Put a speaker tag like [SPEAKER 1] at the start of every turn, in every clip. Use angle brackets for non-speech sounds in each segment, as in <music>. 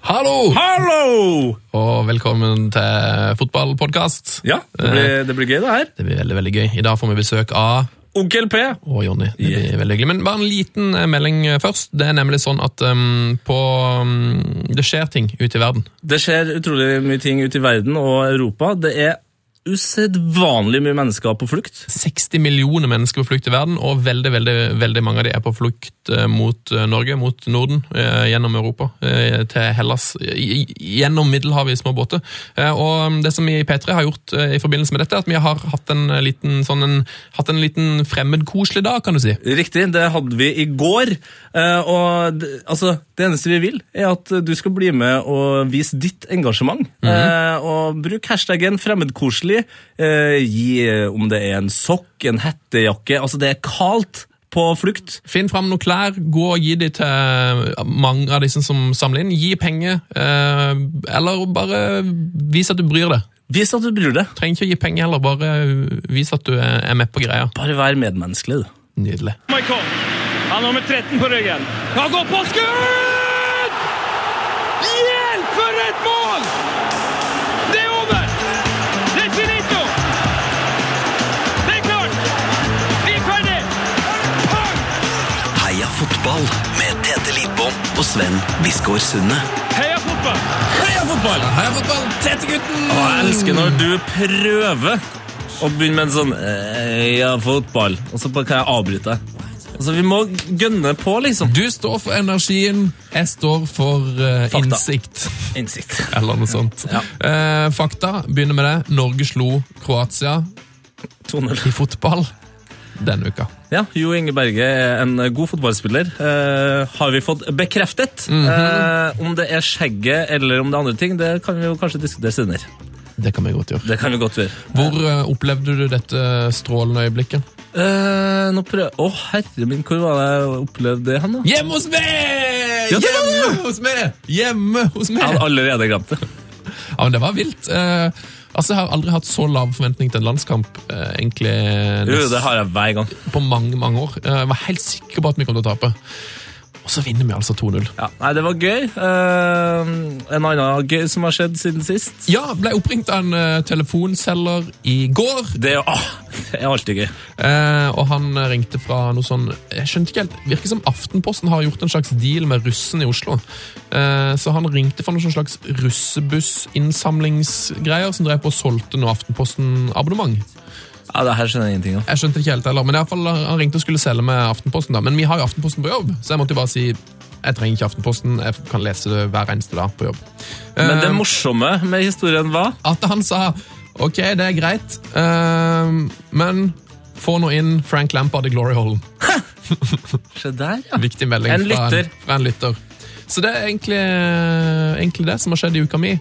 [SPEAKER 1] Hallo!
[SPEAKER 2] Hallo!
[SPEAKER 1] Og velkommen til fotballpodkast.
[SPEAKER 2] Ja, det blir, det blir gøy, det her.
[SPEAKER 1] Det blir veldig veldig gøy. I dag får vi besøk av
[SPEAKER 2] Onkel P.
[SPEAKER 1] og Jonny. Det blir veldig hyggelig. Men bare en liten eh, melding eh, først. Det er nemlig sånn at um, på um, Det skjer ting ute i verden.
[SPEAKER 2] Det skjer utrolig mye ting ute i verden og Europa. Det er usedvanlig mye mennesker på flukt.
[SPEAKER 1] 60 millioner mennesker på flukt i verden, og veldig veldig, veldig mange av de er på flukt eh, mot eh, Norge, mot Norden, eh, gjennom Europa, eh, til Hellas, i- i- gjennom Middelhavet i små båter. Eh, Og mm, det som vi i P3 har gjort eh, i forbindelse med dette, er at vi har hatt en eh, liten, sånn en, hatt en liten fremmedkoselig dag, kan du si.
[SPEAKER 2] Riktig, det hadde vi i går. eh, Og det, altså, det eneste vi vil, er at du skal bli med og vise ditt engasjement. Eh, Og bruk hashtaggen 'fremmedkoselig'. eh, Gi eh, om det er en sokk, en hettejakke Altså, det er kaldt på flukt.
[SPEAKER 1] Finn fram noen klær, gå og gi de til eh, mange av disse som samler inn. Gi penger, eh, eller bare vis at du bryr deg.
[SPEAKER 2] Vis at du bryr deg.
[SPEAKER 1] Trenger ikke å gi penger heller, bare eh, vis at du er er med på greia.
[SPEAKER 2] Bare vær medmenneskelig, du.
[SPEAKER 1] Nydelig.
[SPEAKER 3] Michael. Han har nummer 13 på ryggen. Han går på skudd! Hjelp, for et mål! Det er over! Det er finito! Det er klart! Vi er ferdig! Pang!
[SPEAKER 4] Heia fotball med Tete Lidbom og Sven Biskår Sunne.
[SPEAKER 3] Heia fotball!
[SPEAKER 2] Heia fotball!
[SPEAKER 1] Heia fotball! Tete gutten!
[SPEAKER 2] Og jeg elsker når du prøver å begynne med en sånn Heia fotball, og så bare kan jeg avbryte deg. Altså, Vi må gønne på, liksom.
[SPEAKER 1] Du står for energien, jeg står for eh,
[SPEAKER 2] Fakta.
[SPEAKER 1] innsikt.
[SPEAKER 2] Innsikt.
[SPEAKER 1] Eller noe sånt. Eh, fakta begynner med det. Norge slo Kroatia
[SPEAKER 2] 2-0.
[SPEAKER 1] i fotball denne uka.
[SPEAKER 2] Ja, Jo Inge Berge er en god fotballspiller. Eh, har vi fått bekreftet? eh, om det er skjegget eller om det er andre ting, det kan vi jo kanskje diskutere senere.
[SPEAKER 1] Det kan vi godt gjøre.
[SPEAKER 2] Det kan vi godt gjøre.
[SPEAKER 1] Hvor eh, opplevde du dette strålende øyeblikket?
[SPEAKER 2] Eh, nå prøver Å, herre min, hvor var det jeg opplevde det hen, da?
[SPEAKER 1] Hjemme hos meg!
[SPEAKER 2] Ja, det var
[SPEAKER 1] Hjemme hos meg! Hjemme hos
[SPEAKER 2] Jeg
[SPEAKER 1] meg!
[SPEAKER 2] hadde allerede glemt det.
[SPEAKER 1] Ja, men det var vilt. Eh, altså, Jeg har aldri hatt så lav forventning til en landskamp, eh, egentlig.
[SPEAKER 2] Jo, det har jeg hver gang.
[SPEAKER 1] på mange mange år. Eh, Jeg var helt sikker på at vi kom til å tape. Og så vinner vi altså 2-0.
[SPEAKER 2] Ja, nei, det var gøy. Eh, en annen gøy som har skjedd siden sist.
[SPEAKER 1] Ja, ble oppringt av en eh, telefonselger i går,
[SPEAKER 2] Det er, jo- ah, det er alltid gøy.
[SPEAKER 1] eh, og han eh, ringte fra noe sånn Jeg skjønte ikke helt. Virker som Aftenposten har gjort en slags deal med russen i Oslo. Eh, så han ringte fra noen sånn slags russebussinnsamlingsgreier som drev på og solgte noe Aftenposten-abonnement.
[SPEAKER 2] Ja, det her skjønner jeg ingenting av.
[SPEAKER 1] Jeg skjønte ikke helt heller, men i alle fall, eh, han ringte og skulle selge med Aftenposten. da. Men vi har jo Aftenposten på jobb, så jeg måtte jo bare si jeg trenger ikke Aftenposten. Jeg kan lese det hver eneste dag på jobb.
[SPEAKER 2] Men det
[SPEAKER 1] Eh,
[SPEAKER 2] morsomme med historien var
[SPEAKER 1] At han sa OK, det er greit, eh, men få nå inn Frank Lampard i Glory Hall.
[SPEAKER 2] Se der, ja.
[SPEAKER 1] Viktig melding
[SPEAKER 2] En
[SPEAKER 1] fra,
[SPEAKER 2] lytter.
[SPEAKER 1] fra en lytter. Så det er egentlig, eh, egentlig det som har skjedd i uka mi. Jeg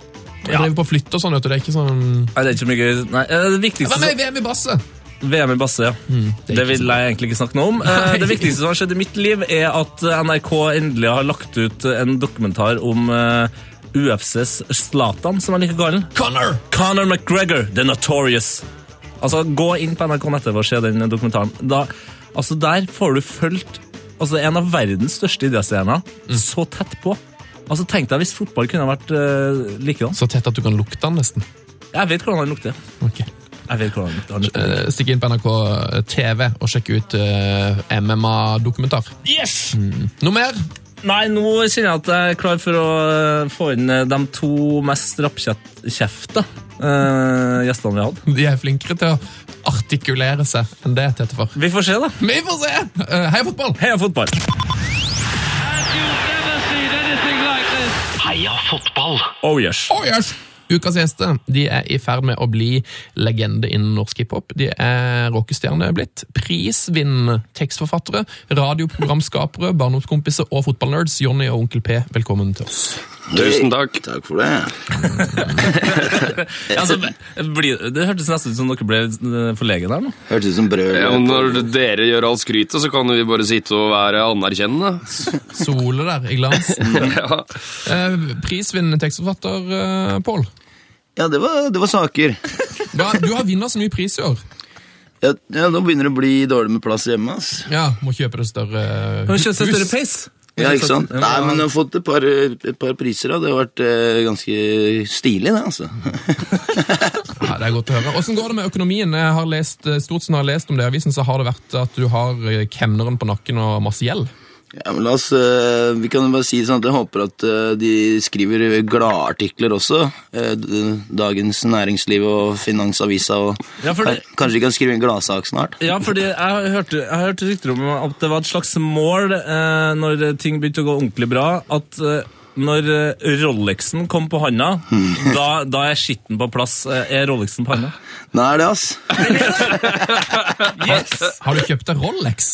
[SPEAKER 2] Ja.
[SPEAKER 1] driver på flytt og sånn, vet du. Det er ikke sånn
[SPEAKER 2] Nei, det er ikke så mye gøy. Nei, eh, det viktigste
[SPEAKER 1] Hvem er i VM i basset?
[SPEAKER 2] VM i basse, ja.
[SPEAKER 1] det er
[SPEAKER 2] Hmm, det,
[SPEAKER 1] ikke
[SPEAKER 2] vil
[SPEAKER 1] så
[SPEAKER 2] jeg egentlig ikke snakke noe <laughs> om. Eh,
[SPEAKER 1] Nei.
[SPEAKER 2] Det viktigste som har skjedd i mitt liv, er at eh, NRK endelig har lagt ut eh, en dokumentar om eh, UFCs Zlatan, som jeg liker å kalle den.
[SPEAKER 1] Connor!
[SPEAKER 2] Conor McGregor, The Notorious. Altså, Gå inn på NRK nettet og se den dokumentaren. Da, altså, Der får du fulgt altså, en av verdens største idrettsstjerner så tett på. Altså, Tenk deg hvis fotball kunne ha vært uh, likedan.
[SPEAKER 1] Så tett at du kan lukte han nesten.
[SPEAKER 2] Jeg vet hvordan han lukter.
[SPEAKER 1] Ok.
[SPEAKER 2] Jeg vet hvordan han lukter. Han lukter.
[SPEAKER 1] Eh, Stikk inn på NRK TV og sjekk ut eh, MMA-dokumentar.
[SPEAKER 2] Yes!
[SPEAKER 1] Noe mer?
[SPEAKER 2] Nei, nå kjenner jeg at jeg er klar for å eh, få inn eh, de to mest rappkjefta uh, gjestene vi har hatt.
[SPEAKER 1] De er flinkere til å artikulere seg enn det Tete for.
[SPEAKER 2] Vi får se, da.
[SPEAKER 1] Vi får se! Eh, Heia fotball!
[SPEAKER 2] Heia fotball!
[SPEAKER 3] And you've never seen anything like this.
[SPEAKER 4] Heia fotball.
[SPEAKER 2] Oh yes.
[SPEAKER 1] Oh, yes. Ukas gjester de er i ferd med å bli legende innen norsk hiphop. De er rockestjerner blitt, prisvinnende tekstforfattere, radioprogramskapere, barndomskompiser og fotballnerds. Jonny og Onkel P, velkommen til oss.
[SPEAKER 5] Tusen takk. Takk for det.
[SPEAKER 2] Altså, blir, det hørtes nesten ut som dere ble eh, forlegen her nå.
[SPEAKER 5] Hørtes ut som brød.
[SPEAKER 6] Ja, men når dere gjør alt skrytet, så kan vi bare sitte og være anerkjennende.
[SPEAKER 1] Sole der i glansen.
[SPEAKER 6] Ja.
[SPEAKER 1] Eh, prisvinnende tekstforfatter, eh, Pål.
[SPEAKER 5] Ja, det var, det var saker.
[SPEAKER 1] Du har- Du har vunnet så mye pris i år.
[SPEAKER 5] Ja, ja, nå begynner det å bli dårlig med plass hjemme, ass.
[SPEAKER 1] Ja, Må kjøpe det større eh,
[SPEAKER 2] Kan vi kjøpe seg
[SPEAKER 1] hus.
[SPEAKER 2] større peis?
[SPEAKER 5] Ja, ikke sant? Nei, men jeg har fått et par, et par priser, og det har vært eh, ganske stilig, det, altså. <laughs>
[SPEAKER 1] Ja, det er godt å høre. Åssen går det med økonomien? Jeg har lest, eh, stort sett når jeg har lest om det i avisen, så har det vært at du har eh, kemneren på nakken og masse gjeld.
[SPEAKER 5] Ja, men la oss, eh, Vi kan jo bare si sånn at jeg håper at eh, de skriver gladartikler også. eh, d- Dagens Næringsliv og Finansavisa og
[SPEAKER 2] Ja, for det-
[SPEAKER 5] Kanskje de kan skrive en gladsak snart?
[SPEAKER 2] Ja, fordi jeg hørte, jeg hørte rykter om at det var et slags mål eh, når ting begynte å gå ordentlig bra, at eh, når eh, Rolexen kom på handa,
[SPEAKER 5] Hmm.
[SPEAKER 2] da, da er skitten på plass. Eh, er Rolexen på handa?
[SPEAKER 5] Nei, er det, ass.
[SPEAKER 2] Yes!
[SPEAKER 1] Har du kjøpt deg Rolex?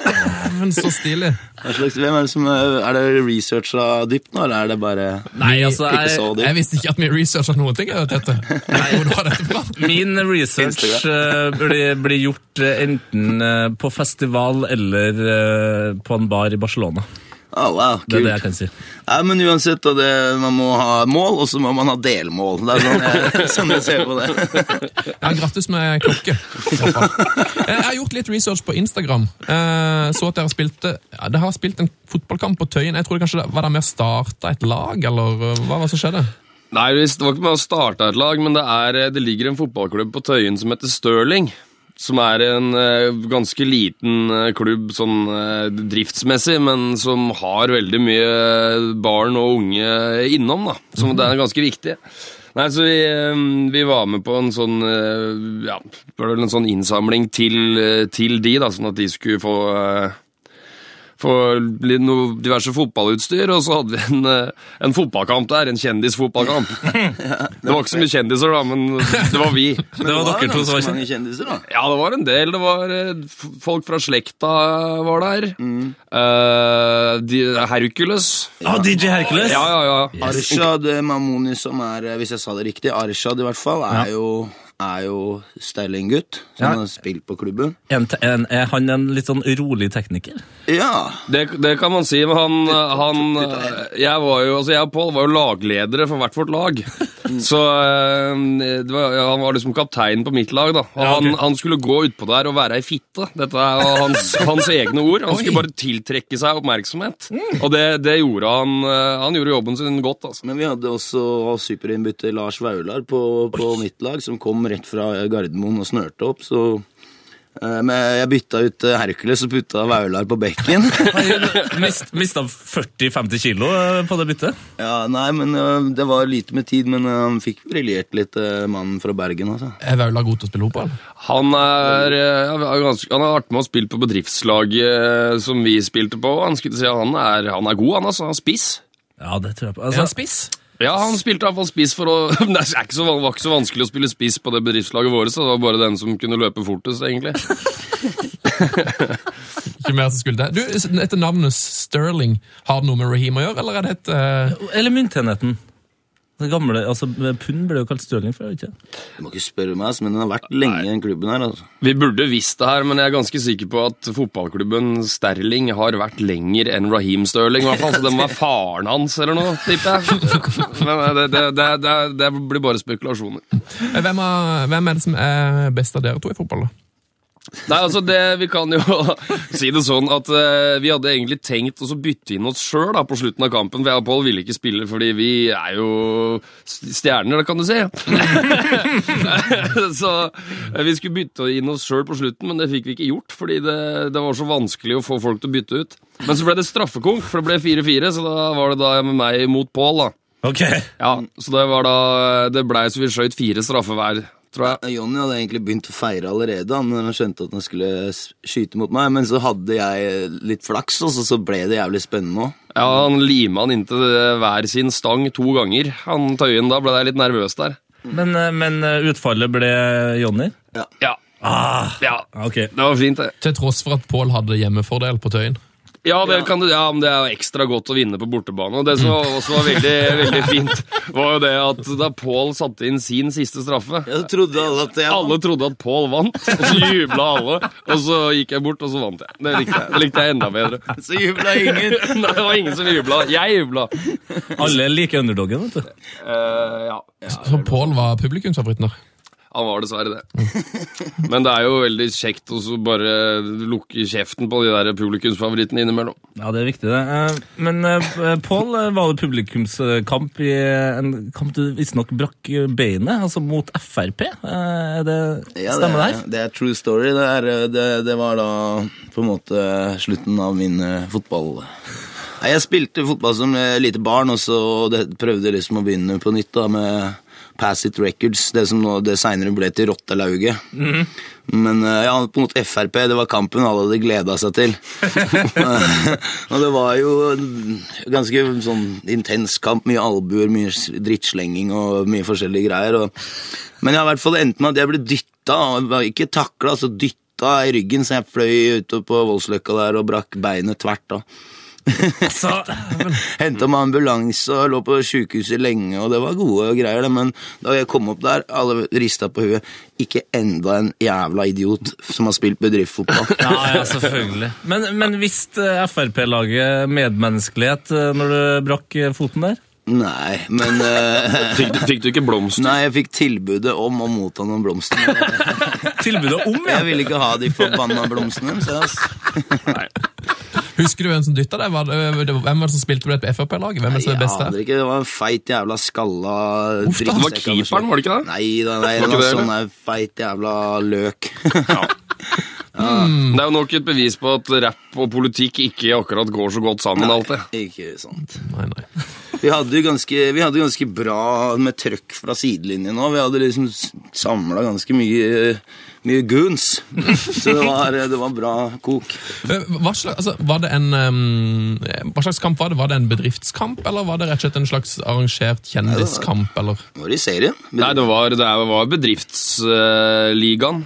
[SPEAKER 1] Dæven, så stilig.
[SPEAKER 5] Hva slags, hvem er, det som, eh, er det researcha dypt nå, eller er det bare
[SPEAKER 2] Nei, altså,
[SPEAKER 5] ikke så
[SPEAKER 2] jeg,
[SPEAKER 5] dypt?
[SPEAKER 1] Jeg visste ikke at vi researcha noen ting. Jeg, vet dette. Hvor du har dette fra?
[SPEAKER 2] min research eh, blir, blir gjort eh, enten eh, på festival eller eh, på en bar i Barcelona.
[SPEAKER 5] Å, Ah, wow, kult.
[SPEAKER 2] Det er det jeg kan si.
[SPEAKER 5] Nei, men uansett, da, det, man må ha mål, og så må man ha delmål. Det er sånn
[SPEAKER 2] <laughs>
[SPEAKER 5] jeg, <laughs> sånn jeg ser på det.
[SPEAKER 1] Ja, Grattis med klokke. i så fall. Eh, Jeg har gjort litt research på Instagram. Eh, Så at dere spilte ja, Dere har spilt en fotballkamp på Tøyen. Jeg tror det kanskje det- Var det med å starte et lag, eller eh, hva var det som skjedde?
[SPEAKER 6] Nei, det var ikke med å starte et lag, men det, er, eh, det ligger en fotballklubb på Tøyen som heter Stirling. Som er en eh, ganske liten eh, klubb sånn eh, driftsmessig, men som har veldig mye eh, barn og unge innom, da. Som det er ganske viktig. Nei, så vi, eh, vi var med på en sånn eh, ja, det var vel en sånn innsamling til, eh, til de, da, sånn at de skulle få eh, for litt noe diverse fotballutstyr, og så hadde vi en, eh, en fotballkamp der, en kjendisfotballkamp.
[SPEAKER 2] <laughs>
[SPEAKER 6] Det var ikke så mye kjendiser da, men det var
[SPEAKER 2] <laughs>
[SPEAKER 6] vi.
[SPEAKER 2] Det var dere to som var
[SPEAKER 5] ganske
[SPEAKER 2] kjent.
[SPEAKER 5] mange kjendiser, da.
[SPEAKER 6] Ja, det var en del. Det var eh, f- folk fra slekta var der.
[SPEAKER 2] Mm.
[SPEAKER 6] Eh, de, Hercules.
[SPEAKER 2] Ah, DJ Hercules!
[SPEAKER 6] Ja, ja, ja.
[SPEAKER 5] Arshad Mamouni, som er, eh, hvis jeg sa det riktig, Arshad i hvert fall, er jo, er jo Sterling-gutt, som
[SPEAKER 2] Ja.
[SPEAKER 5] har spilt på klubben.
[SPEAKER 2] En, te- en, er han en litt sånn rolig tekniker?
[SPEAKER 5] Ja,
[SPEAKER 6] Det, det kan man si, men han, han eh, jeg, var jo, altså jeg og Pål var jo lagledere for hvert vårt lag. Så eh, det var, ja, han var liksom kapteinen på mitt lag. da. Og
[SPEAKER 2] Ja, ok.
[SPEAKER 6] han, han skulle gå utpå der og være ei fitte. Dette er jo
[SPEAKER 2] <laughs>
[SPEAKER 6] hans, hans egne ord. Han
[SPEAKER 1] Oi.
[SPEAKER 6] skulle bare tiltrekke seg oppmerksomhet.
[SPEAKER 2] Mm.
[SPEAKER 6] Og det, det gjorde han. eh, Han gjorde jobben sin godt. altså.
[SPEAKER 5] men vi hadde også superinnbytter Lars Vaular på, på mitt lag, som kom rett fra Gardermoen og snørte opp, så... eh, Men jeg bytta ut eh, Hercules og putta Vaular på bekken.
[SPEAKER 2] <laughs> Mist, mista 40-50 kilo eh, på det byttet?
[SPEAKER 5] Ja, nei, men ø, Det var lite med tid, men ø, han fikk briljert litt, ø, mannen fra Bergen. altså.
[SPEAKER 1] Er Vaula god til å spille fotball?
[SPEAKER 6] Han er, eh, er ganske, han har vært med og spilt på bedriftslaget eh, som vi spilte på. Han, skulle si, han, er, han er god, han. altså. Han er spiss.
[SPEAKER 2] Ja, det tror jeg på.
[SPEAKER 1] Er han
[SPEAKER 2] Altså,
[SPEAKER 1] spiss?
[SPEAKER 6] Ja, han spilte i hvert fall spiss for å <laughs> Nei, Det er ikke så, det var ikke så vanskelig å spille spiss på det bedriftslaget vårt, så det var bare den som kunne løpe fortest, egentlig.
[SPEAKER 1] Ikke mer som skulle det. Du, Dette navnet Sterling, har det noe med Raheem å gjøre, eller er det et eh,
[SPEAKER 2] eller myntenheten. Det gamle, altså, Pund ble jo kalt Stirling før, ikke
[SPEAKER 5] Du må ikke spørre meg, ass, men den har vært lenge i den klubben her. altså.
[SPEAKER 6] Vi burde visst det her, men jeg er ganske sikker på at fotballklubben Sterling har vært lenger enn Raheem Sterling, i hvert fall, så det må være faren hans eller noe, tipper jeg. Men eh, det, det, det, det, det blir bare spekulasjoner.
[SPEAKER 1] hvem, er, hvem er det som er best av dere to i fotball? da?
[SPEAKER 6] Nei, altså det, Vi kan jo <laughs> si det sånn at eh, vi hadde egentlig tenkt oss å bytte inn oss sjøl på slutten av kampen. For jeg og Pål ville ikke spille fordi vi er jo st- stjerner, kan du si. <laughs> så eh, vi skulle bytte inn oss sjøl på slutten, men det fikk vi ikke gjort. Fordi det, det var så vanskelig å få folk til å bytte ut. Men så ble det straffekonk, for det ble 4-4, så da var det da med meg mot Pål. da.
[SPEAKER 2] Ok.
[SPEAKER 6] Ja, Så det var da eh, Det blei så vi skjøt fire straffer hver, tror jeg.
[SPEAKER 5] Jonny hadde egentlig begynt å feire allerede han, når han skjønte at han skulle s- skyte mot meg, men så hadde jeg øh, litt flaks, og så, så ble det jævlig spennende òg.
[SPEAKER 6] Ja, han lima han inntil hver sin stang to ganger. Han Tøyen, da ble jeg litt nervøs der.
[SPEAKER 2] Men, eh, men eh, utfallet ble Jonny?
[SPEAKER 6] Ja. ja.
[SPEAKER 2] Ok.
[SPEAKER 6] Det var fint, det.
[SPEAKER 1] Til tross for at Pål hadde hjemmefordel på Tøyen.
[SPEAKER 6] Ja, det kan du, ja, men det er jo ekstra godt å vinne på bortebane. Og det som også var veldig, <laughs> veldig fint, var jo det at da Pål satte inn sin siste straffe
[SPEAKER 5] Jeg trodde alle at jeg
[SPEAKER 6] Alle trodde at Pål vant, og så jubla alle. Og så gikk jeg bort, og så vant jeg. Det likte jeg, det likte jeg enda bedre.
[SPEAKER 5] Så
[SPEAKER 6] <laughs>
[SPEAKER 5] jubla ingen.
[SPEAKER 6] Nei, det var ingen som jubla. Jeg jubla.
[SPEAKER 2] Alle liker underdogen, vet du.
[SPEAKER 6] Eh, ja.
[SPEAKER 1] Så Pål var publikumsfavoritten der.
[SPEAKER 6] Han var dessverre det. <laughs> Men det er jo veldig kjekt å så bare lukke kjeften på de der publikumsfavorittene innimellom.
[SPEAKER 2] Ja, det er viktig, det. Eh, Men eh, Pål, eh, var det publikumskamp i eh, en kamp du visstnok brakk eh, beinet, altså mot Frp? Eh, Er det,
[SPEAKER 5] Ja, det,
[SPEAKER 2] stemmer det her?
[SPEAKER 5] er- det er true story. Det, er, eh, det, det var da på en måte slutten av min eh, fotball... Nei, jeg spilte fotball som eh, lite barn, og så det, prøvde liksom å begynne på nytt da med Pass It Records, det som nå, det senere ble til Rottelauget. Men eh, ja, på en måte Frp, det var kampen alle hadde gleda seg til. <laughs> og det var jo en ganske sånn intens kamp, mye albuer, mye s- drittslenging og mye forskjellige greier. Og... Men jeg har i hvert fall det endte med at jeg ble dytta, og var ikke takla, altså dytta i ryggen, så jeg fløy ute på Voldsløkka der og brakk beinet tvert. da. Henta meg ambulanse og lå på sjukehuset lenge, og det var gode greier, det. Men da jeg kom opp der, alle rista på huet. Ikke enda en jævla idiot som har spilt
[SPEAKER 6] <laughs>
[SPEAKER 5] bedriftsfotball.
[SPEAKER 2] Ja, ja, selvfølgelig. Men, men visste eh, Frp-laget medmenneskelighet eh, når du brakk eh, foten der?
[SPEAKER 5] Nei, men eh,
[SPEAKER 6] Fikk, du- fikk du ikke blomster?
[SPEAKER 5] Nei, jeg fikk tilbudet om å motta noen blomster. men
[SPEAKER 2] Tilbudet om, ja!
[SPEAKER 5] Jeg ville ikke ha de forbanna blomstene. Så jeg,
[SPEAKER 1] Husker du hvem som dytta deg? Var det, øh, det var- hvem var det som spilte på det Frp-laget? Hvem er det som er
[SPEAKER 5] jeg
[SPEAKER 1] best der?
[SPEAKER 5] aner ikke, Det var en feit jævla skalla
[SPEAKER 1] Uff da, det
[SPEAKER 6] var
[SPEAKER 5] drittsekk av noe
[SPEAKER 6] keeperen, var
[SPEAKER 5] slag.
[SPEAKER 6] det ikke det?
[SPEAKER 5] Nei da, nei,
[SPEAKER 6] Var
[SPEAKER 5] det
[SPEAKER 6] ikke
[SPEAKER 5] var
[SPEAKER 6] det,
[SPEAKER 5] sånn der feit jævla løk.
[SPEAKER 6] Det er jo nok et bevis på at rapp og politikk ikke akkurat går så godt sammen alltid.
[SPEAKER 5] <laughs> Ikke sant.
[SPEAKER 1] Nei, nei.
[SPEAKER 5] Vi hadde jo ganske, vi hadde ganske bra med trøkk fra sidelinjen òg. Vi hadde liksom samla ganske mye, mye goons. Så det var, det var bra kok.
[SPEAKER 1] Eh, Hva slags, altså, var det en, ehm, eh, hva slags kamp var det? Var det en bedriftskamp, eller var det rett og slett en slags arrangert kjendiskamp? Eller?
[SPEAKER 5] Var det i serien?
[SPEAKER 6] Nei, det var, det er- var bedriftsligaen,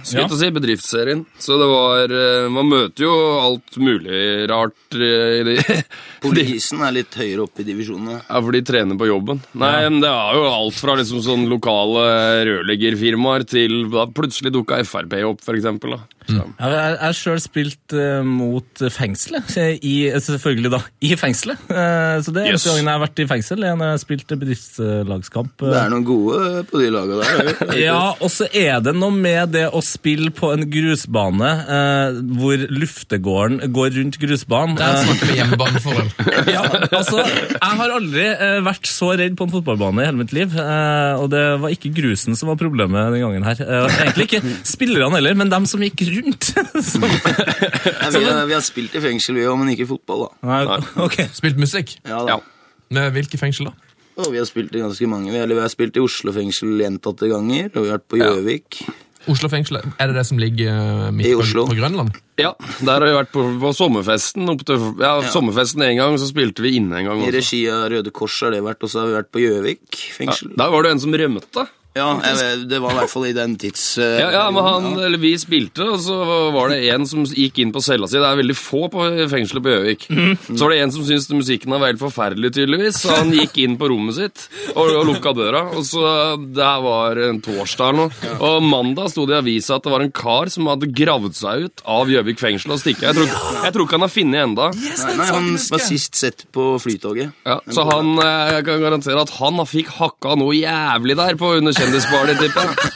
[SPEAKER 6] skulle
[SPEAKER 2] Ja.
[SPEAKER 6] jeg til å si. Bedriftsserien. Så det var eh, Man møter jo alt mulig rart eh, i de
[SPEAKER 5] Politisen er litt høyere oppe i divisjonene.
[SPEAKER 6] Ja, for de trener på jobben. Nei, men det er jo alt fra liksom sånn lokale rørleggerfirmaer til da plutselig dukka Frp opp, for eksempel. Da. Så,
[SPEAKER 2] Ja, Jeg jeg har sjøl spilt eh, mot fengselet, eh, i, eh, selvfølgelig da, i fengselet. Eh, så det er
[SPEAKER 6] Yes.
[SPEAKER 2] eneste gangen jeg har vært i fengsel, er når jeg har spilt eh, bedriftslagskamp. eh.
[SPEAKER 5] Det er noen gode på de laga der.
[SPEAKER 2] Ja, og så er det noe med det å spille på en grusbane eh, hvor luftegården går rundt grusbanen.
[SPEAKER 1] Der
[SPEAKER 2] Eh,
[SPEAKER 1] snakker vi hjemmebanefordel.
[SPEAKER 2] ja, altså, jeg har aldri eh, vært så redd på en fotballbane i hele mitt liv. Eh, og det var ikke grusen som var problemet den gangen her. Eh, egentlig ikke spillerne heller, men dem som gikk rundt. <laughs> som,
[SPEAKER 5] Nei, vi, har, vi har spilt i fengsel, vi òg, men ikke i fotball, da.
[SPEAKER 2] nei, ok.
[SPEAKER 1] Spilt musikk?
[SPEAKER 5] Ja,
[SPEAKER 6] ja.
[SPEAKER 5] da.
[SPEAKER 1] Med hvilke fengsel, da?
[SPEAKER 5] Og vi har spilt i ganske mange. Vi har, vi har spilt i Oslo fengsel gjentatte ganger, og vi har vært på Gjøvik.
[SPEAKER 1] Oslo fengsel, Er det det som ligger eh, midt
[SPEAKER 5] I
[SPEAKER 1] på,
[SPEAKER 5] Oslo.
[SPEAKER 1] på Grønland?
[SPEAKER 6] ja, der har vi vært på, på sommerfesten. Opp til, ja, Sommerfesten en gang, så spilte vi inne en gang
[SPEAKER 5] I
[SPEAKER 6] også.
[SPEAKER 5] regi av Røde Kors har det vært, og så har vi vært på Gjøvik
[SPEAKER 6] Ja,
[SPEAKER 5] fengsel.
[SPEAKER 6] der var det en som rømte.
[SPEAKER 5] Ja, jeg, vet- det var i hvert fall i den tids... eh,
[SPEAKER 6] Ja, ja, men han,
[SPEAKER 5] perioden, ja.
[SPEAKER 6] eller Vi spilte, og så var det en som gikk inn på cella si. Det er veldig få på fengselet på Gjøvik. Så var det en som syntes musikken var helt forferdelig, tydeligvis. Så han gikk inn på rommet sitt og, og lukka døra. Og så, Det her var en torsdag eller noe. Og mandag sto det i avisa at det var en kar som hadde gravd seg ut av Gjøvik fengsel og stikka. Jeg tror jeg tror ikke han har funnet enda.
[SPEAKER 5] Nei, nei, han var sist sett på Flytoget.
[SPEAKER 6] Ja, så han, eh, jeg kan garantere at han fikk hakka noe jævlig der på under kjendisbaren, tipper jeg.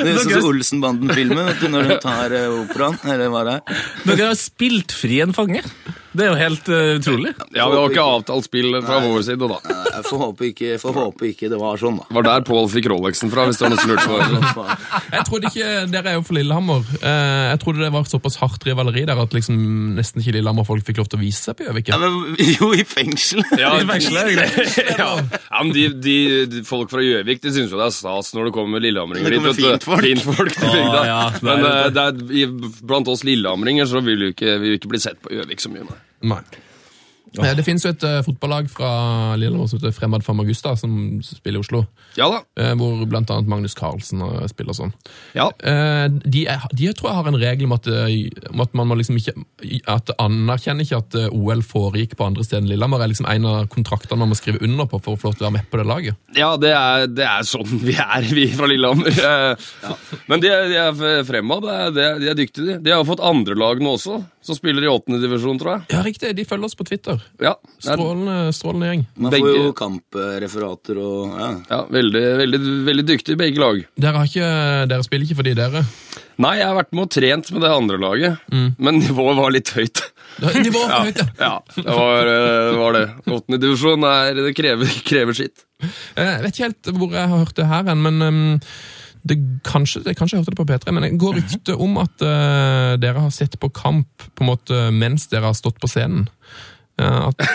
[SPEAKER 5] Det er sånn som Olsenbanden-filmen, vet du,
[SPEAKER 6] <laughs>
[SPEAKER 5] når hun tar eh, operaen. Eller hva det er.
[SPEAKER 2] Dere har spilt fri en fange. Det er jo helt eh, utrolig.
[SPEAKER 6] Ja, Vi har ikke avtalt spill fra vår side, da.
[SPEAKER 5] Nei, Jeg får håpe ikke, jeg får håpe ikke det var sånn, da.
[SPEAKER 6] Det var der Pål fikk Rolexen fra, hvis det var noe som lurte på.
[SPEAKER 1] Jeg trodde ikke, Dere er jo fra Lillehammer. Eh, Jeg trodde det var såpass hardt rivaleri der at liksom nesten ikke Lillehammer-folk fikk lov til å vise seg på Gjøvik.
[SPEAKER 5] Ja, men, jo, i fengsel.
[SPEAKER 6] Ja,
[SPEAKER 2] I fengselet er det greit.
[SPEAKER 6] ja. ja, men de, de, de Folk fra Gjøvik de syns jo det er stas når det kommer lillehamringer
[SPEAKER 5] Det kommer
[SPEAKER 6] vet du.
[SPEAKER 5] fintfolk.
[SPEAKER 6] Fintfolk til bygda.
[SPEAKER 2] Ah, ja, det er
[SPEAKER 6] men
[SPEAKER 2] jo
[SPEAKER 6] eh, det er, i, blant oss lillehamringer så vil vi jo ikke, vi vil ikke bli sett på Gjøvik så mye. Nei.
[SPEAKER 1] Nei. Eh, Det finnes jo et eh, fotballag fra Lillehammer som heter Fremad for Magusta, som spiller i Oslo.
[SPEAKER 6] Ja da.
[SPEAKER 1] eh, Hvor blant annet Magnus Carlsen eh, spiller sånn.
[SPEAKER 6] Ja.
[SPEAKER 1] Eh, De, er, de tror jeg har en regel om at, eh, om at man må liksom ikke At det anerkjenner ikke at eh, OL foregikk på andre steder enn Lillehammer. er liksom en av kontraktene man må skrive under på for å få lov til å være med på det laget.
[SPEAKER 6] Ja, det er, det er sånn vi er, vi fra Lillehammer. Eh, Men de, er- de er f- fremad. det er- De er, de er dyktige, de. De har fått andre lag nå også. som spiller i åttende divisjon, tror jeg.
[SPEAKER 1] Ja, riktig. De følger oss på Twitter.
[SPEAKER 6] Ja, det er,
[SPEAKER 1] Strålende, strålende gjeng.
[SPEAKER 5] Man får jo
[SPEAKER 6] Begge-
[SPEAKER 5] kampreferater og ja.
[SPEAKER 6] ja veldig, veldig, veldig dyktig i begge lag.
[SPEAKER 1] Dere, har ikke, dere spiller ikke for de dere.
[SPEAKER 6] Nei, jeg har vært med og trent med det andre laget, men nivået var litt høyt.
[SPEAKER 1] Nivået for høyt, ja.
[SPEAKER 6] ja <laughs> det var, eh, var det. Åttende divisjon er, det krever, krever sitt.
[SPEAKER 1] Eh, Jeg vet ikke helt hvor jeg har hørt det her, hen, men ehm, det, kanskje, det, kanskje jeg hørte det på P3, men det går rykte om at eh, dere har sett på kamp på en måte mens dere har stått på scenen. Eh, at,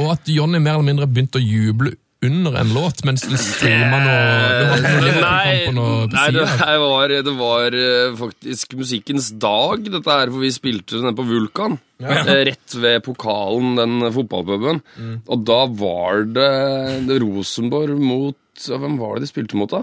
[SPEAKER 1] og at Jonny mer eller mindre begynte å juble under en låt mens du streama noe du hadde noe Liverpool-kamp på noe på
[SPEAKER 6] Eh, nei det,
[SPEAKER 1] siden.
[SPEAKER 6] her var, det var eh, faktisk musikkens dag, dette her, for vi spilte nede på Vulkan. eh, Rett ved pokalen, den fotballpuben.
[SPEAKER 1] Mm.
[SPEAKER 6] Og da var det, det Rosenborg mot ja, Hvem var det de spilte mot, da?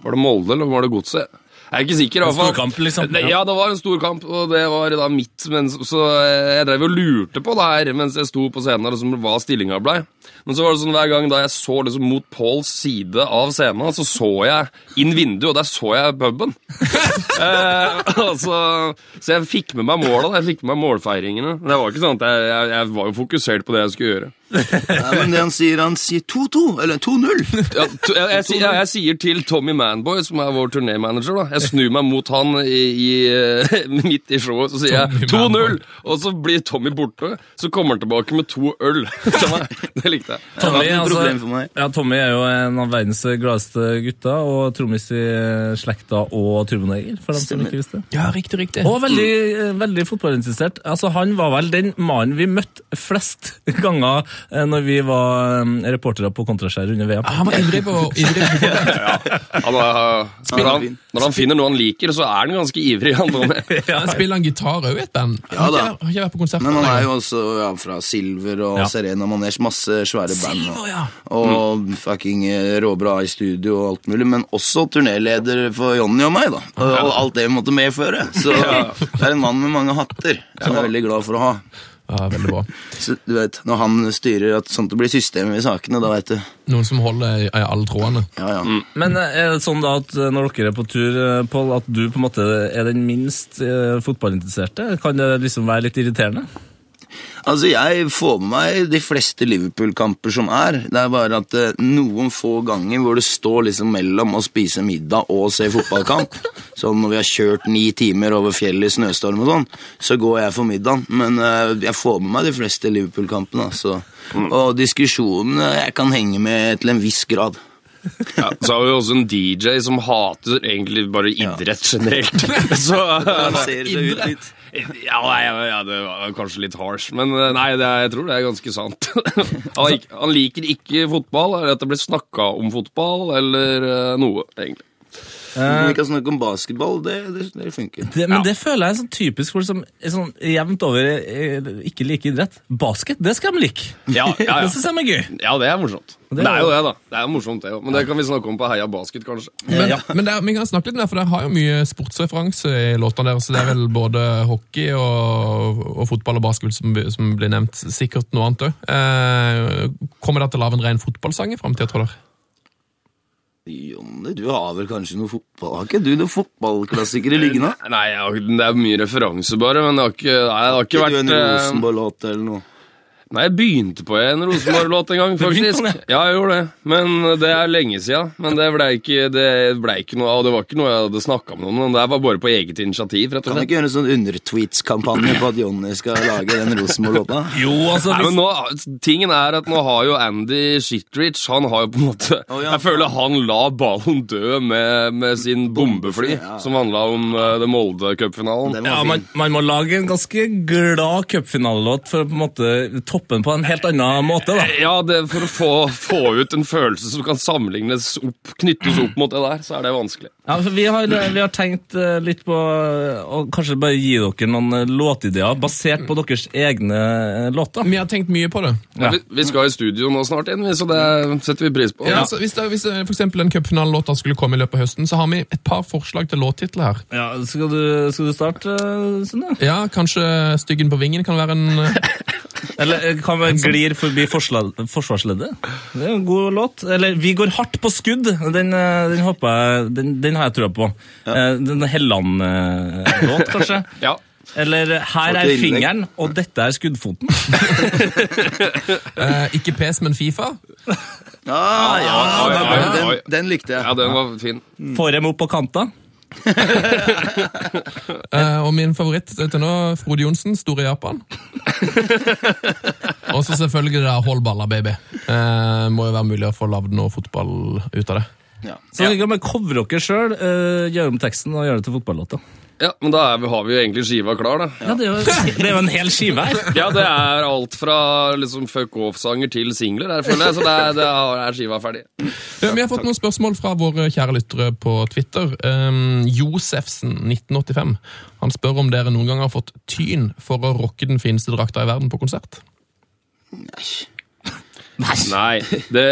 [SPEAKER 6] Var det Molde, eller var det Godset? Jeg er ikke sikker. i
[SPEAKER 5] Altså,
[SPEAKER 6] hvert fall.
[SPEAKER 2] storkamp, liksom.
[SPEAKER 6] Det, ja, det var en stor kamp, og det var da mitt mens, Så eh, jeg drev og lurte på det her mens jeg sto på scenen, liksom, hva stillinga blei. Men så var det sånn hver gang da jeg så liksom mot Pauls side av scenen, så så jeg inn vinduet, og der så jeg puben. <laughs> eh, altså, så jeg fikk med meg måla, da. jeg fikk med meg målfeiringene. Men det var ikke sånn at jeg, jeg, jeg var jo fokusert på det jeg skulle gjøre.
[SPEAKER 5] Nei, men det han sier, han sier 2-2, eller 2-0.
[SPEAKER 6] Ja, to, jeg, jeg, sier- jeg, jeg sier til Tommy Manboy, som er vår turnémanager, da. Jeg snur meg mot han i, i, eh, <laughs> midt i showet, så sier
[SPEAKER 1] Tommy
[SPEAKER 6] jeg 2-0!
[SPEAKER 1] Manboy.
[SPEAKER 6] Og så blir Tommy borte, så kommer han tilbake med to øl. <laughs> Det var- det likte jeg.
[SPEAKER 2] Tommy,
[SPEAKER 5] Det var ikke noe
[SPEAKER 2] altså,
[SPEAKER 5] problem for meg.
[SPEAKER 2] ja, Tommy er jo en av verdens gladeste gutter, og trommis i eh, slekta og turboneger, for dem som
[SPEAKER 5] Stemmer.
[SPEAKER 2] ikke visste det.
[SPEAKER 1] Ja, riktig, riktig.
[SPEAKER 2] Og veldig, eh, veldig fotballinteressert. Altså, han var vel den mannen vi møtte flest ganger eh, når vi var eh, reportere på Kontraskjær under VM.
[SPEAKER 5] Ah.
[SPEAKER 1] han var ivrig på <laughs> ivrig på fotball.
[SPEAKER 6] Han, var- når, han, når han finner noe han liker, så er han ganske ivrig. Han
[SPEAKER 1] <laughs>
[SPEAKER 6] Tommy.
[SPEAKER 1] Spiller han gitar òg i et band?
[SPEAKER 5] Ja,
[SPEAKER 1] Har ikke-
[SPEAKER 5] da.
[SPEAKER 1] Har ikke vært på konsert
[SPEAKER 5] Men han er jo også ja, fra Silver og
[SPEAKER 2] Ja.
[SPEAKER 5] Serena Manesh, masse svære band.
[SPEAKER 1] Silver,
[SPEAKER 5] Og,
[SPEAKER 1] ja.
[SPEAKER 5] og fucking eh, råbra i studio og alt mulig, men også turnéleder for Jonny og meg, da. Og og alt det vi måtte medføre. Så det er en mann med mange hatter, som jeg er veldig glad for å ha.
[SPEAKER 1] Ja, veldig bra.
[SPEAKER 5] Så du vet, Når han styrer at sånt det blir system i sakene, da veit du.
[SPEAKER 1] Noen som holder i i alle trådene.
[SPEAKER 5] Ja, ja.
[SPEAKER 2] Men eh, er det sånn da at eh, når dere er på tur, eh, Pål, at du på en måte er den minst eh, fotballinteresserte? Kan det liksom være litt irriterende?
[SPEAKER 5] Altså, jeg får med meg de fleste Liverpool-kamper som er. Det er bare at eh, noen få ganger hvor det står liksom mellom å spise middag og se
[SPEAKER 6] <laughs>
[SPEAKER 5] fotballkamp, sånn når vi har kjørt ni timer over fjellet i snøstorm og sånn, så går jeg for middagen. Men eh, jeg får med meg de fleste Liverpool-kampene, altså.
[SPEAKER 6] Mm.
[SPEAKER 5] Og diskusjonene jeg kan henge med til en viss grad.
[SPEAKER 6] Ja, så har vi også en DJ som hater egentlig bare idrett generelt. <laughs> Så eh,
[SPEAKER 5] Idrett.
[SPEAKER 6] Ja, nei, ja, det var kanskje litt harsh, men eh, nei, det er, jeg tror det er ganske sant. <laughs> Han, lik,
[SPEAKER 5] Altså-
[SPEAKER 6] han liker ikke fotball, eller at det blir snakka om fotball, eller eh, noe, egentlig. Eh.
[SPEAKER 5] Vi kan snakke om basketball, det, det, det funker.
[SPEAKER 2] Det, men det føler jeg er sånn typisk folk som er sånn jevnt over eh, ikke liker idrett. Basket, det skal de like.
[SPEAKER 6] Ja, ja,
[SPEAKER 2] Det
[SPEAKER 6] ja.
[SPEAKER 2] syns jeg er gøy.
[SPEAKER 6] <laughs> ja det er morsomt.
[SPEAKER 2] er
[SPEAKER 6] Det er jo det, da. Det er jo morsomt, det òg. Men det kan vi snakke om på Heia basket, kanskje.
[SPEAKER 1] Men, men der, vi kan snakke litt om det, for dere har jo mye sportsreferanse i låtene deres. så Det er vel både hockey og, og fotball og basket som, blir- som blir nevnt. Sikkert noe annet òg. Eh, kommer dere til å lage en ren fotballsang i framtida, tror dere?
[SPEAKER 5] Jonny, du har vel kanskje noe fotball... Har ikke du noen fotballklassikere liggende?
[SPEAKER 6] Nei, jeg har ikke- det er mye referanse, bare, men det har ikke, nei, det har ikke
[SPEAKER 5] Ikke du
[SPEAKER 6] vært
[SPEAKER 5] en
[SPEAKER 6] eh,
[SPEAKER 5] Rosenborg-låt eller noe?
[SPEAKER 6] Nei, jeg begynte på en Rosenborg-låt en gang, faktisk.
[SPEAKER 2] begynte på det?
[SPEAKER 6] Ja, jeg gjorde det. Men eh, det er lenge siden. Men det blei ikke, det ble ikke noe av. Det var ikke noe jeg hadde snakka med noen om. Det her var bare på eget initiativ, rett og
[SPEAKER 5] Kan du
[SPEAKER 6] slett.
[SPEAKER 5] ikke gjøre en sånn undertweets-kampanje på at Jonny skal lage den Rosenborg-låta?
[SPEAKER 2] Jo, altså,
[SPEAKER 6] Nei, men
[SPEAKER 2] hvis,
[SPEAKER 6] nå, tingen er at nå har jo Andy Shitrich Han har jo på en måte
[SPEAKER 5] Å, ja.
[SPEAKER 6] Jeg føler han la ballen dø med, med sin bombefly,
[SPEAKER 5] ja.
[SPEAKER 6] som handla om eh, det Molde
[SPEAKER 5] Den
[SPEAKER 6] cupfinalen.
[SPEAKER 5] var
[SPEAKER 2] ja, man,
[SPEAKER 5] fin.
[SPEAKER 2] man må lage en ganske glad cupfinalelåt for å på en måte toppe den på en helt annen måte. da.
[SPEAKER 6] Eh, Ja, det, for å få, få ut en følelse som kan sammenlignes opp, knyttes opp mot det der, så er det vanskelig.
[SPEAKER 2] Ja, for vi har, vi har tenkt eh, litt på eh, å kanskje bare gi dere noen eh, låtideer basert på deres egne eh, låter.
[SPEAKER 1] Vi har tenkt mye på det.
[SPEAKER 2] Ja.
[SPEAKER 6] Vi, vi skal i studio nå snart igjen, vi, så det setter vi pris på.
[SPEAKER 1] Ja, altså, hvis det, hvis det for eksempel en cupfinalelåt skulle komme i løpet av høsten, så har vi et par forslag til låttitler her.
[SPEAKER 2] Ja, skal, du, skal du starte, eh, Sunne?
[SPEAKER 1] Ja, Kanskje 'Styggen på vingen' kan være en eh,
[SPEAKER 2] Eller eh, kan vi glir forbi forsla- forsvarsleddet? Det er en god låt. Eller Vi går hardt på skudd. Den, eh, den, håper jeg, den, den har jeg trua på. Eh, Den Helland-låt, eh, kanskje.
[SPEAKER 6] Ja.
[SPEAKER 2] Eller 'her
[SPEAKER 5] Får
[SPEAKER 2] er
[SPEAKER 5] ikke innlegg.
[SPEAKER 2] fingeren, og dette er skuddfoten'.
[SPEAKER 1] Eh, ikke PES, men Fifa.
[SPEAKER 5] Ah, ja,
[SPEAKER 6] Oi,
[SPEAKER 5] den,
[SPEAKER 6] oi, oi.
[SPEAKER 5] den, den likte
[SPEAKER 6] Ja,
[SPEAKER 5] jeg.
[SPEAKER 6] den var fin.
[SPEAKER 2] Får dem opp på kanta.
[SPEAKER 1] Eh, og min favoritt til nå, Frode Johnsen, Store Japan. og så selvfølgelig det der Hold balla, baby. Eh, må jo være mulig å få lagd noe fotball ut av det.
[SPEAKER 5] Ja.
[SPEAKER 2] Så dere kan bare covre dere sjøl, gjøre om teksten og gjøre det til fotballåta.
[SPEAKER 6] Ja, men da er vi, har vi jo egentlig skiva klar, da.
[SPEAKER 2] Ja, det er, jo, <laughs> det er jo en hel skive her.
[SPEAKER 6] Ja, det er alt fra liksom fuck off-sanger til singler her, føler jeg. Så det er, det er, er skiva ferdig.
[SPEAKER 1] Eh, Vi har fått noen spørsmål fra våre kjære lyttere på Twitter. Eh, Josefsen1985 Han spør om dere noen gang har fått tyn for å rocke den fineste drakta i verden på konsert.
[SPEAKER 6] Nei det,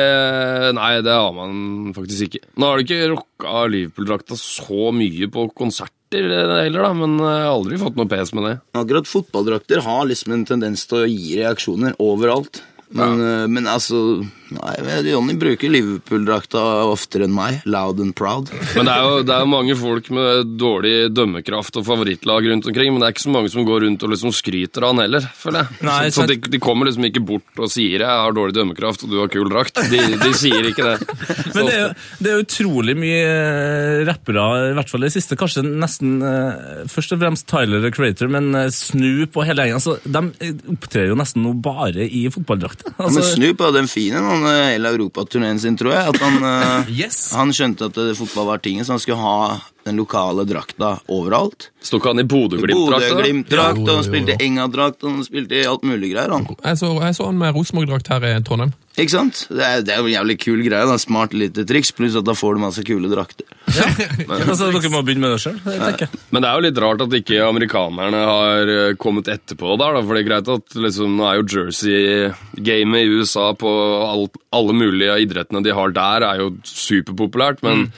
[SPEAKER 6] nei, det har man faktisk ikke. Nå har du ikke rocka Liverpool-drakta så mye på konserter eh, heller, da, men jeg har aldri fått noe pes med det.
[SPEAKER 5] Akkurat fotballdrakter har liksom en tendens til å gi reaksjoner overalt. Men, eh, men altså nei, men Jonny bruker Liverpool-drakta oftere enn meg. Loud and proud.
[SPEAKER 6] Men det er jo det er jo mange folk med dårlig dømmekraft og favorittlag rundt omkring, men det er ikke så mange som går rundt og liksom skryter av han heller, føler jeg.
[SPEAKER 2] Nei,
[SPEAKER 6] så så
[SPEAKER 2] sant.
[SPEAKER 6] de, de kommer liksom ikke bort og sier 'jeg har dårlig dømmekraft og du har kul drakt'. De, de sier ikke det.
[SPEAKER 2] <laughs> Men det er, jo- det er utrolig mye eh, rappere, i hvert fall det siste. Kanskje nesten eh, først og fremst Tyler the Creator, men eh, Snoop og hele gjengen. Altså, de eh, opptrer jo nesten nå bare i fotballdrakter.
[SPEAKER 5] Men
[SPEAKER 2] Altså,
[SPEAKER 5] Snoop hadde en fin en under eh, hele europaturneen sin, tror jeg. At han, eh,
[SPEAKER 1] Yes.
[SPEAKER 5] han skjønte at eh, fotball var tinget, så han skulle ha den lokale drakta overalt.
[SPEAKER 6] Sto ikke han i Bodø-Glimt-drakta? da?
[SPEAKER 5] Bodø-Glimt-drakt, og
[SPEAKER 1] Jo, jo,
[SPEAKER 5] han spilte
[SPEAKER 1] jo.
[SPEAKER 5] Enga-drakt, og han spilte i alt mulig greier. Han.
[SPEAKER 1] Jeg så, jeg så han med Rosenborg-drakt her i Trondheim.
[SPEAKER 5] Ikke sant? Det er, det er jo en jævlig kul greie. Da. Smart lite triks, pluss at da får du masse kule drakter.
[SPEAKER 2] altså, dere må begynne med det sjøl, tenker jeg.
[SPEAKER 6] Men det er jo litt rart at ikke amerikanerne har eh, kommet etterpå der, da. For det er greit at liksom, nå er jo Jersey-gamet i USA på alt, alle mulige av idrettene de har der, er jo superpopulært. Men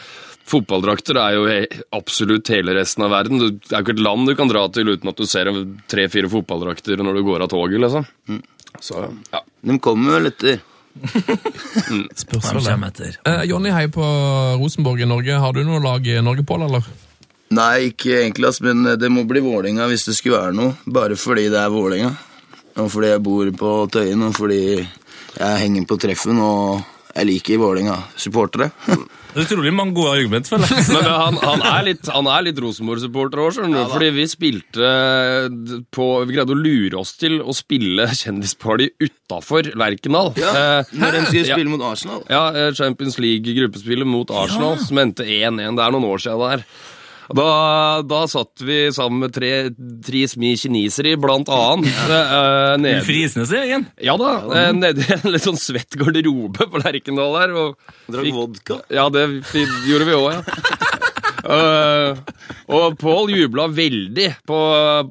[SPEAKER 6] fotballdrakter er jo he absolutt hele resten av verden. Du, det er jo ikke et land du kan dra til uten at du ser tre-fire fotballdrakter når du går av toget, liksom. Så, ja.
[SPEAKER 5] De kommer vel etter.
[SPEAKER 1] Spørsmål, ja. Eh, Jonny heier på Rosenborg i Norge. Har du noe lag i Norge, Pål, eller?
[SPEAKER 5] Nei, ikke egentlig, ass, men eh, det må bli Vålinga hvis det skulle være noe. Bare fordi det er Vålinga. Og fordi jeg bor på Tøyen, og fordi jeg henger på treffen, og jeg liker Vålinga. Supportere.
[SPEAKER 2] Det er utrolig mange gode argument,
[SPEAKER 5] <laughs>
[SPEAKER 2] føler jeg.
[SPEAKER 6] <laughs> Men eh, han, han er litt, han er litt Rosenborg-supporter òg, skjønner du. fordi vi spilte d- på Vi greide å lure oss til å spille Kjendisparty utafor Lerkendal.
[SPEAKER 5] Ja,
[SPEAKER 6] Eh,
[SPEAKER 5] Når de skulle
[SPEAKER 6] Ja.
[SPEAKER 5] spille mot Arsenal.
[SPEAKER 6] ja, eh, Champions League-gruppespillet mot Arsenal, som endte 1-1. Det er noen år siden der. Da, da satt vi sammen med tre, tre smi kinesere, blant annet. eh, eh, nede-
[SPEAKER 2] Frisnes i gjengen.
[SPEAKER 6] ja da, eh, nede i en litt sånn svett garderobe på Lerkendal der. Og
[SPEAKER 5] Drakk vodka.
[SPEAKER 6] ja, det fi- gjorde vi
[SPEAKER 5] <laughs>
[SPEAKER 6] òg, ja. Eh, og Pål jubla veldig på,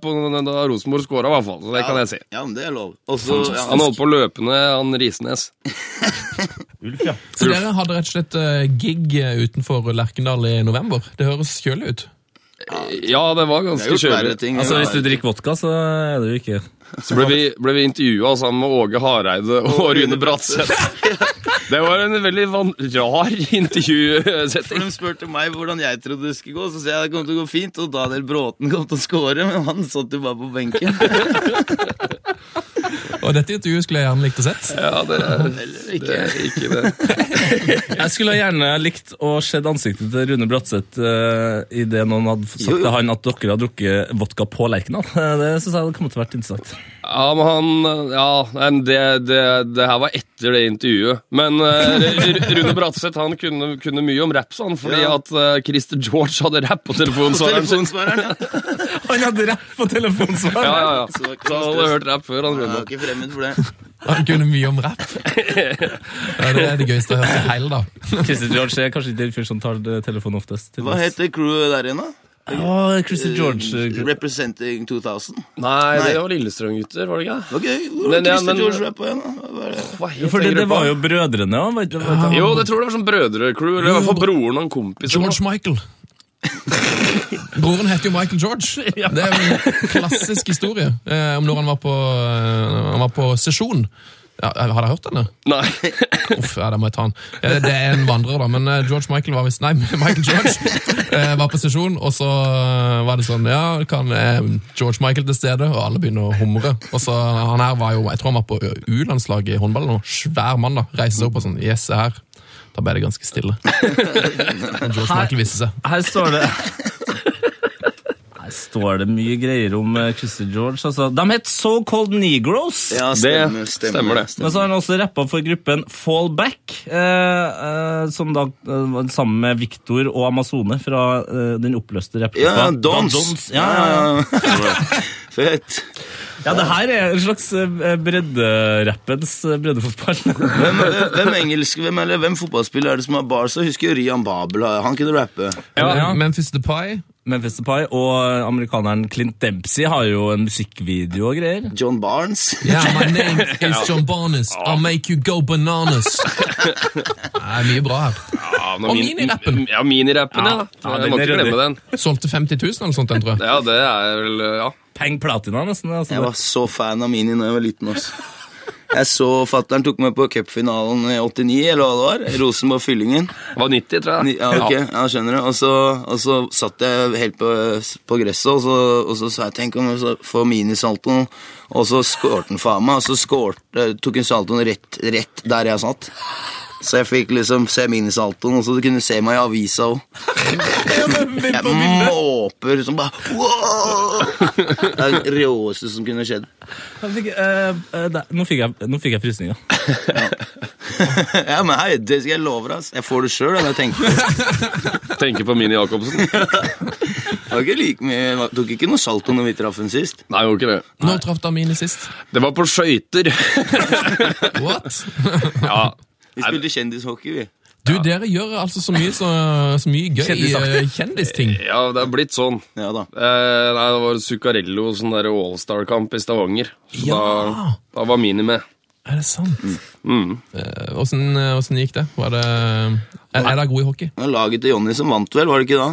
[SPEAKER 6] på da Rosenborg skåra, i hvert fall. Så det kan jeg si.
[SPEAKER 5] Ja, Mm. men det er lov. Og så ja,
[SPEAKER 6] Han holdt på å løpe ned han Risnes.
[SPEAKER 1] Så dere hadde rett og slett eh, gig eh, utenfor Lerkendal i november. Det høres kjølig ut.
[SPEAKER 6] Ja, det var
[SPEAKER 5] det er
[SPEAKER 6] ganske
[SPEAKER 5] jo flere
[SPEAKER 6] kjølig.
[SPEAKER 5] ting.
[SPEAKER 2] Altså,
[SPEAKER 5] ja.
[SPEAKER 2] hvis du drikker vodka, så er det jo ikke
[SPEAKER 6] Så ble vi, ble vi intervjua sammen med Åge Hareide og Rune Bratseth. Det var en veldig van rar intervjusetting.
[SPEAKER 5] de spurte meg hvordan jeg trodde det skulle gå, så sa jeg det kom til å gå fint, og Daniel Bråten kom til å score, men han satt jo bare på benken.
[SPEAKER 6] <laughs>
[SPEAKER 1] Og dette intervjuet skulle jeg gjerne likt å sett.
[SPEAKER 6] Ja, det er
[SPEAKER 5] Eller
[SPEAKER 6] det
[SPEAKER 5] ikke.
[SPEAKER 6] er ikke det.
[SPEAKER 2] Jeg skulle gjerne likt å se ansiktet til Rune Bratseth uh, idet noen hadde f-
[SPEAKER 5] Jo,
[SPEAKER 2] sagt
[SPEAKER 5] jo.
[SPEAKER 2] til han at dere hadde drukket vodka på Lerkendal. <laughs> Eh, Det syns jeg hadde kommet til å vært interessant.
[SPEAKER 6] Ja, men han Ja, men det, det, det her var etter det intervjuet. Men eh, R- R- Rune Bratseth han kunne, kunne mye om raps, han, fordi
[SPEAKER 5] Ja.
[SPEAKER 6] at eh, Christer George hadde rapp på telefonsvareren sin.
[SPEAKER 5] Telefonsvareren, ja.
[SPEAKER 2] Han hadde rett på telefonsvaret!
[SPEAKER 6] Ja,
[SPEAKER 5] <laughs>
[SPEAKER 6] ja, ja.
[SPEAKER 5] Så det var ikke
[SPEAKER 6] Så han
[SPEAKER 5] noe
[SPEAKER 6] hadde
[SPEAKER 5] stress.
[SPEAKER 6] hørt rapp før. han
[SPEAKER 5] Jeg
[SPEAKER 6] Rune.
[SPEAKER 5] var ikke fremmed for det.
[SPEAKER 1] Han kunne mye om rapp. Ja, det er det gøyeste jeg har hørt i hele dag.
[SPEAKER 2] Christer George er kanskje ikke den fyren som tar eh, telefonen oftest. til
[SPEAKER 5] Hva
[SPEAKER 2] oss.
[SPEAKER 5] heter crewet der igjen, da?
[SPEAKER 2] Ja, Christer George.
[SPEAKER 5] Eh,
[SPEAKER 2] eh,
[SPEAKER 5] Representing 2000.
[SPEAKER 6] Nei,
[SPEAKER 5] Nei.
[SPEAKER 6] det var Lillestrøm-gutter, var det ikke?
[SPEAKER 5] Ok, hvor
[SPEAKER 6] Men,
[SPEAKER 5] var
[SPEAKER 6] ja,
[SPEAKER 5] Christer
[SPEAKER 6] men-
[SPEAKER 5] George rappa igjen, da? Hva er det?
[SPEAKER 6] Hva het
[SPEAKER 2] Fordi
[SPEAKER 6] den
[SPEAKER 2] det
[SPEAKER 6] gruppa?
[SPEAKER 2] var jo brødrene òg, vet du.
[SPEAKER 6] Jo, det tror jeg det var sånn brødrecrew, eller i hvert fall broren og en kompis. eller noe.
[SPEAKER 1] George Michael. Broren heter jo Michael George. Det er jo en klassisk historie eh, om når han var på, eh, han var på sesjon. Ja, har dere hørt den? da?
[SPEAKER 6] Nei.
[SPEAKER 1] Uff, ja, da må jeg ta den. Eh, Det er en vandrer, da. Men eh, George Michael var visst Nei, <laughs> Michael George eh, var på sesjon, og så eh, var det sånn Ja, kan eh, George Michael til stede? Og alle begynner å humre. Og så Han her var jo Jeg tror han var på U-landslaget i håndball nå. Svær mann, da. Reiser seg opp og sånn Yes, jeg er her. Da ble det ganske stille. Men George Michael viste seg.
[SPEAKER 2] Her står
[SPEAKER 5] <laughs>
[SPEAKER 2] det Her står det mye greier om eh, Christer George. Altså. De het So Called Negroes.
[SPEAKER 5] Ja,
[SPEAKER 6] Det stemmer det.
[SPEAKER 2] Men så har han også rappa for gruppen Fallback, eh, eh, som da eh, var sammen med Victor og Amazone fra eh, den oppløste
[SPEAKER 5] Ja,
[SPEAKER 2] rappgruppa
[SPEAKER 5] Dons.
[SPEAKER 2] Ja, ja, ja.
[SPEAKER 6] <laughs>
[SPEAKER 5] ja. Fett.
[SPEAKER 2] ja, det her er en slags eh, bredderappens eh, breddefotball.
[SPEAKER 5] Hvem, hvem, engelsk, hvem, eller, hvem fotballspiller er det som har bars? Jeg husker Rian Babel. Han kunne rappe.
[SPEAKER 1] Ja. Memphis The Pie.
[SPEAKER 2] <laughs> Memphis Depay og amerikaneren Clint Dempsey har jo en musikkvideo og greier.
[SPEAKER 5] John Barnes.
[SPEAKER 1] Yeah, my name is John Barnes. I'll make you go bananas. Det er mye bra her.
[SPEAKER 6] Ja,
[SPEAKER 2] <laughs>
[SPEAKER 6] men
[SPEAKER 1] Og
[SPEAKER 6] min-
[SPEAKER 1] minirappen.
[SPEAKER 6] Ja, minirappen, ja.
[SPEAKER 2] Ja,
[SPEAKER 6] Jeg
[SPEAKER 2] den
[SPEAKER 6] må
[SPEAKER 2] er
[SPEAKER 6] ikke
[SPEAKER 2] ryddig.
[SPEAKER 6] glemme den.
[SPEAKER 1] Solgte 50 000 eller sånt, den, tror jeg.
[SPEAKER 6] Ja, det er vel Ja.
[SPEAKER 2] Peng platina, nesten. Altså.
[SPEAKER 5] Jeg var så fan av Mini da jeg var liten. Også. Jeg så fattern tok meg på cupfinalen i 89, eller hva det var. Rosenborg-Fyllingen.
[SPEAKER 6] Det var 90, tror
[SPEAKER 5] Ni-
[SPEAKER 6] jeg.
[SPEAKER 5] Ja, ok, ja, skjønner du. Og så, og så satt jeg helt på, på gresset, og så, og så sa jeg tenk om jeg så får minisaltoen, og så skårte han faen meg, og så skårte, eh, tok hun saltoen rett, rett der jeg satt. Så jeg fikk liksom se minisaltoen, og så kunne du se meg i avisa òg. Jeg måper som bare wow! Det er det råeste som kunne skjedd.
[SPEAKER 2] Jeg Fikk, eh, eh, der- nå, fikk jeg, nå fikk jeg frysninger.
[SPEAKER 5] <laughs> Ja, men hei, det skal jeg love deg. ass. Jeg får det sjøl, jeg tenker.
[SPEAKER 6] Ja. Tenker på Mini Jacobsen.
[SPEAKER 5] Det var ikke like mye, tok ikke noe salto når vi traff den sist.
[SPEAKER 6] Nei, gjorde ikke det.
[SPEAKER 1] Når traff Damini sist?
[SPEAKER 6] Det var på skøyter. <laughs>
[SPEAKER 1] What?
[SPEAKER 6] Ja.
[SPEAKER 5] Vi spilte kjendishockey, vi.
[SPEAKER 1] Du, dere gjør altså så mye, så, så mye gøy eh, kjendisting.
[SPEAKER 6] ja, det er blitt sånn.
[SPEAKER 5] Ja da.
[SPEAKER 6] Eh, nei, det var Zuccarello og sånn der All-Star-kamp i Stavanger. Så da,
[SPEAKER 1] Ja.
[SPEAKER 6] da var Mini med.
[SPEAKER 1] <laughs> Er det sant? Mm. Eh, Åssen åssen gikk det? Var det er, er dere gode i hockey?
[SPEAKER 5] Det var laget til Jonny som vant, vel? Var det ikke da?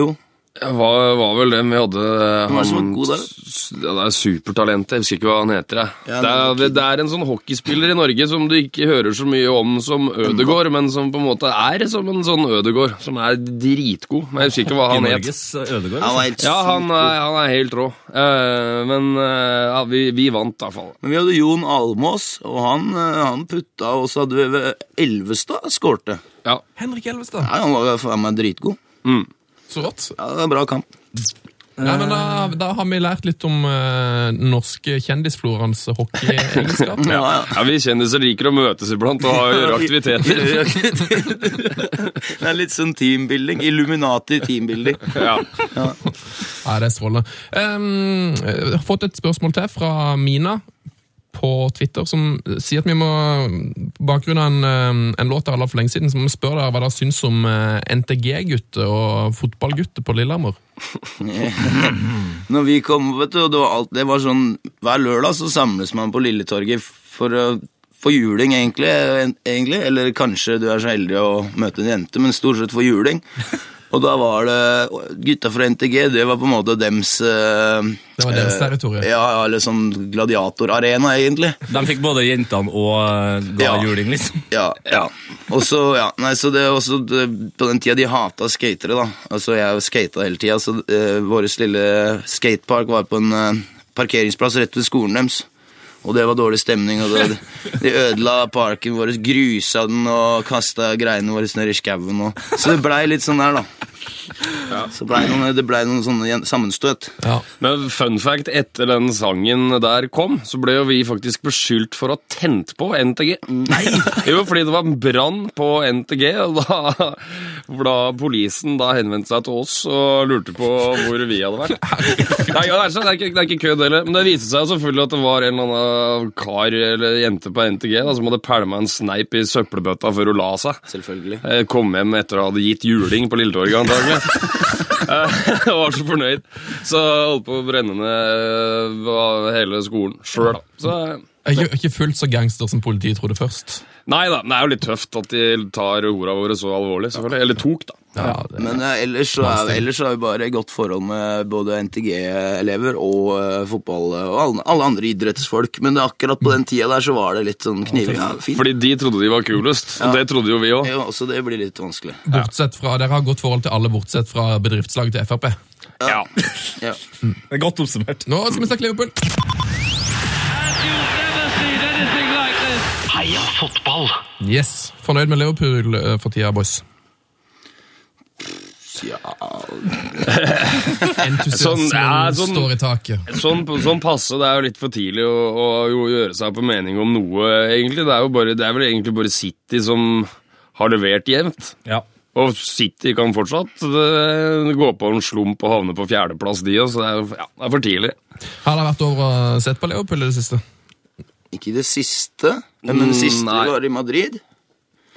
[SPEAKER 5] Jo.
[SPEAKER 6] Det var, var vel dem vi hadde eh,
[SPEAKER 5] Hvem var det som var god der?
[SPEAKER 6] s- ja, Det er supertalentet, jeg husker ikke hva han heter. Jeg. det,
[SPEAKER 5] Ja, men-
[SPEAKER 6] er, det, det er en sånn hockeyspiller i Norge som du ikke hører så mye om som Ødegård, men som på en måte er som en sånn Ødegård, som er dritgod. Men jeg husker ikke hva han het.
[SPEAKER 2] Norges Ødegård.
[SPEAKER 5] Han
[SPEAKER 2] Altså.
[SPEAKER 5] var helt
[SPEAKER 6] Ja, han
[SPEAKER 5] syk.
[SPEAKER 6] er, han er helt rå. Eh, men eh, ja, vi, vi vant, i hvert fall.
[SPEAKER 5] Men vi hadde Jon Almås, og han, eh, han putta, og så hadde vi Elvestad skårte.
[SPEAKER 6] Ja.
[SPEAKER 1] Henrik Elvestad.
[SPEAKER 5] Nei, han var faen meg dritgod.
[SPEAKER 6] Mm.
[SPEAKER 1] Så rått.
[SPEAKER 5] Ja, det var en Bra kamp.
[SPEAKER 1] Ja, men da, da har vi lært litt om eh, den norske kjendisfloraens hockeyegenskap.
[SPEAKER 5] Ja, ja.
[SPEAKER 6] Ah, ja, Vi kjendiser liker å møtes iblant <laughs> og ha- gjøre
[SPEAKER 5] <laughs>
[SPEAKER 6] aktiviteter.
[SPEAKER 5] Det er litt sånn teambuilding. Illuminati teambuilding.
[SPEAKER 6] Ja.
[SPEAKER 1] Ja, det er strålende. Ehm, jeg har fått et spørsmål til fra Mina på Twitter, som sier at vi må, på bakgrunn av en, eh, en låt jeg har lagd for lenge siden, så må vi spørre dere hva dere syns om eh, NTG-gutter og fotballgutter på Lillehammer.
[SPEAKER 5] <laughs> Når vi kom, vet du, og det var alt, det var sånn, hver lørdag så samles man på Lilletorget for å få juling, egentlig, en- egentlig. Eller kanskje du er så heldig å møte en jente, men stort sett få juling. Og da var det Gutta fra NTG, det var på en måte dems eh,
[SPEAKER 1] Det var deres
[SPEAKER 5] eh,
[SPEAKER 1] territorium.
[SPEAKER 5] Ja, ja, eller sånn gladiatorarena, egentlig.
[SPEAKER 2] De fikk både jentene og eh, ga
[SPEAKER 5] Ja.
[SPEAKER 2] juling, liksom. <laughs>
[SPEAKER 5] Ja, ja. Og så, ja, nei, så det er også det, På den tida de hata skatere, da. Altså, jeg skata hele tida, så eh, vår lille skatepark var på en eh, parkeringsplass rett ved skolen deres. Og det var dårlig stemning, og det, <laughs> de ødela parken vår, grusa den og kasta greiene våre ned i skauen. og- Så det blei litt sånn der, da. Så blei noen, det blei noen sånne gjen- sammenstøt.
[SPEAKER 1] Ja.
[SPEAKER 6] Men fun fact, etter den sangen der kom, så ble jo vi faktisk beskyldt for å ha tent på NTG. Nei! <laughs> Jo, fordi det var en brann på NTG, og da, for da polisen da henvendte seg til oss og lurte på hvor vi hadde vært. <laughs> Nei, ja, det, er, sant, det, er ikke, det er ikke kødd heller, men det viste seg jo selvfølgelig at det var en eller annen kar eller jente på NTG da, som hadde pælma en sneip i søppelbøtta før hun la seg.
[SPEAKER 5] Selvfølgelig.
[SPEAKER 6] Jeg Eh, kom hjem etter å ha gitt juling på Lilletorget, antagelig. Jeg var så fornøyd. Så jeg holdt på å brenne ned eh, hele skolen sjøl, da. Så eh,
[SPEAKER 1] Jeg er ikke- ikke fullt så gangster som politiet trodde først.
[SPEAKER 6] Nei da, det er jo litt tøft at de tar ordene våre så alvorlig, selvfølgelig. Eller tok, da.
[SPEAKER 1] Ja, det,
[SPEAKER 5] Men eh, ellers så er, ellers så er vi bare i godt forhold med både NTG-elever og eh, fotball eh, og alle, alle andre idrettsfolk. Men det, akkurat på den tida der så var det litt sånn kniving. Ja, fint.
[SPEAKER 6] Fordi de trodde de var kulest, og det trodde jo vi òg.
[SPEAKER 5] Ja, også det blir litt vanskelig.
[SPEAKER 1] bortsett fra, Dere har godt forhold til alle, bortsett fra bedriftslaget til Frp.
[SPEAKER 6] Ja.
[SPEAKER 5] Ja.
[SPEAKER 2] Det er godt oppsummert.
[SPEAKER 1] Nå skal vi snakke Liverpool!
[SPEAKER 4] Heia fotball!
[SPEAKER 1] Yes, Fornøyd med Liverpool eh, for tida, boys? Entusiasmen
[SPEAKER 6] Sånn, ja, sånn-
[SPEAKER 1] står i taket.
[SPEAKER 6] Sånn, sånn passe. Det er jo litt for tidlig å, å jo gjøre seg på mening om noe, egentlig. Det er, jo bare, det er vel egentlig bare City som har levert jevnt.
[SPEAKER 2] Ja.
[SPEAKER 6] Og City kan fortsatt eh, gå på en slump og havne på fjerdeplass, de òg, så det er, jo- ja, det er for tidlig.
[SPEAKER 1] Har dere vært over og sett på Liverpool i det siste?
[SPEAKER 5] Ikke i det siste, men det siste
[SPEAKER 6] Mm, nei.
[SPEAKER 5] var i Madrid.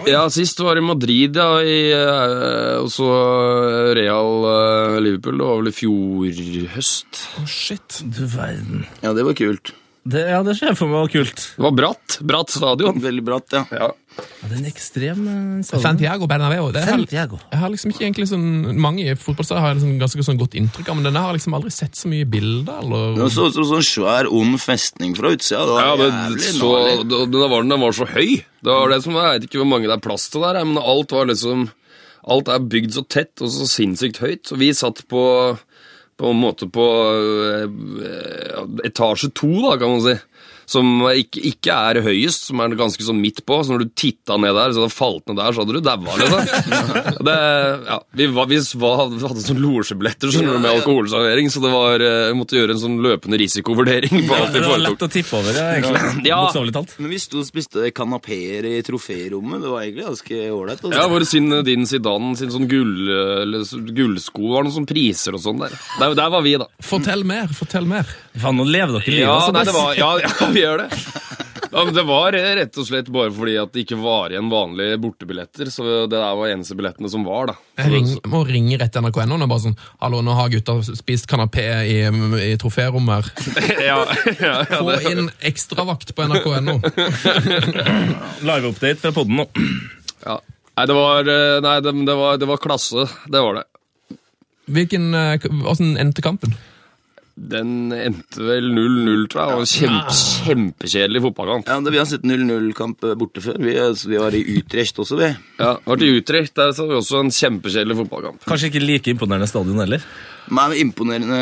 [SPEAKER 6] Ja, sist var i Madrid, ja, i, eh, og så Real eh, Liverpool. Det var vel i fjor høst.
[SPEAKER 1] Shit.
[SPEAKER 2] Du verden.
[SPEAKER 5] Ja, det var kult.
[SPEAKER 2] Det, ja, det ser jeg for meg var kult.
[SPEAKER 6] Det var bratt. Bratt stadion.
[SPEAKER 5] Veldig bratt, ja.
[SPEAKER 6] Ja.
[SPEAKER 2] Ja, det er en ekstrem eh, salg.
[SPEAKER 1] Santiago Bernabeu. Det er,
[SPEAKER 2] Santiago.
[SPEAKER 1] jeg har liksom ikke egentlig sånn, Mange fotballsteder har jeg liksom ganske sånn godt inntrykk av, men denne har jeg liksom aldri sett så mye bilder.
[SPEAKER 5] Det
[SPEAKER 1] Eller...
[SPEAKER 5] så ut som en sånn svær, ond festning fra utsida. Det
[SPEAKER 6] Ja,
[SPEAKER 5] var
[SPEAKER 6] men
[SPEAKER 5] jævlig
[SPEAKER 6] så,
[SPEAKER 5] gnarlig.
[SPEAKER 6] da, da var den, den var så høy. Det var det som, Jeg vet ikke hvor mange det er plass til der, men alt var liksom Alt er bygd så tett og så sinnssykt høyt. Så vi satt på på en måte på eh, etasje to, da, kan man si. Som ikke, ikke er høyest, som er ganske sånn midt på. Så når du titta ned der, så hadde det falt ned der, så hadde du daua,
[SPEAKER 5] <laughs>
[SPEAKER 6] liksom. Det, ja, vi, var, vi var, hadde sånn losjebilletter skjønner du, med alkoholservering, så det var, eh, måtte gjøre en sånn løpende risikovurdering på alt
[SPEAKER 2] Det
[SPEAKER 6] vi
[SPEAKER 2] var
[SPEAKER 6] foretok.
[SPEAKER 2] lett å tippe over, ja, egentlig.
[SPEAKER 6] Ja.
[SPEAKER 2] Bokstavelig talt.
[SPEAKER 5] Men vi sto og spiste kanapeer i troférommet. Det var egentlig ganske ålreit. altså.
[SPEAKER 6] Ja, hvor sin, din Zidane, sin sånn gull, eller, så- gullsko var noen sånn priser og sånn der. Der, der var vi, da.
[SPEAKER 1] Fortell mer! Fortell mer.
[SPEAKER 2] Faen, nå lever dere livet.
[SPEAKER 6] Ja,
[SPEAKER 2] altså,
[SPEAKER 6] nei, det
[SPEAKER 2] boys.
[SPEAKER 6] var, ja, <laughs> ja, vi gjør det. Ja, men det var eh, rett og slett bare fordi at det ikke var igjen vanlige bortebilletter, så det der var eneste billettene som var, da.
[SPEAKER 1] Jeg ring, må ringe rett til NRK.no og bare sånn Hallo, nå har gutta spist kanapé i, i troférommet her.
[SPEAKER 6] <laughs> Ja, ja, ja,
[SPEAKER 1] Få
[SPEAKER 6] det,
[SPEAKER 1] inn ekstravakt på NRK.no.
[SPEAKER 2] Live-update fra podden nå.
[SPEAKER 6] ja. Nei, det var, eh, nei det, det, var, det var klasse, det var det.
[SPEAKER 1] Hvilken, eh, k- Hvordan endte kampen? <laughs>
[SPEAKER 6] Den endte vel 0-0, tror jeg, og kjempe, kjempekjedelig fotballkamp.
[SPEAKER 5] Ja, det, Vi har sett 0-0-kamp borte før. Vi, altså, vi var i Utrecht også, vi.
[SPEAKER 6] Ja, det var til Utrecht, der så vi også en kjempekjedelig fotballkamp.
[SPEAKER 2] Kanskje ikke like imponerende stadion heller.
[SPEAKER 5] Men imponerende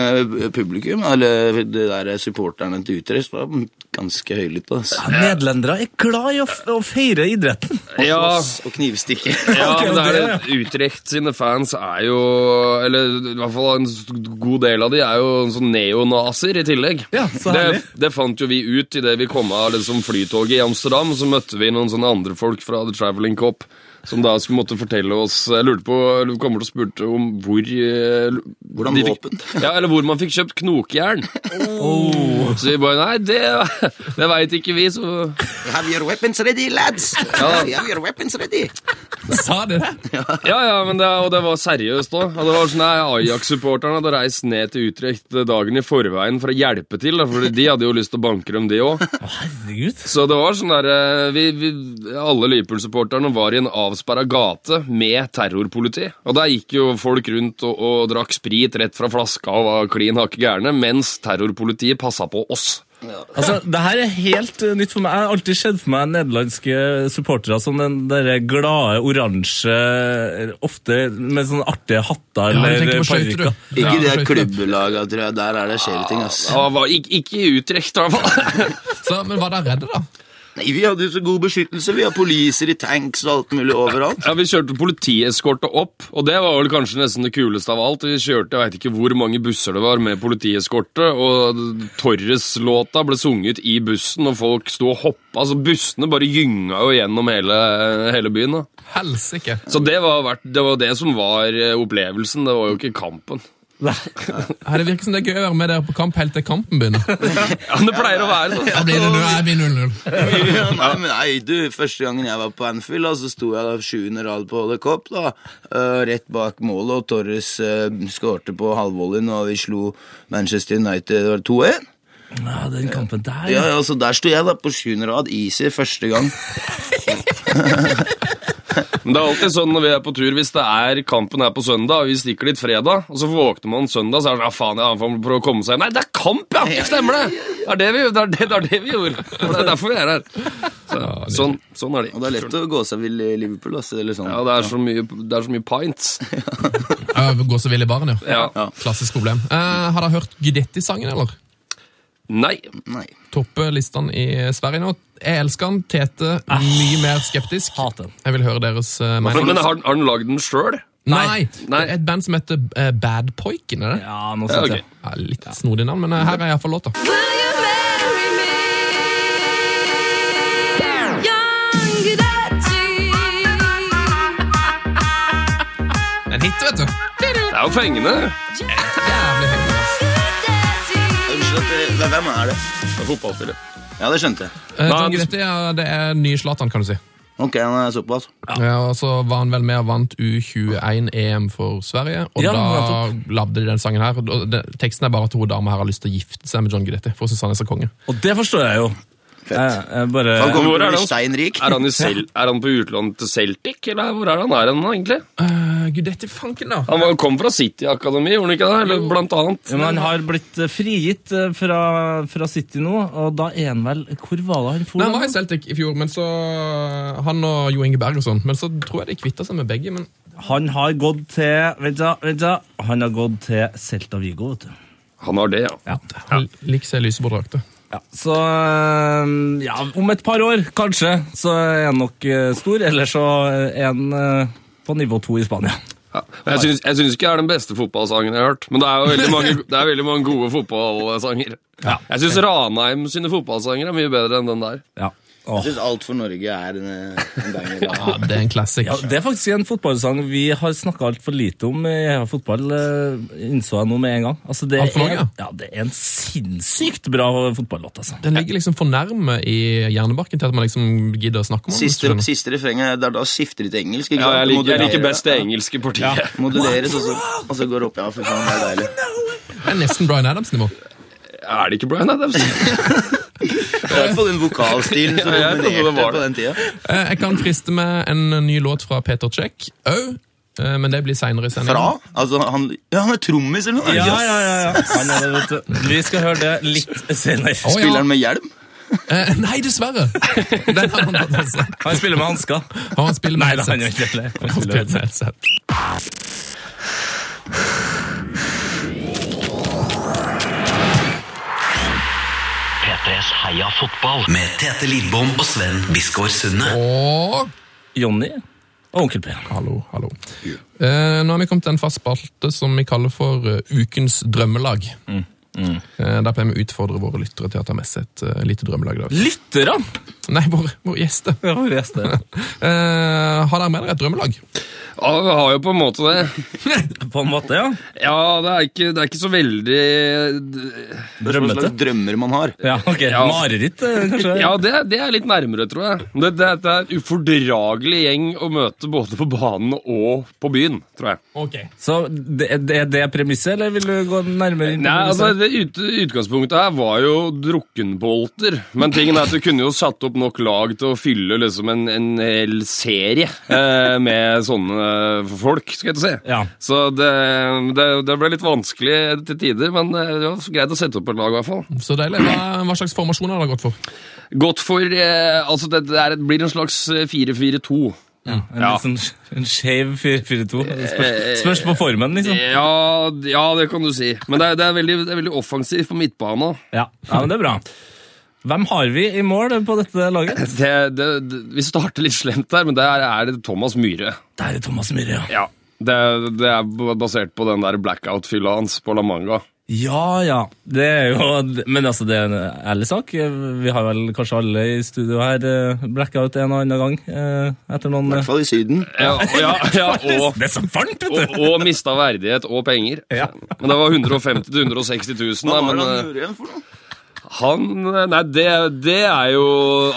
[SPEAKER 5] eh, publikum. Eller de der supporterne til Utrecht var ganske høylytte. Altså.
[SPEAKER 2] Nederlendere er glad i å, f- å feire idretten.
[SPEAKER 6] Ja,
[SPEAKER 5] Og knivstikke.
[SPEAKER 6] <laughs> Ja,
[SPEAKER 2] Ok,
[SPEAKER 6] men det
[SPEAKER 2] og
[SPEAKER 6] er
[SPEAKER 2] det,
[SPEAKER 6] det. Utrecht sine fans er jo Eller i hvert fall en s- god del av de er jo en sånn neonazier i tillegg.
[SPEAKER 2] Ja, så herlig.
[SPEAKER 6] det, det fant jo vi ut idet vi kom av liksom, flytoget i Amsterdam. Så møtte vi noen sånne andre folk fra The Traveling Cop som da skulle måtte fortelle oss Jeg lurte på, eller kommer til å spurte om hvor eh, l-
[SPEAKER 5] Hvordan
[SPEAKER 6] de fikk-
[SPEAKER 5] våpen?
[SPEAKER 6] <laughs> Ja, eller hvor man fikk kjøpt knokjern.
[SPEAKER 2] Oh.
[SPEAKER 6] Så vi bare Nei, det, <laughs> det veit ikke vi, så
[SPEAKER 5] Have your weapons ready, lads! Have your weapons ready!
[SPEAKER 1] Sa de det?
[SPEAKER 6] Ja, ja, men det, og det var seriøst òg. Og det var sånn nei, Ajax-supporterne hadde reist ned til Utrecht dagen i forveien for å hjelpe til. da, For de hadde jo lyst til å banke dem, de òg.
[SPEAKER 2] Herregud.
[SPEAKER 6] Så det var sånn der eh, vi, vi, Alle Liverpool-supporterne var i en avsperra gate med terrorpoliti. Og der gikk jo folk rundt og, og drakk sprit rett fra flaska og var klin hakke gærne, mens terrorpolitiet passa på oss.
[SPEAKER 2] Altså, det her er helt eh, nytt for meg. Jeg har alltid sett for meg nederlandske supportere som den derre glade, oransje, ofte med sånne artige hatter
[SPEAKER 1] Ja, jeg
[SPEAKER 2] eller
[SPEAKER 1] tenker på skøyter,
[SPEAKER 2] parykker.
[SPEAKER 1] du.
[SPEAKER 5] Ikke
[SPEAKER 1] Ja,
[SPEAKER 5] det
[SPEAKER 1] skøyter.
[SPEAKER 5] klubbelaget, tror jeg. Der er det skjer ting, ass.
[SPEAKER 6] Ja, var, ikke, ikke i Utrecht, i hvert fall.
[SPEAKER 1] Så, men var dere redde, da?
[SPEAKER 5] Nei, vi hadde jo så god beskyttelse. Vi har poliser i tanks og alt mulig overalt.
[SPEAKER 6] Ja, Vi kjørte politieskorte opp, og det var vel kanskje nesten det kuleste av alt. Vi kjørte jeg vet ikke hvor mange busser det var med politieskorte, og Torres-låta ble sunget i bussen, og folk sto og hoppa. Altså, bussene bare gynga jo gjennom hele, hele byen. da.
[SPEAKER 1] Helsike.
[SPEAKER 6] Så det var, verdt, det var det som var eh, opplevelsen, det var jo ikke kampen.
[SPEAKER 1] Ja, det virker som det er gøy å være med dere på kamp helt til kampen begynner.
[SPEAKER 6] Ja, men Det pleier å være sånn.
[SPEAKER 1] Da blir det nå, jeg blir 0-0.
[SPEAKER 5] Ja, nei, men nei, du, Første gangen jeg var på Anfield, da, så sto jeg da sjuende rad på Holder Cop. da, eh, Rett bak målet, og eh, Torres uh, skårte på halvvolleyen, og vi slo Manchester United det var 2-1.
[SPEAKER 2] Ja, den kampen der
[SPEAKER 5] Ja, ja, så Der sto jeg da på sjuende rad, easy, første gang.
[SPEAKER 6] Men det er alltid sånn når vi er på tur, hvis det er kampen er på søndag, og vi stikker dit fredag, og så våkner man søndag, så er det sånn, ja faen, ja, han prøver å komme seg Nei, det er kamp, ja! Stemmer det! Det er det vi, det er det, det er det vi gjorde. Det er derfor vi er her. Så, sånn, sånn er
[SPEAKER 5] Og
[SPEAKER 6] de.
[SPEAKER 5] det er lett å gå seg vill i Liverpool. Altså, eller sånn.
[SPEAKER 6] Ja, det er så mye, det er så mye pints.
[SPEAKER 1] Ja, Gå så vill i baren, ja.
[SPEAKER 6] Ja.
[SPEAKER 5] Ja.
[SPEAKER 1] Klassisk problem. Eh, har dere hørt Gidetti-sangen, eller?
[SPEAKER 6] Nei.
[SPEAKER 5] Nei.
[SPEAKER 1] Topper listene i Sverige nå. Jeg elsker den. Tete mye mer skeptisk.
[SPEAKER 2] Hat den.
[SPEAKER 1] Jeg vil høre deres eh, mening.
[SPEAKER 6] Men har, har han lagd den sjøl?
[SPEAKER 1] Nei, det
[SPEAKER 6] Nei.
[SPEAKER 1] er et band som heter eh, Bad Poiken, er det?
[SPEAKER 2] Ja, noe
[SPEAKER 6] Ja,
[SPEAKER 2] sånt,
[SPEAKER 6] ok.
[SPEAKER 2] ja.
[SPEAKER 1] Ja, litt snodig navn, men eh, her er iallfall låta.
[SPEAKER 7] Will you marry me? Young Guidetti.
[SPEAKER 1] En hit, vet du.
[SPEAKER 6] Det er jo fengende.
[SPEAKER 1] Jævlig hit.
[SPEAKER 5] Unnskyld, at det- hva- hvem er det?
[SPEAKER 6] Det er Fotballspiller.
[SPEAKER 5] Ja, det skjønte jeg.
[SPEAKER 1] Eh, John
[SPEAKER 6] du-
[SPEAKER 1] Guidetti ja, det er nye Zlatan, kan du si.
[SPEAKER 5] Ok, han er såpass.
[SPEAKER 1] Ja, og så var han vel med og vant U21-EM for Sverige, og
[SPEAKER 2] Ja,
[SPEAKER 1] da
[SPEAKER 2] nettopp.
[SPEAKER 1] lagde de den sangen her. Og det, teksten er bare at hun dama her har lyst til å gifte seg med John Guidetti, for hun synes han er så konge.
[SPEAKER 2] Og det forstår jeg jo. Jeg,
[SPEAKER 5] Fett.
[SPEAKER 2] jeg bare
[SPEAKER 5] Han
[SPEAKER 6] hvor
[SPEAKER 5] kommer til
[SPEAKER 6] er
[SPEAKER 5] å
[SPEAKER 6] det
[SPEAKER 5] bli
[SPEAKER 6] hos-
[SPEAKER 5] stein rik.
[SPEAKER 6] Er han, i Cel er han på utlån til Celtic, eller hvor er han, er han egentlig?
[SPEAKER 1] Uh, Guidetti, fanken da!
[SPEAKER 6] Han var, kom fra City Akademi, gjorde han ikke det? Eller blant annet.
[SPEAKER 2] Ja, men han har blitt eh, frigitt eh, fra, fra City nå, og da er han vel Hvor var det han for?
[SPEAKER 1] Nei, han var i Celtic i fjor, men så Han og Jo Inge Berg og sånn. Men så tror jeg de kvitta seg med begge. men...
[SPEAKER 2] Han har gått til Vent, da. vent da Han har gått til Celta Vigo, vet du.
[SPEAKER 6] Han har det, ja.
[SPEAKER 2] Ja.
[SPEAKER 1] Han liker seg i lyseborddrakter.
[SPEAKER 2] Ja. Så eh, ja, om et par år, kanskje, så er han nok eh, stor. Eller så er han eh, på nivå to i Spania.
[SPEAKER 6] Ja. Jeg syns, jeg syns ikke det er den beste fotballsangen jeg har hørt, men det er jo veldig mange, det er veldig mange gode fotballsanger.
[SPEAKER 2] Ja.
[SPEAKER 6] Jeg syns Ranheim sine fotballsanger er mye bedre enn den der.
[SPEAKER 2] Ja. Åh.
[SPEAKER 5] Jeg syns alt for Norge er en, en
[SPEAKER 6] <laughs>
[SPEAKER 5] banger. da.
[SPEAKER 1] Ja, Det er en classic.
[SPEAKER 2] Ja, det er faktisk en fotballsang vi har snakka altfor lite om i Heia Fotball, eh, innså jeg nå med en gang. Altså, det,
[SPEAKER 1] Alt for mange,
[SPEAKER 2] er, ja, det er en sinnssykt bra fotballåt, altså.
[SPEAKER 1] Den ligger liksom for nærme i hjernebarken til at man liksom gidder å snakke om den. hvis du
[SPEAKER 5] Siste,
[SPEAKER 1] skjønner.
[SPEAKER 5] siste refrenget, det er da skifter de til engelsk. Ikke
[SPEAKER 6] Ja,
[SPEAKER 5] sant?
[SPEAKER 6] jeg liker, jeg liker
[SPEAKER 5] Modulerer,
[SPEAKER 6] best det
[SPEAKER 5] ja.
[SPEAKER 6] engelske partiet.
[SPEAKER 5] Moduleres, og så, og så går det opp. Ja, fy faen, det er deilig.
[SPEAKER 1] Det er nesten Bryan Adams-nivå.
[SPEAKER 6] Er det ikke Bryan Adams?
[SPEAKER 5] I hvert fall den vokalstilen som
[SPEAKER 6] <laughs> Ja, jeg trodde det var
[SPEAKER 5] dominerte
[SPEAKER 6] det.
[SPEAKER 5] på den tida.
[SPEAKER 1] Eh, Jeg kan friste med en ny låt fra Peter Check òg, men det blir seinere i
[SPEAKER 5] Fra?
[SPEAKER 1] sendingen.
[SPEAKER 5] Altså, han, ja, han er trommis eller noe?
[SPEAKER 2] Ja, ja, ja, ja. Han er det, vet du. Vi skal høre det litt senere.
[SPEAKER 1] Å,
[SPEAKER 5] Spiller
[SPEAKER 1] ja.
[SPEAKER 5] han med hjelm?
[SPEAKER 1] Eh, Nei,
[SPEAKER 2] <laughs>
[SPEAKER 1] dessverre! Den har han tatt, altså.
[SPEAKER 2] Han spiller med hansker.
[SPEAKER 1] Og han spiller
[SPEAKER 2] Nei,
[SPEAKER 1] med
[SPEAKER 2] da, han gjør
[SPEAKER 1] headset.
[SPEAKER 2] ikke det. Han
[SPEAKER 1] Han
[SPEAKER 2] spiller
[SPEAKER 1] spiller
[SPEAKER 2] med
[SPEAKER 1] med headset.
[SPEAKER 4] P3s Heia fotball med Tete Lidbom og Sven Biskår Sunde.
[SPEAKER 1] Og
[SPEAKER 2] Jonny og Onkel P.
[SPEAKER 1] Hallo, hallo. Eh, nå har vi kommet til en fast spalte som vi kaller for eh, Ukens drømmelag. Eh, der pleier vi å utfordre våre lyttere til å ta med seg et eh, lite drømmelag. i dag.
[SPEAKER 2] Lytterne!
[SPEAKER 1] Nei, våre, våre gjester.
[SPEAKER 2] Ja, hvor er det?
[SPEAKER 1] Eh, har dere med dere et drømmelag?
[SPEAKER 6] Ja, vi har jo på en måte det.
[SPEAKER 2] På en måte, ja.
[SPEAKER 6] Ja, det er ikke, det er ikke så veldig
[SPEAKER 5] Hva
[SPEAKER 2] Drømmete.
[SPEAKER 5] slags drømmer man har?
[SPEAKER 2] Ja, ok.
[SPEAKER 6] Ja.
[SPEAKER 2] Mareritt, eh, kanskje?
[SPEAKER 6] Ja, det, det er litt nærmere, tror jeg. Det, det, det er en ufordragelig gjeng å møte både på banen og på byen, tror jeg.
[SPEAKER 2] Så det, det er det premisset, eller vil du gå nærmere inn på
[SPEAKER 6] Nei, altså
[SPEAKER 2] premisset?
[SPEAKER 6] det ut, Utgangspunktet her var jo drukkenbolter. Men tingen er at du kunne jo satt opp nok lag til å fylle liksom en, en hel serie eh, med sånne eh, folk. skal jeg til å si.
[SPEAKER 2] Ja.
[SPEAKER 6] Så det, det, det ble litt vanskelig til tider, men eh, det var greit å sette opp et lag. i hvert fall.
[SPEAKER 1] Så deilig. Hva, hva slags formasjon har dere gått for?
[SPEAKER 6] Godt for eh, altså Det, det er, et- blir en slags eh, 4-4-2.
[SPEAKER 2] En,
[SPEAKER 6] Ja.
[SPEAKER 2] litt sånn, en skeiv 4-4-2. Spørs, spørs på formen, liksom.
[SPEAKER 6] Ja, ja, det kan du si. Men det er, det er, veldig, det er veldig offensivt på midtbanen. også.
[SPEAKER 2] Ja. ja, men det er bra. Hvem har vi i mål på dette laget?
[SPEAKER 6] Det, det, det, vi starter litt slemt der, men der er det Thomas Myhre.
[SPEAKER 2] Det er Thomas Myhre, ja.
[SPEAKER 6] Ja, det, det er b- basert på den der blackout-fylla hans på La Manga.
[SPEAKER 2] Ja, ja. Det er jo, men altså, det er en ærlig sak. Vi har vel kanskje alle i studio her eh, blackout en og annen gang eh, etter noen
[SPEAKER 5] I hvert fall i Syden.
[SPEAKER 6] Ja, og, ja, ja, og,
[SPEAKER 2] Det er så varmt, vet
[SPEAKER 6] og, og mista verdighet og penger. Men det var 150 000-160 000. Da,
[SPEAKER 5] Hva var
[SPEAKER 6] men
[SPEAKER 5] det han
[SPEAKER 6] eh,
[SPEAKER 5] gjorde igjen for noe?
[SPEAKER 6] Han eh, Nei, det, det er jo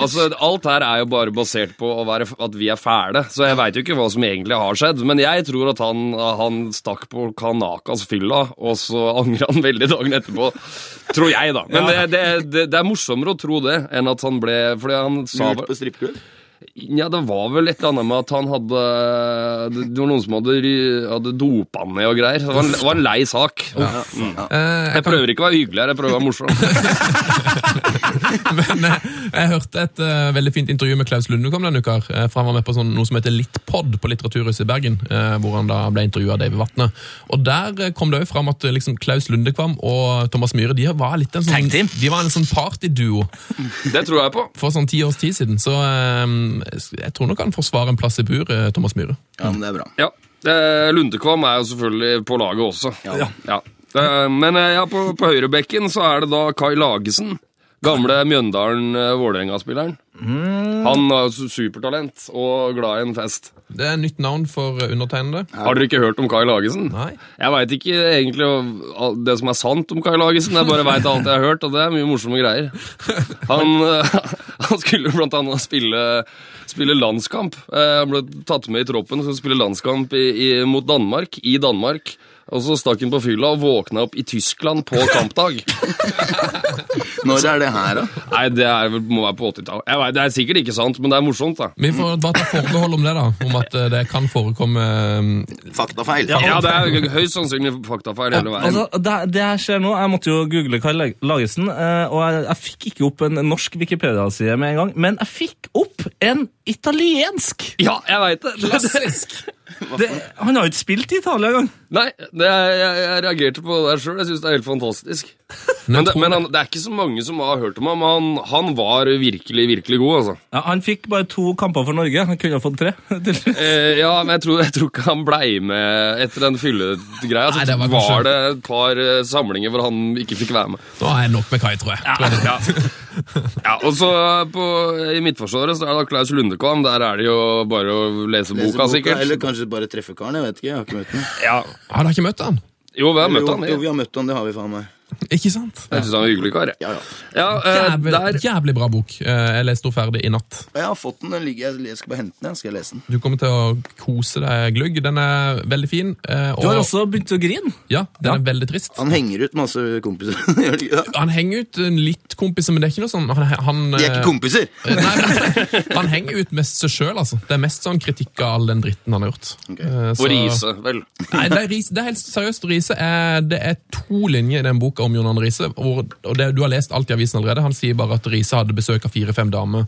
[SPEAKER 6] Altså, alt her er jo bare basert på å være, at vi er fæle. Så jeg veit jo ikke hva som egentlig har skjedd. Men jeg tror at han, han stakk på Kanakas fylla, og så <laughs> angra han veldig dagen etterpå. Tror jeg, da. Men det, det, det, det er morsommere å tro det enn at han ble Fordi han sa
[SPEAKER 5] Lurt på strippeklubb?
[SPEAKER 6] ja, det var vel et eller annet med at han hadde Det var noen som hadde, ry- hadde dopa han ned og greier. Det var en, det var en lei sak. Mm. Jeg prøver ikke å være hyggelig her, jeg prøver å være morsom.
[SPEAKER 1] Men eh, jeg hørte et eh, veldig fint intervju med Klaus Lundekom denne uka. eh, for Han var med på sånn, noe som heter Littpod på Litteraturhuset i Bergen, eh, hvor han da ble intervjua av David Vatne. Og Der eh, kom det jo fram at eh, liksom, Klaus Lundekvam og Thomas Myhre de var litt en sånn,
[SPEAKER 2] Tag team.
[SPEAKER 1] de var en sånn partyduo
[SPEAKER 6] Det tror jeg på.
[SPEAKER 1] for sånn ti års tid siden. Så eh, jeg tror nok han forsvarer en plass i bur, eh, Thomas Myhre.
[SPEAKER 5] Ja, men det er bra.
[SPEAKER 6] Ja. Eh, Lundekvam er jo selvfølgelig på laget også.
[SPEAKER 5] Ja.
[SPEAKER 6] Eh, Men eh, ja, på, på høyrebekken så er det da Kai Lagesen. Gamle Mjøndalen-Vålerenga-spilleren. Han har jo supertalent og glad i en fest.
[SPEAKER 1] Det er nytt navn for eh, undertegnede.
[SPEAKER 6] Har dere ikke hørt om Kai Lagesen?
[SPEAKER 1] Nei.
[SPEAKER 6] Jeg veit ikke egentlig hva- det som er sant om Kai Lagesen. Jeg bare veit alt jeg har hørt, og det er mye morsomme greier. Han, <laughs> eh, han skulle blant annet spille, spille landskamp. Eh, Han ble tatt med i troppen for å spille landskamp i, i, mot Danmark, i Danmark. Og så stakk han på fylla og våkna opp i Tyskland på kampdag.
[SPEAKER 5] Når er det her, da?
[SPEAKER 6] Nei, det er, vel- må være på 80-tallet. Jeg vet, Det er sikkert ikke sant, men det er morsomt, da.
[SPEAKER 1] Vi får bare ta forbehold om det, da. Om at eh, det kan forekomme eh,
[SPEAKER 5] Faktafeil.
[SPEAKER 6] Ja, det er <laughs> høyst sannsynlig faktafeil hele veien.
[SPEAKER 2] Altså, det, det her skjer nå. Jeg måtte jo google Karl Lagesen, eh, og jeg, jeg fikk ikke opp en norsk Wikipedia-side med en gang, men jeg fikk opp en italiensk!
[SPEAKER 6] Ja, jeg veit det. det, det
[SPEAKER 2] Det, han har jo ikke spilt i Italia engang.
[SPEAKER 6] Nei, det er, jeg, jeg reagerte på det sjøl. Jeg syns det er helt fantastisk. Men, det, men han, det er ikke så mange som har hørt om ham. Han, han var virkelig, virkelig god, altså.
[SPEAKER 2] Ja, han fikk bare to kamper for Norge. Han kunne ha fått <laughs> tre. til slutt.
[SPEAKER 6] Eh, ja, men jeg tror, jeg tror ikke han blei med etter den fyllegreia.
[SPEAKER 1] Nei,
[SPEAKER 6] Så
[SPEAKER 1] det var
[SPEAKER 6] var,
[SPEAKER 1] kanskje-
[SPEAKER 6] det et par eh, samlinger hvor han ikke fikk være med.
[SPEAKER 1] Nå er jeg nok med Kai, tror jeg. Tror jeg det.
[SPEAKER 6] Ja, <laughs> ja Og så på, i Midtforsvaret så er det da Klaus Lundekvam. Der er det jo bare å lese,
[SPEAKER 5] Lese
[SPEAKER 6] boka, sikkert.
[SPEAKER 5] Eller kanskje bare treffe karen. Jeg vet ikke. Jeg har ikke møtt ham.
[SPEAKER 6] Ja.
[SPEAKER 1] Har dere ikke møtt han?
[SPEAKER 6] Jo, vi har møtt
[SPEAKER 5] Jo,
[SPEAKER 6] han.
[SPEAKER 5] jo, vi
[SPEAKER 6] Jeg,
[SPEAKER 5] har møtt han, det har vi faen meg.
[SPEAKER 1] Ikke sant?
[SPEAKER 6] jeg syns han var en hyggelig kar. jeg.
[SPEAKER 5] Ja, ja.
[SPEAKER 6] Ja, eh,
[SPEAKER 1] Jævlig,
[SPEAKER 6] der
[SPEAKER 1] jævlig bra bok. Eh, Jeg leste den ferdig i natt.
[SPEAKER 5] Jeg har fått den. den ligger, jeg- jeg skal bare hente den. Jeg skal lese den.
[SPEAKER 1] Du kommer til å kose deg glugg. Den er veldig fin. eh, Og,
[SPEAKER 2] Du har også begynt å grine.
[SPEAKER 1] Ja, den er veldig trist.
[SPEAKER 5] Han henger ut masse kompiser. <laughs> Gjør de ikke det?
[SPEAKER 1] Han henger ut eh, litt kompiser, men det er ikke noe sånn han, han,
[SPEAKER 5] De er ikke kompiser!
[SPEAKER 1] eh, <laughs> Nei, men, han henger ut mest seg sjøl, altså. Det er mest sånn kritikk av all den dritten han har gjort.
[SPEAKER 5] Ok.
[SPEAKER 1] Eh, så-
[SPEAKER 6] Og Riise, vel.
[SPEAKER 1] Nei, det er, Riise- det er helt seriøst. Riise er, det er to linjer i den boka om John Arne Riise. hvor- Og det, du har lest alt i avisen allerede. Han sier bare at Riise hadde besøk av fire-fem damer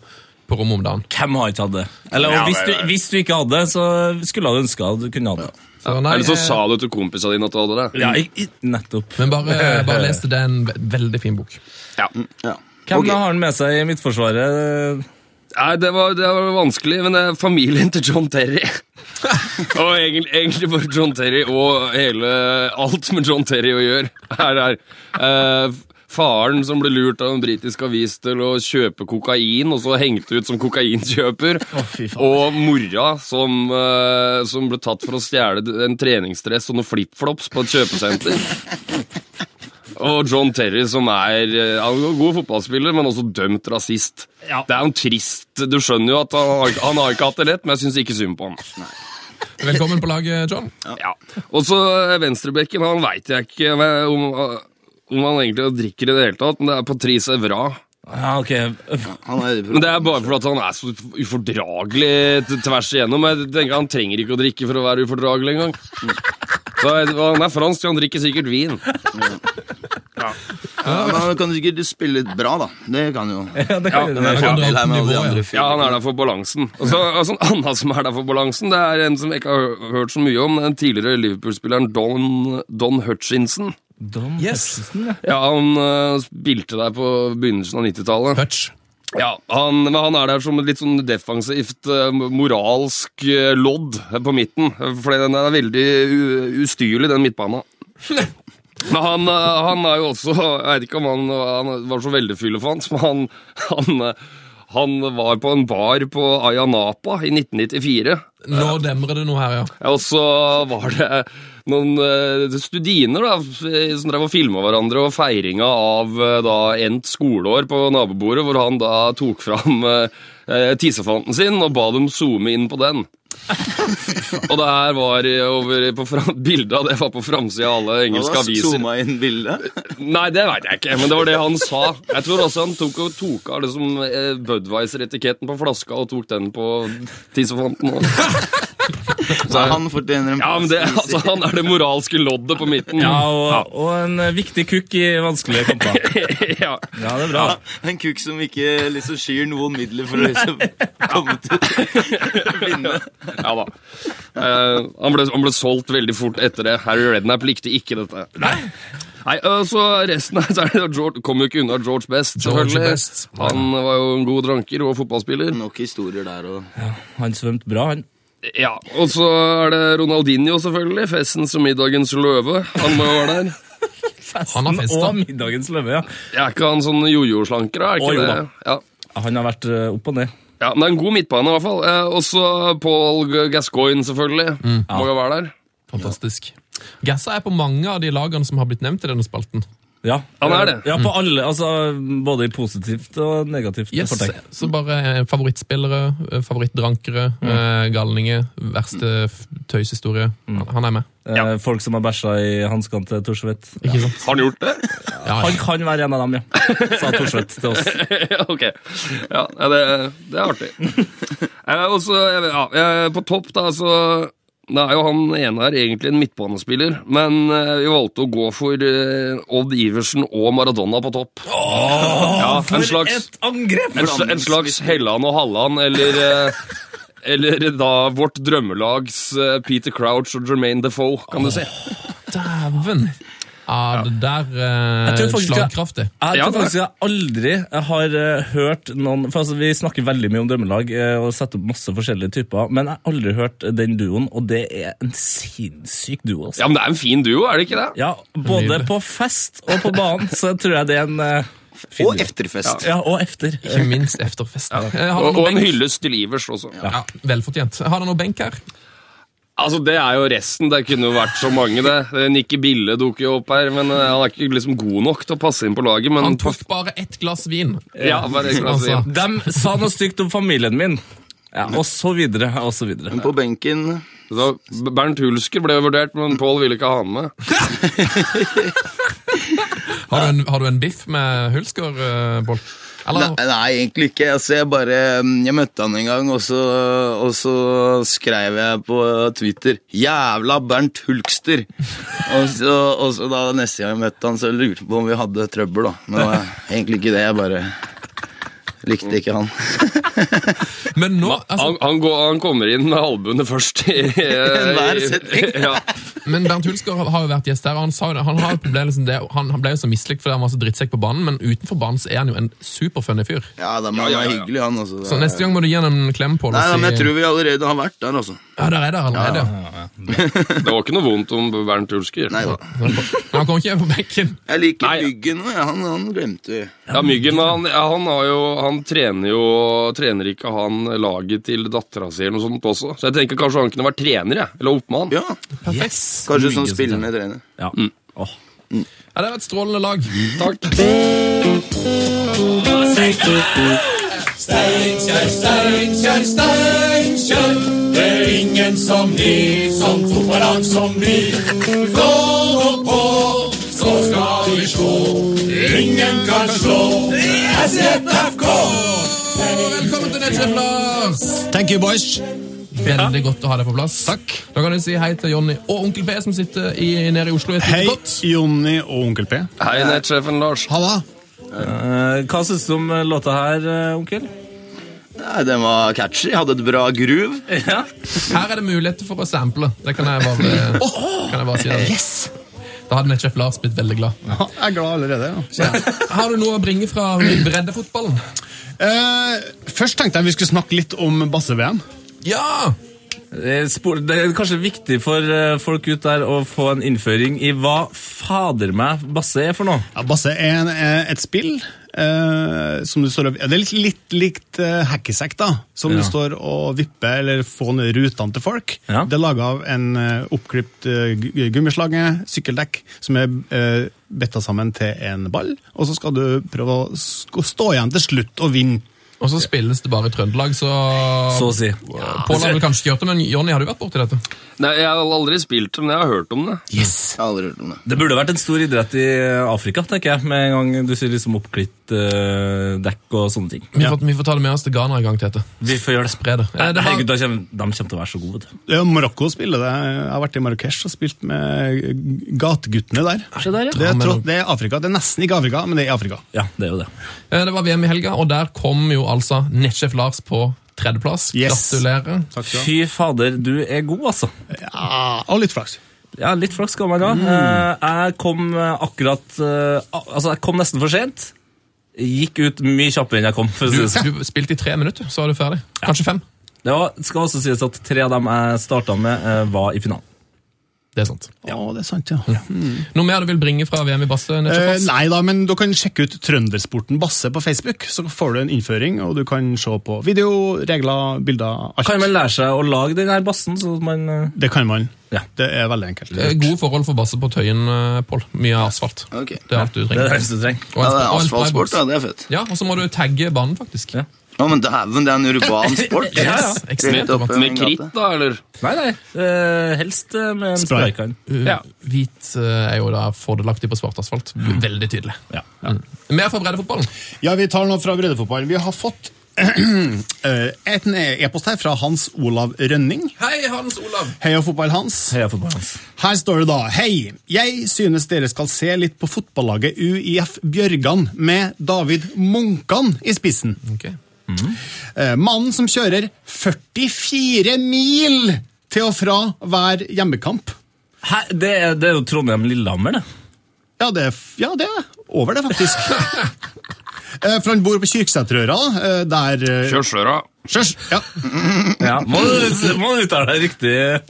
[SPEAKER 1] på rommet om dagen.
[SPEAKER 2] Hvem har ikke hatt det? Eller, og hvis, du, hvis du ikke hadde det, så skulle du ønske at du kunne hatt det.
[SPEAKER 1] Så nei,
[SPEAKER 6] Eller så
[SPEAKER 1] eh,
[SPEAKER 6] sa du til kompisa dine at du hadde det.
[SPEAKER 2] Ja, i- i- nettopp.
[SPEAKER 1] Men bare, bare les det. Det er en ve- veldig fin bok.
[SPEAKER 6] Ja.
[SPEAKER 5] Ja.
[SPEAKER 2] Hvem
[SPEAKER 5] Ok.
[SPEAKER 2] da har han med seg i Midtforsvaret?
[SPEAKER 6] Nei, det var, det var vanskelig, men det er familien til John
[SPEAKER 2] <laughs>
[SPEAKER 6] Terry. og egentlig, egentlig bare John Terry og hele alt med John Terry å gjøre. Her er eh, faren som ble lurt av en britisk avis til å kjøpe kokain, og så hengt ut som kokainkjøper.
[SPEAKER 2] fy faen.
[SPEAKER 6] og mora som, eh, som ble tatt for å stjele en treningsdress og noen flipflops på et kjøpesenter. Og John Terry, som er eh, han er en god fotballspiller, men også dømt rasist. Det er jo en trist Du skjønner jo at han har, ikke- han har ikke hatt det lett, men jeg syns ikke synd på han.
[SPEAKER 1] Velkommen på laget, John.
[SPEAKER 6] Ja. Og så eh, venstrebekken, han veit jeg ikke eh, om, eh, om han egentlig drikker i det hele tatt, men det er Patrice Evra.
[SPEAKER 2] Ja, ok.
[SPEAKER 5] Han er
[SPEAKER 6] Men det er bare fordi at han er så ufordragelig t- tvers igjennom. Jeg tenker Han trenger ikke å drikke for å være ufordragelig engang. Så jeg- og Han er fransk, så han drikker sikkert vin.
[SPEAKER 5] Ja, men han kan sikkert spille litt bra, da. Det kan jo.
[SPEAKER 2] Ja, det kan
[SPEAKER 5] Han er
[SPEAKER 2] jeg-
[SPEAKER 1] kan
[SPEAKER 5] fordel her med alle de andre
[SPEAKER 6] Ja, han er der for balansen. Og så og så en annen som er der for balansen, det er en som jeg ikke har hørt så mye om, den tidligere Liverpool-spilleren Don, Don Hutchinson.
[SPEAKER 2] Don Hutchinson, ja.
[SPEAKER 6] Ja, han eh, spilte der på begynnelsen av 90-tallet.
[SPEAKER 1] Hutch.
[SPEAKER 6] Ja, han, men han er der som et litt sånn defensivt, eh, moralsk eh, lodd på midten. Fordi den er veldig u- ustyrlig, den midtbanen. Men han, eh, han er jo også Jeg vet ikke om han, han var så veldig fyllefant, men han, han, eh, han var på en bar på Ayia Napa i 1994.
[SPEAKER 1] Nå demrer det noe her, ja.
[SPEAKER 6] Ja, Og så var det noen eh, studiner da, f- som drev og filma hverandre, og feiringa av eh, da endt skoleår på nabobordet, hvor han da tok fram eh, eh, tissefanten sin og ba dem zoome inn på den. og det her var i- over på fram, <laughs> bildet av det var på framsida av alle engelske aviser.
[SPEAKER 5] zooma inn
[SPEAKER 6] <laughs>
[SPEAKER 5] bildet.
[SPEAKER 6] Nei, det veit jeg ikke, men det var det han sa. Jeg tror også han tok, og tok av liksom, eh, Budwiser-etiketten på flaska og tok den på tissefanten. også.
[SPEAKER 5] Så han fortjener en
[SPEAKER 6] Ja, men det,
[SPEAKER 5] plass i-
[SPEAKER 6] altså, han er det moralske loddet på midten.
[SPEAKER 2] Ja, og, og en eh, viktig kukk i vanskelige kamper.
[SPEAKER 6] <laughs> ja.
[SPEAKER 2] <laughs> Ja, det er bra.
[SPEAKER 5] En kukk som ikke liksom skyr noen midler
[SPEAKER 6] <laughs>
[SPEAKER 5] for å liksom komme til vinne.
[SPEAKER 6] ja da. Eh, han, ble, han ble solgt veldig fort etter det. Harry Redknapp likte ikke dette. Nei. eh, så resten av så er <laughs> det jo George, kom jo ikke unna George Best.
[SPEAKER 1] George
[SPEAKER 6] selvfølgelig.
[SPEAKER 1] Best.
[SPEAKER 6] Han var jo en god dranker og fotballspiller.
[SPEAKER 5] Nok historier der og
[SPEAKER 2] Han svømte bra, han.
[SPEAKER 6] Ja, Og så er det Ronaldinho, selvfølgelig. Festens og middagens løve. Han må jo være der.
[SPEAKER 1] Han har festa.
[SPEAKER 2] Og middagens løve, ja.
[SPEAKER 6] Er ikke han sånn jojo-slanker, da? Er
[SPEAKER 2] Å,
[SPEAKER 6] ikke
[SPEAKER 2] jo da.
[SPEAKER 6] det? Ja.
[SPEAKER 2] Han har vært eh, opp og ned.
[SPEAKER 6] ja, men det er en god midtbane, i hvert fall. Eh, og så Paul Gascoigne, selvfølgelig. Må jo være der.
[SPEAKER 1] Fantastisk. Gassa er på mange av de lagene som har blitt nevnt i denne spalten.
[SPEAKER 2] Ja.
[SPEAKER 6] Han er det.
[SPEAKER 2] Ja, på alle, altså Både i positivt og negativt.
[SPEAKER 1] Yes,
[SPEAKER 2] fortegn.
[SPEAKER 1] Så bare eh, favorittspillere, eh, favorittdrankere, eh, galninger, verste f- tøyshistorie. Han- Han er med.
[SPEAKER 2] Eh, Folk som har bæsja i hanskene til Thorsvedt.
[SPEAKER 1] Ikke sant?
[SPEAKER 6] Har han gjort det?
[SPEAKER 1] Ja,
[SPEAKER 2] Han
[SPEAKER 1] ja.
[SPEAKER 2] kan være en av dem, ja. Sa Thorsvedt til oss.
[SPEAKER 6] Ja, <laughs> ok. Ja, ja, det, det er artig. Eh, og så, jeg vet- ja, eh, på topp, da, så Da er jo han ene her egentlig en midtbanespiller, men eh, vi valgte å gå for eh, Odd Iversen og Maradona på topp. <laughs> ja, en slags,
[SPEAKER 2] Et angrep!
[SPEAKER 6] en, sl- en slags Helland og Halland, eller eh, eller da vårt drømmelags eh, Peter Crouch og Jermaine Defoe, kan du si.
[SPEAKER 1] Dæven! Ja, det
[SPEAKER 2] Jeg
[SPEAKER 1] der
[SPEAKER 2] tror
[SPEAKER 1] eh,
[SPEAKER 2] faktisk jeg-
[SPEAKER 1] Slagkraftig.
[SPEAKER 2] Jeg
[SPEAKER 6] Ja,
[SPEAKER 2] tror
[SPEAKER 6] det er-
[SPEAKER 2] faktisk jeg aldri har eh, hørt noen For altså, Vi snakker veldig mye om drømmelag eh, og setter opp masse forskjellige typer, men jeg har aldri hørt den duoen, og det er en sinnssyk duo. altså.
[SPEAKER 6] Ja, men det er en fin duo, er det ikke det?
[SPEAKER 2] Ja, både
[SPEAKER 1] Nydelig.
[SPEAKER 2] på fest og på banen, så tror jeg det er en eh, fin
[SPEAKER 5] Og
[SPEAKER 2] duo.
[SPEAKER 5] efterfest.
[SPEAKER 2] Ja, og efter.
[SPEAKER 1] Ikke minst efter festen. Eh, Har
[SPEAKER 6] Og,
[SPEAKER 1] du
[SPEAKER 6] og
[SPEAKER 1] noe
[SPEAKER 6] en
[SPEAKER 1] benk?
[SPEAKER 6] hyllest til Ivers også.
[SPEAKER 1] Ja, velfortjent. Har du noe benk her?
[SPEAKER 6] Altså, Det er jo resten. Det kunne jo vært så mange, det. Eh, Nikki Bille dukker jo opp her, men eh, han er ikke liksom god nok til å passe inn på laget. men...
[SPEAKER 1] Han tok bare ett glass vin.
[SPEAKER 6] ja, bare ikke altså.
[SPEAKER 1] Altså.
[SPEAKER 2] De sa noe stygt om familien min, ja, og så videre, og så videre.
[SPEAKER 5] På benken
[SPEAKER 6] så, B- Bernt Hulsker ble jo vurdert, men Pål ville ikke ha han med.
[SPEAKER 1] Har du en, har du en biff med Hulsker, eh, Pål? Eller
[SPEAKER 5] Nei, nei, egentlig ikke. Altså, jeg bare mm, Jeg møtte han en gang, og så, og så skrev jeg på Twitter 'Jævla Bernt Hulkster'. og, så, og så da neste gang jeg møtte han, så lurte jeg på om vi hadde trøbbel, da. Men det var egentlig ikke det. Jeg bare likte ikke han.
[SPEAKER 1] Men nå altså,
[SPEAKER 6] Han, han, går, han kommer inn med albuene først. i- i-
[SPEAKER 5] Hver setning.
[SPEAKER 6] <laughs> Ja.
[SPEAKER 1] Men Bernt Hulsker har- har jo vært gjest her, og han sa jo det. Han har et problem liksom det, han, han ble jo så mislikt fordi han var så drittsekk på banen, men utenfor banen så er han jo en superfunny fyr.
[SPEAKER 5] Ja, da, men han
[SPEAKER 6] ja,
[SPEAKER 5] var
[SPEAKER 6] ja.
[SPEAKER 5] hyggelig, han også.
[SPEAKER 1] Så neste gang må du gi han en klem på
[SPEAKER 5] Nei, da, men jeg
[SPEAKER 1] si
[SPEAKER 5] tror vi allerede har vært der, altså.
[SPEAKER 1] Ja, der er det allerede. ja.
[SPEAKER 6] Det var ikke noe vondt om Bernt Hulsker.
[SPEAKER 5] Nei da.
[SPEAKER 1] Men han kommer ikke på benken.
[SPEAKER 5] Jeg liker
[SPEAKER 6] Nei, ja.
[SPEAKER 5] Myggen. og Han, han glemte vi.
[SPEAKER 6] Ja, Myggen han, ja, han, har jo, han trener jo Trener ikke han laget til dattera si eller noe sånt også? Så jeg tenker kanskje han kunne vært trener, jeg. Eller oppmann.
[SPEAKER 5] Ja,
[SPEAKER 1] Perfekt.
[SPEAKER 5] Kanskje som
[SPEAKER 2] Myggen,
[SPEAKER 5] spillende trener.
[SPEAKER 2] Ja.
[SPEAKER 6] Mm.
[SPEAKER 2] Åh.
[SPEAKER 1] Ja, det er et strålende lag.
[SPEAKER 6] Takk.
[SPEAKER 1] Velkommen til Nettsjef Lars!
[SPEAKER 8] Thank you, boys.
[SPEAKER 1] Veldig godt å ha deg på plass. Takk. Da kan du si hei til Jonny og Onkel P, som sitter i, nede i Oslo. i et
[SPEAKER 8] Hei,
[SPEAKER 1] lite kott.
[SPEAKER 8] Jonny og Onkel P.
[SPEAKER 6] Hei, nettsjefen Lars.
[SPEAKER 8] Halla.
[SPEAKER 2] Eh, Hva syns du om eh, låta her, eh, onkel?
[SPEAKER 5] Nei, Den var catchy. Hadde et bra groove.
[SPEAKER 2] Ja.
[SPEAKER 1] Her er det muligheter for å sample. Det kan jeg bare, kan jeg bare si. Det. Da hadde Nettsjef Lars blitt veldig glad.
[SPEAKER 8] Ja, Jeg er glad allerede. ja.
[SPEAKER 1] Har du noe å bringe fra breddefotballen?
[SPEAKER 8] Eh, først tenkte jeg vi skulle snakke litt om basse-VM.
[SPEAKER 1] Ja!
[SPEAKER 2] Eh, spor- Det er kanskje viktig for eh, folk ut der å få en innføring i hva fader meg basse er for noe.
[SPEAKER 8] Ja, Basse er en, er et spill eh, som du står og ja, Det er litt, litt likt eh, hackesack, da. Som
[SPEAKER 2] Ja.
[SPEAKER 8] du står og vipper eller får ned rutene til folk.
[SPEAKER 2] Ja.
[SPEAKER 8] Det er laga av en eh, oppklipt eh, gu- gummislange, sykkeldekk, som er eh, bitta sammen til en ball. Og så skal du prøve å sk- stå igjen til slutt og vinne.
[SPEAKER 1] Og så spilles det bare i Trøndelag, så,
[SPEAKER 2] Så å si.
[SPEAKER 1] Pål har vel kanskje ikke gjort det, men Jonny, har du vært borti dette?
[SPEAKER 6] Nei, jeg har aldri spilt det, men jeg har hørt om det.
[SPEAKER 5] Jeg har aldri hørt om det.
[SPEAKER 2] Det burde vært en stor idrett i Afrika, tenker jeg, med en gang du sier liksom oppklitt eh, dekk og sånne ting.
[SPEAKER 1] Vi, får, vi får ta det med oss til Ghana en gang, Tete.
[SPEAKER 2] Vi får gjøre det.
[SPEAKER 1] Spre det. Eh, det var-
[SPEAKER 2] Herregud, da kommer, de kommer til å være så gode. vet du.
[SPEAKER 8] Det er jo Marokko spiller det. Jeg har vært i Marrakech og spilt med g- gateguttene der. Det er, tross- det er Afrika. Det er nesten ikke Afrika, men det er Afrika.
[SPEAKER 2] Ja, det er jo det.
[SPEAKER 1] Eh, Det var VM i helga, og der kom jo altså Nettsjef Lars på tredjeplass.
[SPEAKER 8] Yes.
[SPEAKER 1] Gratulerer.
[SPEAKER 2] Fy fader, du er god, altså.
[SPEAKER 8] Ja, og litt flaks.
[SPEAKER 2] Ja, litt flaks skal man ha. Eh, Jeg kom eh, akkurat eh, al- Altså, jeg kom nesten for sent. Gikk ut mye kjappere enn jeg kom. For å si
[SPEAKER 1] Du,
[SPEAKER 2] det sånn.
[SPEAKER 1] du spilte i tre minutter, så er du ferdig. Kanskje fem.
[SPEAKER 2] Det var, skal også sies at tre av dem jeg starta med, eh, var i finalen.
[SPEAKER 1] Det er sant.
[SPEAKER 8] Ja, det er sant, ja.
[SPEAKER 1] Noe mer du vil bringe fra VM i basse?
[SPEAKER 8] Eh,
[SPEAKER 1] Nettsjef Lars?
[SPEAKER 8] nei da, men du kan sjekke ut Trøndersporten Basse på Facebook. Så får du en innføring, og du kan se på video, regler, bilder, alt.
[SPEAKER 2] Kan man lære seg å lage den her bassen? Så at man, eh,
[SPEAKER 8] Det kan man.
[SPEAKER 2] Ja.
[SPEAKER 8] Det er veldig enkelt.
[SPEAKER 1] Eh, Gode forhold for basse på Tøyen, eh, Pål. Mye asfalt.
[SPEAKER 5] Ok.
[SPEAKER 1] Det er alt du
[SPEAKER 2] det er
[SPEAKER 1] trenger.
[SPEAKER 2] det eneste du trenger.
[SPEAKER 1] Og
[SPEAKER 5] Ja,
[SPEAKER 1] en sp-
[SPEAKER 5] det er
[SPEAKER 1] og en
[SPEAKER 5] asfaltsport,
[SPEAKER 1] sprayboks.
[SPEAKER 5] da. Det er fett.
[SPEAKER 1] Ja, og så må du tagge banen, faktisk.
[SPEAKER 2] Ja.
[SPEAKER 5] Å, men dæven, det er en urban sport.
[SPEAKER 1] Ja, ja. Ekstremt
[SPEAKER 5] Rett opp
[SPEAKER 1] urban.
[SPEAKER 5] i
[SPEAKER 6] Med
[SPEAKER 5] en
[SPEAKER 6] kritt,
[SPEAKER 5] gate.
[SPEAKER 6] da, eller?
[SPEAKER 2] Nei, nei. eh, helst eh, med en
[SPEAKER 8] Spray.
[SPEAKER 2] spraykan.
[SPEAKER 1] Uh,
[SPEAKER 6] Ja.
[SPEAKER 1] Hvit eh, er jo da fordelaktig på svart asfalt. Veldig tydelig.
[SPEAKER 2] Ja.
[SPEAKER 1] Mm. Mer fra breddefotballen.
[SPEAKER 8] Ja, vi tar nå fra breddefotballen. Vi har fått <clears throat> eh, et e-post her fra Hans Olav Rønning.
[SPEAKER 1] Hei, Hans Olav!
[SPEAKER 8] Heia fotball, Hans.
[SPEAKER 2] Heia fotballen hans.
[SPEAKER 8] Her står det da Hei, jeg synes dere skal se litt på fotballaget UIF Bjørgan med David Munkan i spissen.
[SPEAKER 1] Ok.
[SPEAKER 8] Eh, Mannen som kjører 44 mil til og fra hver hjemmekamp.
[SPEAKER 2] Hæ? Det, er- det er jo Trondheim-Lillehammer, det.
[SPEAKER 8] Ja, det er, f- ja, det er over det, faktisk. Eh, For han bor på Kyrksæterøra, eh, der eh,
[SPEAKER 6] Kjørsøra.
[SPEAKER 8] Kjørs! Ja,
[SPEAKER 2] Ja, må du må du uttale deg riktig.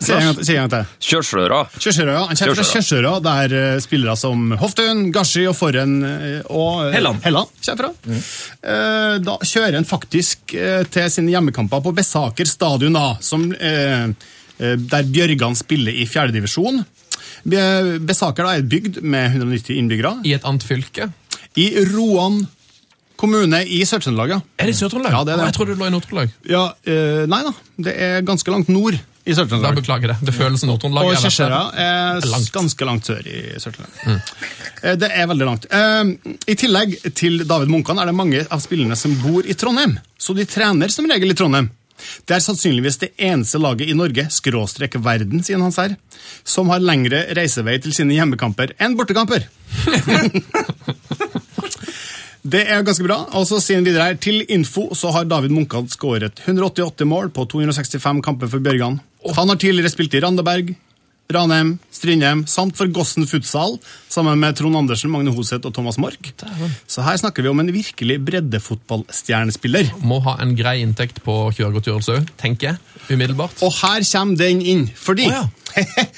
[SPEAKER 8] si en gang til- si en gang til.
[SPEAKER 6] Kjørsøra.
[SPEAKER 8] Kjørsøra, ja. Han kommer fra Kjørsøra, der eh, spillere som Hoftun, Gashi og Forhen eh, og eh,
[SPEAKER 2] Helland.
[SPEAKER 8] kommer fra.
[SPEAKER 1] Mm.
[SPEAKER 8] Eh, Da kjører han faktisk eh, til sine hjemmekamper på Bessaker stadion, da, som, eh, eh, der Bjørgan spiller i fjerdedivisjon. Bessaker da, er en bygd med 190 innbyggere
[SPEAKER 1] I et annet fylke.
[SPEAKER 8] i Roan kommune i Sør-Trøndelag. ja.
[SPEAKER 1] Er det i Sør-Trøndelag?
[SPEAKER 8] Ja, det er det.
[SPEAKER 1] Å, Jeg trodde det lå i Nord-Trøndelag.
[SPEAKER 8] Ja, eh, nei da, det er ganske langt nord i
[SPEAKER 1] Da
[SPEAKER 8] Sør-Trøndelag.
[SPEAKER 1] beklager jeg det. Det føles som Nord-Trøndelag.
[SPEAKER 8] Og
[SPEAKER 1] Jeg har vært
[SPEAKER 8] Kjørsøya
[SPEAKER 1] der.
[SPEAKER 8] er
[SPEAKER 1] Det er langt. Mm.
[SPEAKER 8] ganske langt sør i Sør-Trøndelag. Eh, Det er veldig langt. Eh, I tillegg til David Munkan er det mange av spillerne som bor i Trondheim, så de trener som regel i Trondheim. Det er sannsynligvis det eneste laget i Norge, skråstrek verden, siden hans her, som har lengre reisevei til sine hjemmekamper enn bortekamper. Det er ganske bra. Og så sier han videre her, Til info så har David Munkan skåret 188 mål på 265 kamper for Bjørgan. Han har tidligere spilt i Randaberg, Ranheim, Strindheim samt for Gossen Futsal sammen med Trond Andersen, Magne Hoseth og Thomas Mork. Så her snakker vi om en virkelig breddefotballstjernespiller.
[SPEAKER 1] Må ha en grei inntekt på kjøregodtgjørelse òg, tenker jeg. Umiddelbart.
[SPEAKER 8] Og her kommer den inn, fordi
[SPEAKER 1] Å,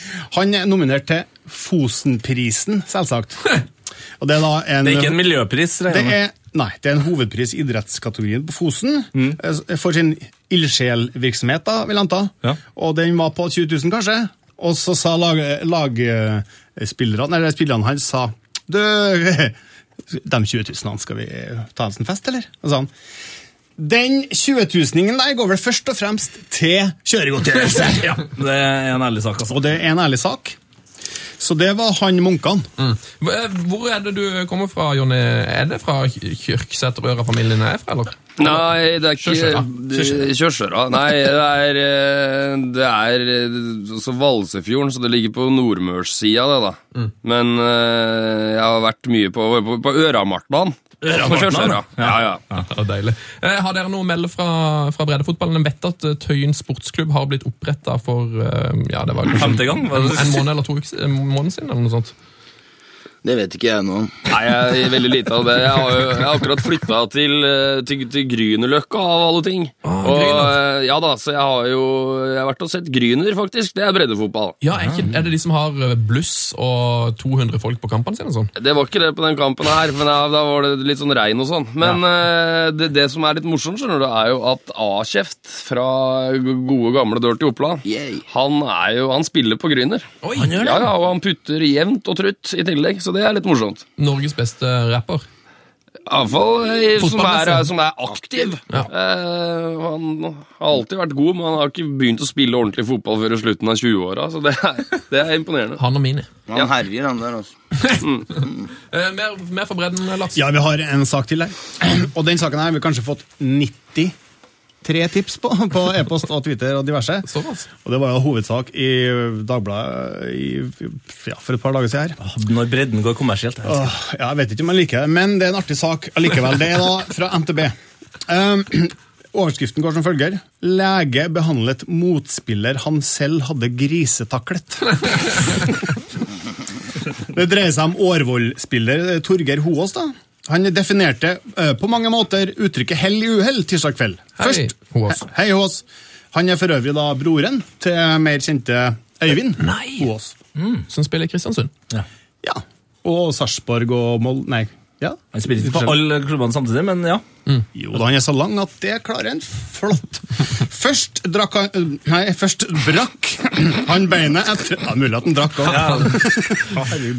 [SPEAKER 8] <laughs> han er nominert til Fosenprisen,
[SPEAKER 2] <laughs>
[SPEAKER 8] selvsagt. Og det er da en
[SPEAKER 2] Det er ikke en miljøpris,
[SPEAKER 8] Det
[SPEAKER 2] regner jeg med.
[SPEAKER 8] er, nei, det er en hovedpris i idrettskategorien på Fosen eh, for sin ildsjelvirksomhet, da, vil han ta.
[SPEAKER 2] Ja.
[SPEAKER 8] Og den var på 20 000, kanskje. Og så sa lagspillerne, eller spillerne hans, sa Du, <laughs> de 20 000 skal vi ta oss en fest, eller? Og sa han Den 20 000-ingen der går vel først og fremst til kjøregodtgjørelse.
[SPEAKER 2] <laughs> Ja, det er en ærlig sak, altså.
[SPEAKER 8] Og det er en ærlig sak. Så det var han Munkan.
[SPEAKER 1] Mm. Hva- Hvor er det du kommer fra, Jonny? Er det fra Kyrksæterøra-familien jeg er fra, eller?
[SPEAKER 6] Nei, det er ikke
[SPEAKER 1] Kjørsøra.
[SPEAKER 6] Det- Kjørsøra. Nei, det er, eh, det er eh, også Valsefjorden, så det ligger på nordmørssida, det, da. Men eh, jeg har vært mye på, på, på Øramartnan. På Kjørsøra. Ja, ja.
[SPEAKER 1] Det var deilig. Eh, har dere noe å melde fra, fra breddefotballen? Jeg vet at eh, Tøyen sportsklubb har blitt oppretta for eh, ja, det var kanskje
[SPEAKER 2] Femte gang, var
[SPEAKER 1] en,
[SPEAKER 2] det det
[SPEAKER 1] en
[SPEAKER 2] du skulle
[SPEAKER 1] eh,
[SPEAKER 2] si?
[SPEAKER 1] måned eller to uker, si- en måned siden. eller noe sånt.
[SPEAKER 5] Det vet ikke jeg nå om.
[SPEAKER 6] Nei, jeg er veldig lite av det. Jeg har, jo, jeg har akkurat flytta til, eh, til, til Grünerløkka, av alle ting. og, eh, ja da, Så jeg har jo jeg har vært og sett Grüner, faktisk. Det er breddefotball.
[SPEAKER 1] Ja, er, ikke, er det de som har eh, bluss og 200 folk på kampene sine og sånn?
[SPEAKER 6] Det var ikke det på den kampen her, men da, da var det litt sånn regn og sånn. Men eh, det, det som er litt morsomt, skjønner du, er jo at A-kjeft fra gode, gamle Dirty Oppland
[SPEAKER 5] Yay.
[SPEAKER 6] han, er jo, han spiller på Grüner.
[SPEAKER 1] Oi!
[SPEAKER 6] Ja, ja, og han putter jevnt og trutt i tillegg, så det er litt morsomt.
[SPEAKER 1] Norges beste rapper.
[SPEAKER 6] Iallfall eh, som, er-
[SPEAKER 1] Fotballmessig.
[SPEAKER 6] som er aktiv.
[SPEAKER 1] Ja.
[SPEAKER 6] Eh, han har alltid vært god, men han har ikke begynt å spille ordentlig fotball før i slutten av 20-åra, så det er, det er imponerende.
[SPEAKER 1] Han og Mini.
[SPEAKER 5] Han herjer, han der, altså.
[SPEAKER 1] Eh, mer, mer for bredden, Lars.
[SPEAKER 8] Ja, vi har en sak til her. Og den saken her har vi kanskje fått 93 tips på, på e-post og Twitter og diverse.
[SPEAKER 1] Såpass.
[SPEAKER 8] Og det var jo hovedsak i Dagbladet i, ja, for et par dager siden her.
[SPEAKER 2] Når bredden går kommersielt. jeg elsker det.
[SPEAKER 8] Åh, ja, jeg vet ikke om jeg liker det, men det er en artig sak allikevel. Det er da fra NTB. Um, <clears throat> overskriften går som følger. Lege behandlet motspiller han selv hadde grisetaklet. <laughs> det dreier seg om Årvoll-spiller eh, Torgeir Hoaas. da. Han definerte eh, på mange måter uttrykket hell i uhell tirsdag kveld.
[SPEAKER 1] Hei, Hoaas.
[SPEAKER 8] He- Hei, Hoaas. Han er for øvrig da broren til mer kjente Øyvind
[SPEAKER 1] Nei.
[SPEAKER 8] Hoaas.
[SPEAKER 1] Som spiller i Kristiansund.
[SPEAKER 8] Ja. Og Sarpsborg og Mold... Nei. Ja.
[SPEAKER 2] Han spiller ikke på alle klubbene samtidig, men ja.
[SPEAKER 8] Jo da, han er så lang at det klarer han flott. Først drakk han eh, Nei, først brakk han beinet etter ja, Mulig at han drakk òg.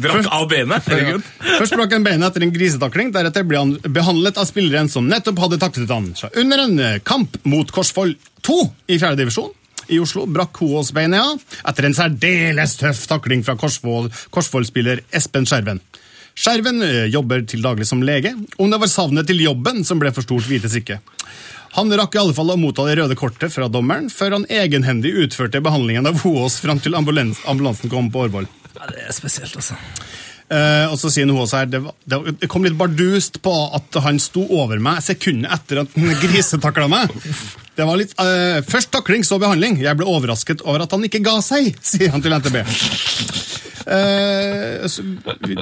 [SPEAKER 2] Drakk av benet. Herregud.
[SPEAKER 8] Først brakk han beinet etter en grisetakling, deretter ble han behandlet av spilleren som nettopp hadde taklet han. Så under en eh, kamp mot Korsvoll 2 i 4. divisjon i Oslo brakk Hoaas beinet av etter en særdeles tøff takling fra Korsvoll- Korsvoll-spiller Espen Skjerven. Skjerven eh, jobber til daglig som lege. Om det var savnet til jobben som ble for stort, vites ikke. Han rakk i alle fall å motta det røde kortet fra dommeren før han egenhendig utførte behandlingen av Hoaas fram til ambulans ambulansen kom på Årvoll.
[SPEAKER 2] Ja, det er spesielt, altså.
[SPEAKER 8] Eh, og så sier Noas her det, var- det, var- det kom litt bardust på at han sto over meg sekundet etter at han grisetakla meg. Det var litt eh, Først takling, så behandling. Jeg ble overrasket over at han ikke ga seg, sier han til NTB. Eh, så,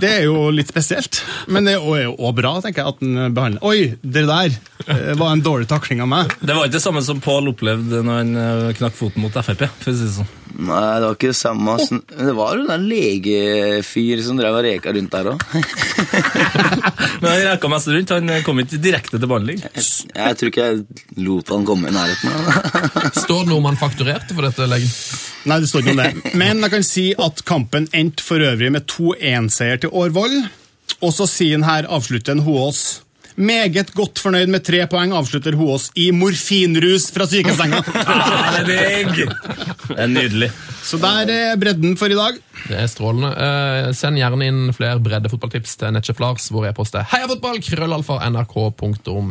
[SPEAKER 8] det er jo litt spesielt, men det er jo- er jo også bra tenker jeg, at han behandler Oi, det der eh, var en dårlig takling av meg.
[SPEAKER 2] Det var ikke det samme som Pål opplevde når han eh, knakk foten mot Frp. for å si det sånn.
[SPEAKER 5] Nei, det var ikke det samme. ass. Men Det var jo den legefyr som drev og reka rundt der òg.
[SPEAKER 2] Men han reka mest rundt. Han eh, kom ikke direkte til <laughs> behandling.
[SPEAKER 5] Jeg tror ikke jeg lot han komme i nærheten av det. <laughs>
[SPEAKER 1] Står det noe om han fakturerte for dette? Legen?
[SPEAKER 8] Nei, det står ikke noe om det. Men jeg kan si at kampen endte for øvrig med 2-1-seier til Årvoll. Og så sier han her, avslutter en Hoås. Meget godt fornøyd med tre poeng, avslutter Hoås i morfinrus fra sykesenga.
[SPEAKER 2] Ah, det er digg! Det er nydelig.
[SPEAKER 8] Så der er bredden for i dag.
[SPEAKER 1] Det er strålende. Eh, send gjerne inn flere bredde fotballtips til Netchef Lars, hvor jeg poster heiafotball, krøllalfa, nrk.no.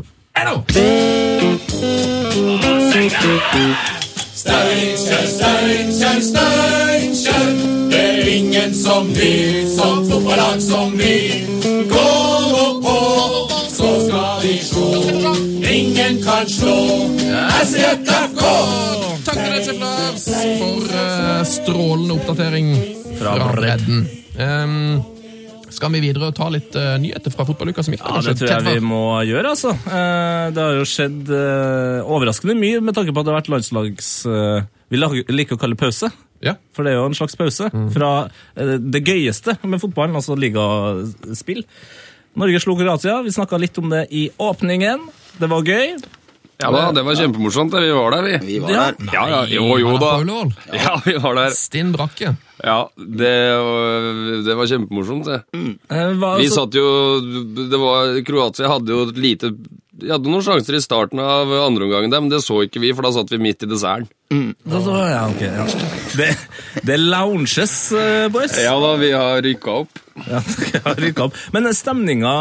[SPEAKER 1] Takk til Netchef Lars for eh, strålende oppdatering fra bredden. Em, skal vi videre og ta litt eh, nyheter fra fotballuka som ikke
[SPEAKER 2] Ja, Det tror jeg vi må gjøre, altså. Eh, Det har jo skjedd eh, overraskende mye med tanke på at det har vært landslags... eh, Vi lag- liker å kalle det pause.
[SPEAKER 1] Ja.
[SPEAKER 2] For det er jo en slags pause fra eh, det gøyeste med fotballen, altså ligaspill. Norge slo Kroatia. Vi snakka litt om det i åpningen. Det var gøy.
[SPEAKER 6] Ja da, Det var kjempemorsomt. Vi var der, vi.
[SPEAKER 5] Vi var
[SPEAKER 2] Ja.
[SPEAKER 5] der.
[SPEAKER 6] Ja, ja, jo, jo
[SPEAKER 1] Han er
[SPEAKER 6] da.
[SPEAKER 1] på Ullevål.
[SPEAKER 6] Ja, vi var der.
[SPEAKER 1] Stinn Brakke.
[SPEAKER 6] Ja, Det, var- det var kjempemorsomt, det.
[SPEAKER 2] Eh, hva-
[SPEAKER 6] Vi
[SPEAKER 2] så-
[SPEAKER 6] satt jo det var, Kroatia hadde jo et lite De hadde noen sjanser i starten av andre omgangen, der, men det så ikke vi, for da satt vi midt i desserten.
[SPEAKER 2] Da- da- ja, ok, ja. Det, det lounges, eh, boys.
[SPEAKER 6] Ja da, vi har rykka opp.
[SPEAKER 2] Ja, jeg har rykket opp. Men stemninga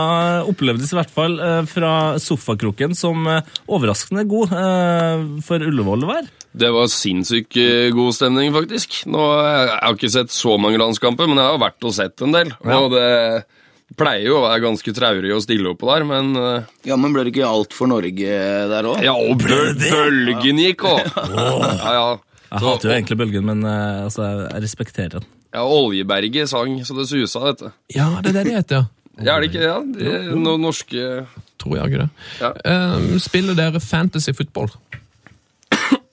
[SPEAKER 2] opplevdes i hvert fall eh, fra sofakroken som eh, overraskende god eh, for Ullevål å være.
[SPEAKER 6] Det var sinnssykt eh, god stemning, faktisk. Nå, eh, jeg har ikke sett så mange landskamper, men jeg har vært og sett en del. Og det pleier jo å være ganske traurig og stille oppå der, men eh,
[SPEAKER 5] Ja, men ble det ikke alt for Norge der òg?
[SPEAKER 6] Ja, og bøl bølgen gikk òg! Ja, ja.
[SPEAKER 2] Jeg hater jo egentlig bølgen, men eh, altså, jeg respekterer den.
[SPEAKER 6] Ja, Oljeberget sang så det susa, dette.
[SPEAKER 1] Ja, det er det de heter, ja.
[SPEAKER 6] Ja, er det ikke ja, det? er No, norske
[SPEAKER 1] Tror jeg ikke det.
[SPEAKER 6] Ja.
[SPEAKER 1] Eh, spiller dere fantasy football?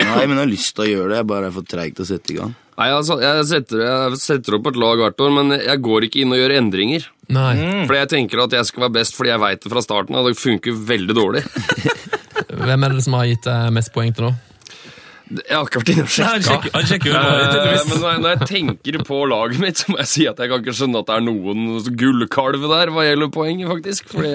[SPEAKER 5] Nei, men jeg har lyst til å gjøre det. Jeg bare er for treig til å sette i gang.
[SPEAKER 6] Nei, altså, jeg setter, jeg setter opp et lag hvert år, men jeg går ikke inn og gjør endringer.
[SPEAKER 1] Nei.
[SPEAKER 6] Fordi jeg tenker at jeg skal være best fordi jeg veit det fra starten av. Det funker veldig dårlig.
[SPEAKER 1] Hvem er det som har gitt deg mest poeng til nå?
[SPEAKER 6] <laughs> Jeg har ikke vært inne og
[SPEAKER 2] Han sjekker,
[SPEAKER 6] sjekka.
[SPEAKER 2] han sjekker jo bare litt,
[SPEAKER 6] Eh, Men
[SPEAKER 2] tydeligvis.
[SPEAKER 6] når jeg, når jeg tenker på laget mitt, så må jeg si at jeg kan ikke skjønne at det er noen gullkalv der hva gjelder poeng, faktisk. Fordi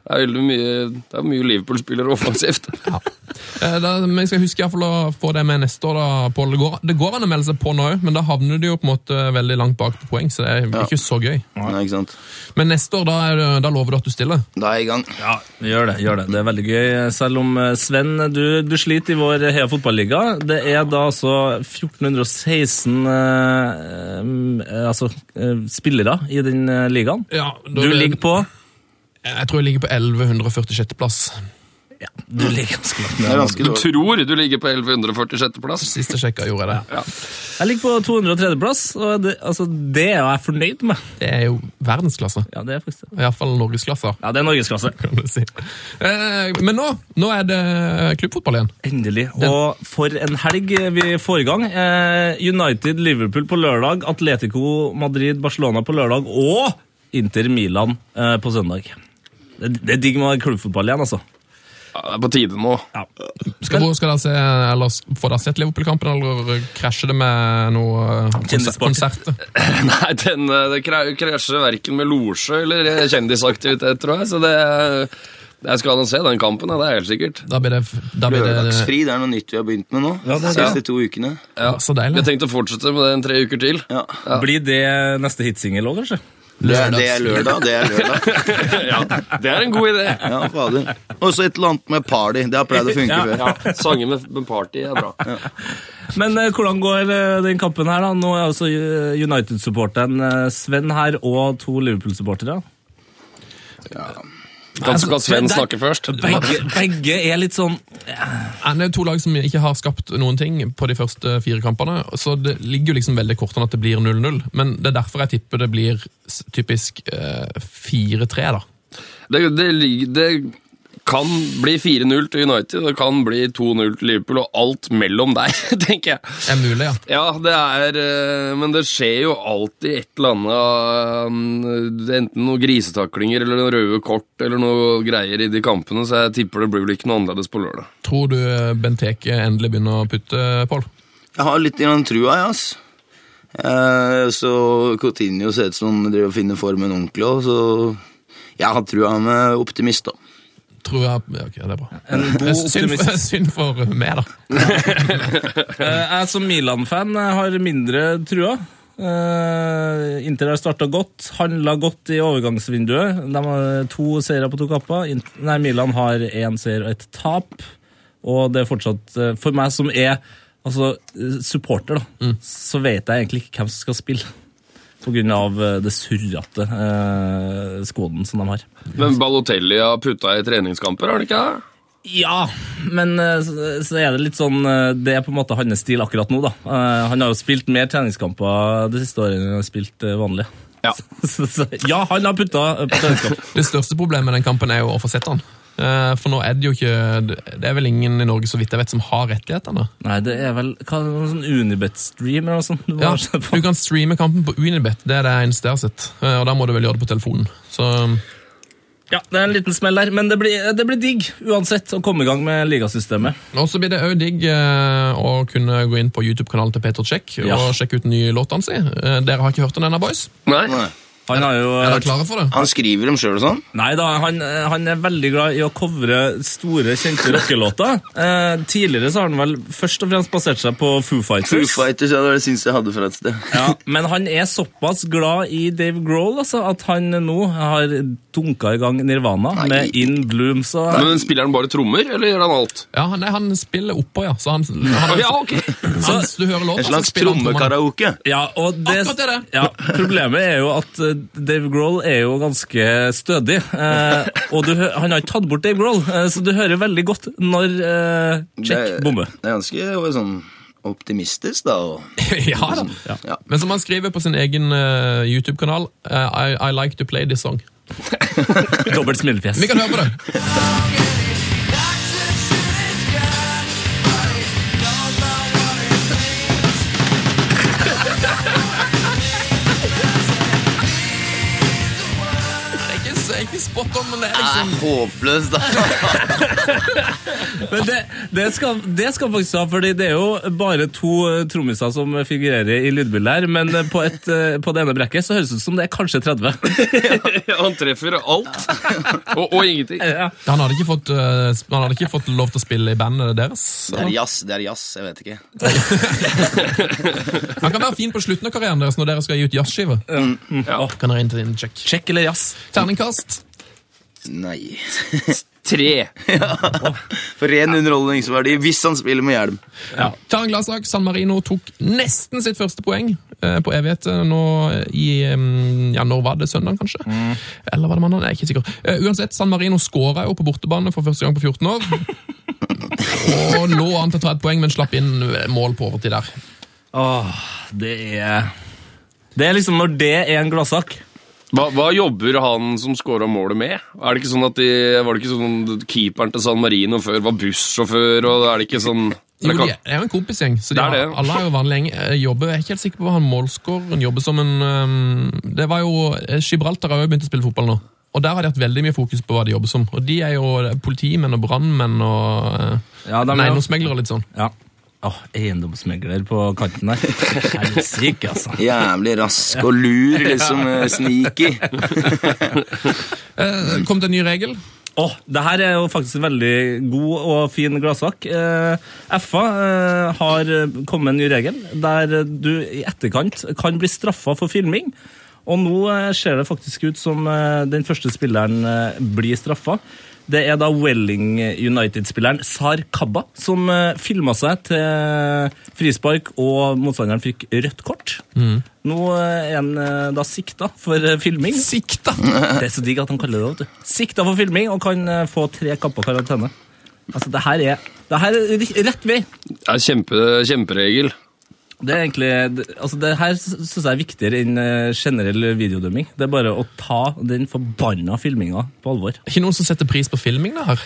[SPEAKER 6] det er veldig mye, det er mye Liverpool-spillere offensivt.
[SPEAKER 1] Eh, da, men jeg skal huske i hvert fall å få det med neste år, da, Pål. Det, går- det går an å melde seg på nå òg, men da havner du jo på en måte veldig langt bak på poeng, så det er ikke så gøy.
[SPEAKER 5] Nei, ikke sant?
[SPEAKER 1] Men neste år, da, er, det- da lover du at du stiller?
[SPEAKER 5] Da er jeg i gang.
[SPEAKER 2] Ja, gjør det. gjør Det Det er veldig gøy. Selv om eh, Sven, du, du sliter i vår Heia fotballiga. Det er da altså 1416 eh, mm, eh, altså, eh, spillere i den eh, ligaen.
[SPEAKER 1] Ja, da,
[SPEAKER 2] Du ligger på
[SPEAKER 1] Jeg tror jeg ligger på 1146. plass.
[SPEAKER 2] Du ligger ganske langt
[SPEAKER 5] Det
[SPEAKER 2] ned.
[SPEAKER 5] er ganske
[SPEAKER 6] Du
[SPEAKER 5] dårlig.
[SPEAKER 6] tror du ligger på 1146. plass.
[SPEAKER 1] Sist jeg sjekka, gjorde jeg det.
[SPEAKER 2] Jeg ligger på 203.-plass, og det, altså, det er jeg fornøyd med.
[SPEAKER 1] Det er jo verdensklasse.
[SPEAKER 2] Ja, det er faktisk det.
[SPEAKER 1] Iallfall norgesklasse,
[SPEAKER 2] Ja, det er norgesklasse.
[SPEAKER 1] kan du si. Eh, men nå, nå er det klubbfotball igjen.
[SPEAKER 2] Endelig. Og for en helg vi får i gang. Eh, United Liverpool på lørdag, Atletico Madrid Barcelona på lørdag og Inter Milan eh, på søndag. Det, det er digg med klubbfotball igjen, altså.
[SPEAKER 6] Ja, det er på tide nå.
[SPEAKER 2] Ja.
[SPEAKER 1] Skal, hvor skal dere se, eller s- Får dere sett Liverpool-kampen, eller krasjer det med noe eh, konser
[SPEAKER 2] Kjendisparty.
[SPEAKER 1] konserter?
[SPEAKER 6] Nei, den, eh, det kra- krasjer verken med losje eller eh, kjendisaktivitet, tror jeg. Så det, jeg skal nå se den kampen, ja, det er helt sikkert.
[SPEAKER 1] Da blir det, da blir det
[SPEAKER 5] Lørdagsfri, det er noe nytt vi har begynt med nå.
[SPEAKER 2] det er det.
[SPEAKER 5] Siste to ukene.
[SPEAKER 1] ja, Så deilig.
[SPEAKER 6] Jeg tenkte å fortsette med det en tre uker til.
[SPEAKER 5] Ja.
[SPEAKER 2] Blir det neste hitsingel òg, kanskje?
[SPEAKER 5] Det er, det er lørdag, det er lørdag.
[SPEAKER 6] <laughs> Ja, Det er en god idé.
[SPEAKER 5] Ja, fader. Og så et eller annet med party. Det har pleid å funke før.
[SPEAKER 6] Ja, Sanger med, med party er bra.
[SPEAKER 2] Men eh, hvordan går eh, den kampen her, da? Nå er altså eh, United-supporteren eh, Sven her og to Liverpool-supportere.
[SPEAKER 6] Kan, skal Sven snakke først?
[SPEAKER 2] Begge, begge er litt sånn
[SPEAKER 1] Ja, Det er to lag som ikke har skapt noen ting på de første fire kampene, så det ligger jo liksom veldig kort an at det blir 0-0. Men det er derfor jeg tipper det blir s- typisk eh, 4-3, da.
[SPEAKER 6] Det, det, lig- det kan bli 4-0 til United, det kan bli 2-0 til Liverpool, og alt mellom der, <laughs> tenker jeg.
[SPEAKER 1] Er mulig, ja.
[SPEAKER 6] Ja, det er eh, Men det skjer jo alltid et eller annet eh, Enten noen grisetaklinger eller noen røde kort eller noe greier i de kampene, så jeg tipper det blir vel ikke noe annerledes på lørdag.
[SPEAKER 1] Tror du Benteke endelig begynner å putte, Pål?
[SPEAKER 5] Jeg har litt grann trua, jeg, ass. Eh, så Coutinho ser ut som han driver og finner formen ordentlig òg, så jeg har trua med optimist, da.
[SPEAKER 1] Tror jeg ja, Ok, det er bra.
[SPEAKER 2] en god
[SPEAKER 1] Synd
[SPEAKER 2] optimist.
[SPEAKER 1] for, synd for meg, da.
[SPEAKER 2] Eh, Jeg som Milan-fan eh, har mindre trua. Eh, Inter har starta godt, handla godt i overgangsvinduet. De har to seire på to kapper. Int- Nei, Milan har én seier og ett tap. Og det er fortsatt eh, For meg som er altså, eh, supporter, da, så vet jeg egentlig ikke hvem som skal spille. På grunn av eh, det surrete eh, skoden som de har.
[SPEAKER 6] Men Balotelli har putta i treningskamper, har han ikke det?
[SPEAKER 2] Ja, men eh, så så er det litt sånn eh, Det er på en måte hans stil akkurat nå, da. Eh, Han har jo spilt mer treningskamper det siste året enn han har spilt eh, vanlig.
[SPEAKER 6] Ja.
[SPEAKER 2] <laughs> Så, så, ja, han har putta eh, på treningskamp.
[SPEAKER 1] Det største problemet med den kampen er jo å få sett den. Eh, For nå er det jo ikke Det er vel ingen i Norge så vidt jeg vet som har rettighetene.
[SPEAKER 2] Nei, det er vel hva, er det, noen sånn Unibet-stream eller noe sånt. Du må
[SPEAKER 1] Ja,
[SPEAKER 2] ha sett på.
[SPEAKER 1] du kan streame kampen på Unibet, det er det eneste jeg har sett. Eh, Og da må du vel gjøre det på telefonen. Så
[SPEAKER 2] <laughs>
[SPEAKER 1] um,
[SPEAKER 2] ja, det er en liten smell der, men det blir, det blir digg uansett å komme i gang med ligasystemet.
[SPEAKER 1] og så blir det òg digg eh, å kunne gå inn på YouTube-kanalen til Peter Check
[SPEAKER 2] Ja.
[SPEAKER 1] og sjekke ut den nye låta si. Eh, Dere har ikke hørt den ennå, boys?
[SPEAKER 6] Nei?
[SPEAKER 2] Han har jo
[SPEAKER 1] Er dere klare for det?
[SPEAKER 5] Han skriver dem sjøl og sånn.
[SPEAKER 2] Nei da, han, han er veldig glad i å covre store, kjente rockelåter. Eh, tidligere så har han vel først og fremst basert seg på Foo Fighters.
[SPEAKER 5] Foo Fighters, ja, det var det syns jeg hadde fra et sted.
[SPEAKER 2] Ja, <laughs> men han er såpass glad i Dave Grohl altså, at han nå har dunka i gang Nirvana
[SPEAKER 5] Nei.
[SPEAKER 2] med In Bloom. Så
[SPEAKER 6] Men spiller han bare trommer, eller gjør han alt?
[SPEAKER 1] Ja, han, nei, han spiller oppå, ja. Så han,
[SPEAKER 5] <laughs>
[SPEAKER 1] han,
[SPEAKER 6] Ja, ok!
[SPEAKER 1] han du hører låta,
[SPEAKER 5] En slags trommekaraoke.
[SPEAKER 2] ja, og det,
[SPEAKER 1] Akkurat det er det.
[SPEAKER 2] Ja, problemet er jo at eh, Dave Grohl er jo ganske stødig. Eh, og du, hø- han har ikke tatt bort Dave Grohl, eh, så du hører veldig godt når eh, Check
[SPEAKER 5] Det-
[SPEAKER 2] bommer.
[SPEAKER 5] Det er ganske sånn optimistisk, da. Og,
[SPEAKER 1] <laughs> ja da.
[SPEAKER 5] ja.
[SPEAKER 1] Men som han skriver på sin egen eh, YouTube-kanal, eh, I, I like to play this song.
[SPEAKER 2] Dobbelt smilefjes.
[SPEAKER 1] Vi kan høre på det. Det er ikke, det er ikke spot on, men det er
[SPEAKER 5] Det
[SPEAKER 1] liksom
[SPEAKER 5] er håpløst, da.
[SPEAKER 2] Men det, det, skal, det skal faktisk ha, fordi det er jo bare to eh, trommiser som figurerer i lydbildet her, men eh, på, et, eh, på det ene brekket så høres det ut som det er kanskje 30.
[SPEAKER 6] <laughs> Han treffer alt <laughs> og, og ingenting.
[SPEAKER 1] Han hadde ikke fått, eh, sp- han hadde ikke fått lov til å spille i bandet deres.
[SPEAKER 5] Det er jazz, det er jazz, jeg vet ikke.
[SPEAKER 1] Han kan være fin på slutten av karrieren deres når dere skal gi ut jazzskive. Kan dere inn til en check.
[SPEAKER 2] Sjekk eller jazz?
[SPEAKER 1] Terningkast.
[SPEAKER 5] Nei.
[SPEAKER 6] Tre.
[SPEAKER 5] For ren underholdningsverdi, hvis han spiller med hjelm.
[SPEAKER 1] Karen Gladsak, San Marino tok nesten sitt første poeng eh, på evighet eh, nå i eh, Ja, når var det? Søndag, kanskje? Eller var det mandag? Jeg er ikke sikker. Eh, uansett, San Marino skåra jo på bortebane for første gang på 14 år. Og lå an til å ta et poeng, men slapp inn eh, mål på overtid der.
[SPEAKER 2] Åh, det er Det er liksom når det er en gladsak.
[SPEAKER 6] Hva, hva jobber han som scora målet med? Er det ikke sånn at de, Var det ikke sånn keeperen til San Marino før var bussjåfør, og er det ikke sånn
[SPEAKER 1] Jo,
[SPEAKER 6] Eller
[SPEAKER 1] de
[SPEAKER 6] kan-
[SPEAKER 1] er jo en kompisgjeng, så de
[SPEAKER 6] Det er det.
[SPEAKER 1] har, alle har jo vanlig gjeng. Eh, Jobber, jeg er ikke helt sikker på hva han målskåren jobber som, men ehm, det var jo eh, Gibraltar har jo begynt å spille fotball nå. Og der har de hatt veldig mye fokus på hva de jobber som. Og de er jo eh, politimenn og brannmenn og eh,
[SPEAKER 2] Ja, de er-
[SPEAKER 1] eiendomsmeglere og litt sånn.
[SPEAKER 2] Ja. Åh, eiendomsmegler på kanten der. Helsike, altså.
[SPEAKER 5] Jævlig rask og lur, liksom. eh, Sneaky.
[SPEAKER 1] Eh, Kom det en ny regel?
[SPEAKER 2] Åh, det her er jo faktisk en veldig god og fin gladsak. Eh, FA eh, har kommet en ny regel der du i etterkant kan bli straffa for filming. Og nå eh, ser det faktisk ut som eh, den første spilleren eh, blir straffa. Det er da Welling United-spilleren Sar Kabba som eh, filma seg til frispark, og motstanderen fikk rødt kort. Nå eh, er han eh, da sikta for eh, filming.
[SPEAKER 1] Sikta!
[SPEAKER 2] Det er så digg at han kaller det vet du. Sikta for filming og kan eh, få tre kamper karantene. Altså, det her er, det her er ri- rett vei.
[SPEAKER 6] Det er kjempe, kjemperegel.
[SPEAKER 2] Det er egentlig, det- altså det her synes jeg er viktigere enn eh, generell videodømming. Det er bare å ta den forbanna filminga på alvor.
[SPEAKER 1] Ikke noen som setter pris på filming, det her?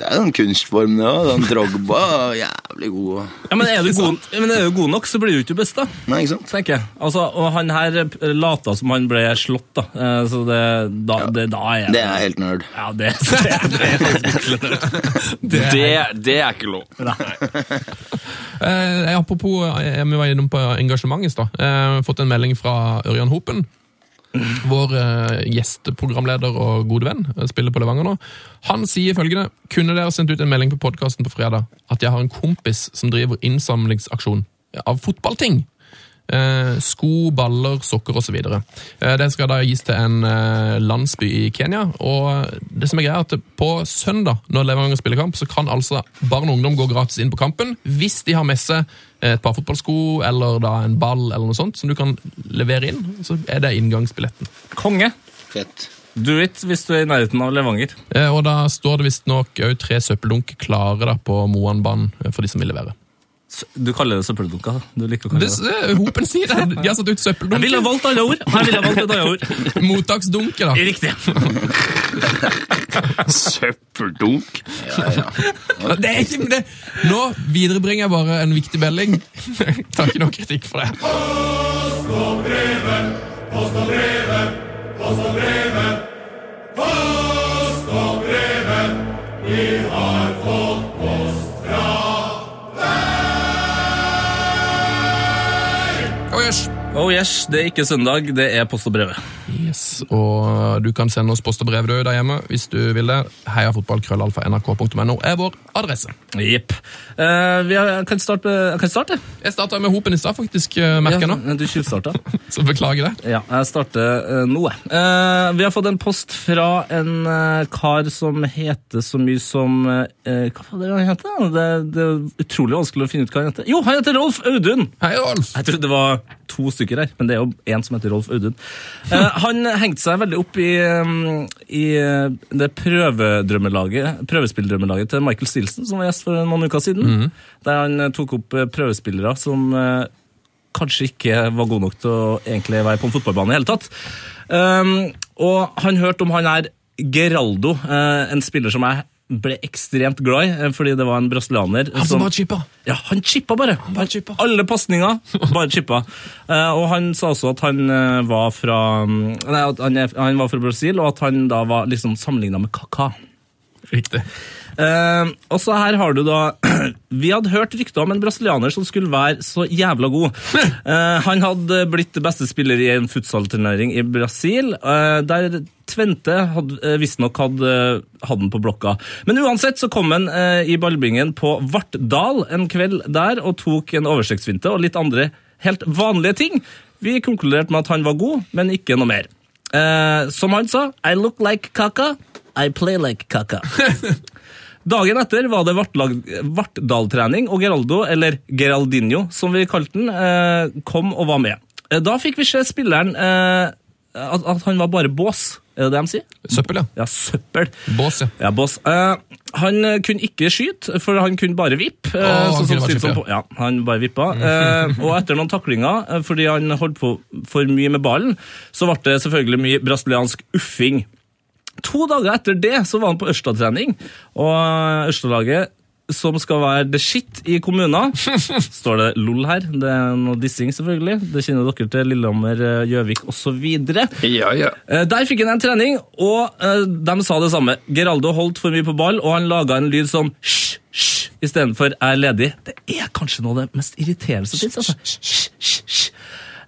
[SPEAKER 5] Det er jo en kunstform, det òg. Den Drogba jævlig god.
[SPEAKER 2] Ja, men er du god, men er du god nok, så blir du ikke best, da.
[SPEAKER 5] Nei, ikke sant?
[SPEAKER 2] tenker jeg. Altså, og han her eh, lata som han ble slått, da. Eh, Så det, da, det, da er jeg
[SPEAKER 5] Det er helt nerd.
[SPEAKER 2] Ja, det, <laughs> det, er- det er faktisk
[SPEAKER 6] Det, det er ikke lov.
[SPEAKER 1] Eh, apropos, eh, vi var innom på engasjement i stad. Eh, fått en melding fra Ørjan Hopen. Vår eh, gjesteprogramleder og gode venn eh, spiller på Levanger nå. Han sier følgende Kunne dere sendt ut en melding på podkasten på fredag at jeg har en kompis som driver innsamlingsaksjon av fotballting? Eh, sko, baller, sokker osv. Eh, den skal da gis til en eh, landsby i Kenya. Og det som er greia er at På søndag når Levanger spiller kamp, så kan altså barn og ungdom gå gratis inn på kampen hvis de har med seg eh, et par fotballsko eller da en ball eller noe sånt som du kan levere inn. Så er det inngangsbilletten.
[SPEAKER 2] Konge.
[SPEAKER 5] Fett.
[SPEAKER 2] Do it hvis du er i nærheten av Levanger.
[SPEAKER 1] Eh, og da står det visstnok òg tre søppeldunk klare da på Moanbanen eh, for de som vil levere.
[SPEAKER 2] Du kaller det søppeldunka. da. Du liker å kalle
[SPEAKER 1] Det,
[SPEAKER 2] det det.
[SPEAKER 1] eh, hopen sier det! De har satt ut
[SPEAKER 2] Jeg ville ha
[SPEAKER 1] søppeldunk.
[SPEAKER 2] valgt alle ord. Her ville jeg valgt et annet ord.
[SPEAKER 1] Mottaksdunke, da.
[SPEAKER 2] Riktig.
[SPEAKER 6] Søppeldunk.
[SPEAKER 1] Det er ikke det. Nå viderebringer jeg bare en viktig melding. Tar ikke noe kritikk for det. Oh, yes.
[SPEAKER 2] Oh yes, det er ikke søndag, det er post og brevet.
[SPEAKER 1] yes, og du kan sende oss post og brev du der hjemme hvis du vil det. Heia fotballkrøllalfa.nrk.no er vår adresse.
[SPEAKER 2] Jepp. Eh, vi har, kan starte, med- jeg kan starte.
[SPEAKER 1] Jeg starta med Hopen i stad, faktisk, eh, merker jeg nå.
[SPEAKER 2] Ja, du tjuvstarta.
[SPEAKER 1] Så beklager det.
[SPEAKER 2] Ja, jeg starter eh, nå, jeg. Eh, vi har fått en post fra en eh, kar som heter så mye som eh, Hva var det han heter? Det, det er utrolig vanskelig å finne ut hva han heter. Jo, han heter Rolf Audun!
[SPEAKER 1] Hei, Rolf.
[SPEAKER 2] Jeg trodde det var to stykker her, men det er jo én som heter Rolf Audun. Eh, han hengte seg veldig opp i, um, i uh, det prøvedrømmelaget, prøvespilldrømmelaget til Michael Stilson, som var gjest for noen uker siden.
[SPEAKER 1] Mhm.
[SPEAKER 2] Der han eh, tok opp eh, prøvespillere som eh, kanskje ikke var gode nok til å egentlig være på en fotballbane i hele tatt. Um, og han hørte om han her Geraldo, eh, en spiller som jeg ble ekstremt glad i, eh, fordi det var en brasilianer
[SPEAKER 1] Han som Altså, bare chippa.
[SPEAKER 2] ja, han chippa bare.
[SPEAKER 1] bare chippa.
[SPEAKER 2] Alle pasninger, bare chippa. Eh, og han sa også at han eh, var fra mm, Nei, at han, er- han var fra Brasil, og at han da var liksom sammenligna med Kaka.
[SPEAKER 1] Riktig.
[SPEAKER 2] Eh, og så her har du da <clears throat> Vi hadde hørt rykter om en brasilianer som skulle være så jævla god. Eh, han hadde blitt beste spiller i en futsalturnering i Brasil, eh, der Tvente hadde, eh, visstnok hadde eh, hadde den på blokka. Men uansett så kom han eh, i ballbingen på Vartdal en kveld der og tok en oversiktsfinte og litt andre helt vanlige ting. Vi konkluderte med at han var god, men ikke noe mer. Eh, som han sa, I look like Kaka, I play like Kaka. Dagen etter var det Vartlag- Vartdal-trening, og Geraldo, eller Geraldinho som vi kalte den, eh, kom og var med. Eh, Da fikk vi se spilleren eh, at, at han var bare bås, er det det de sier?
[SPEAKER 1] Søppel, ja.
[SPEAKER 2] Ja, søppel.
[SPEAKER 1] Bås, ja.
[SPEAKER 2] Ja, boss. Eh, han eh, kunne ikke skyte, for han kunne bare vippe. eh,
[SPEAKER 1] Å, han kunne
[SPEAKER 2] sånn som
[SPEAKER 1] bare
[SPEAKER 2] Stinson
[SPEAKER 1] vippe,
[SPEAKER 2] på- ja, han bare vippa. Eh, og etter noen taklinger, eh, fordi han holdt på for mye med ballen, så ble det selvfølgelig mye brasiliansk uffing. To dager etter det så var han på Ørsta-trening, og Ørsta-laget som skal være the shit i
[SPEAKER 1] <laughs>
[SPEAKER 2] kommunen. Står det LOL her? Det er noe dissing, selvfølgelig. Det kjenner dere til Lillehammer, eh, Gjøvik osv.
[SPEAKER 6] Ja, ja.
[SPEAKER 2] Eh, Der fikk han en trening, og eh, de sa det samme. Geraldo holdt for mye på ball, og han laga en lyd som hysj, hysj, istedenfor er ledig. Det er kanskje noe av det mest irriterende som fins. Altså. Hysj, hysj, hysj.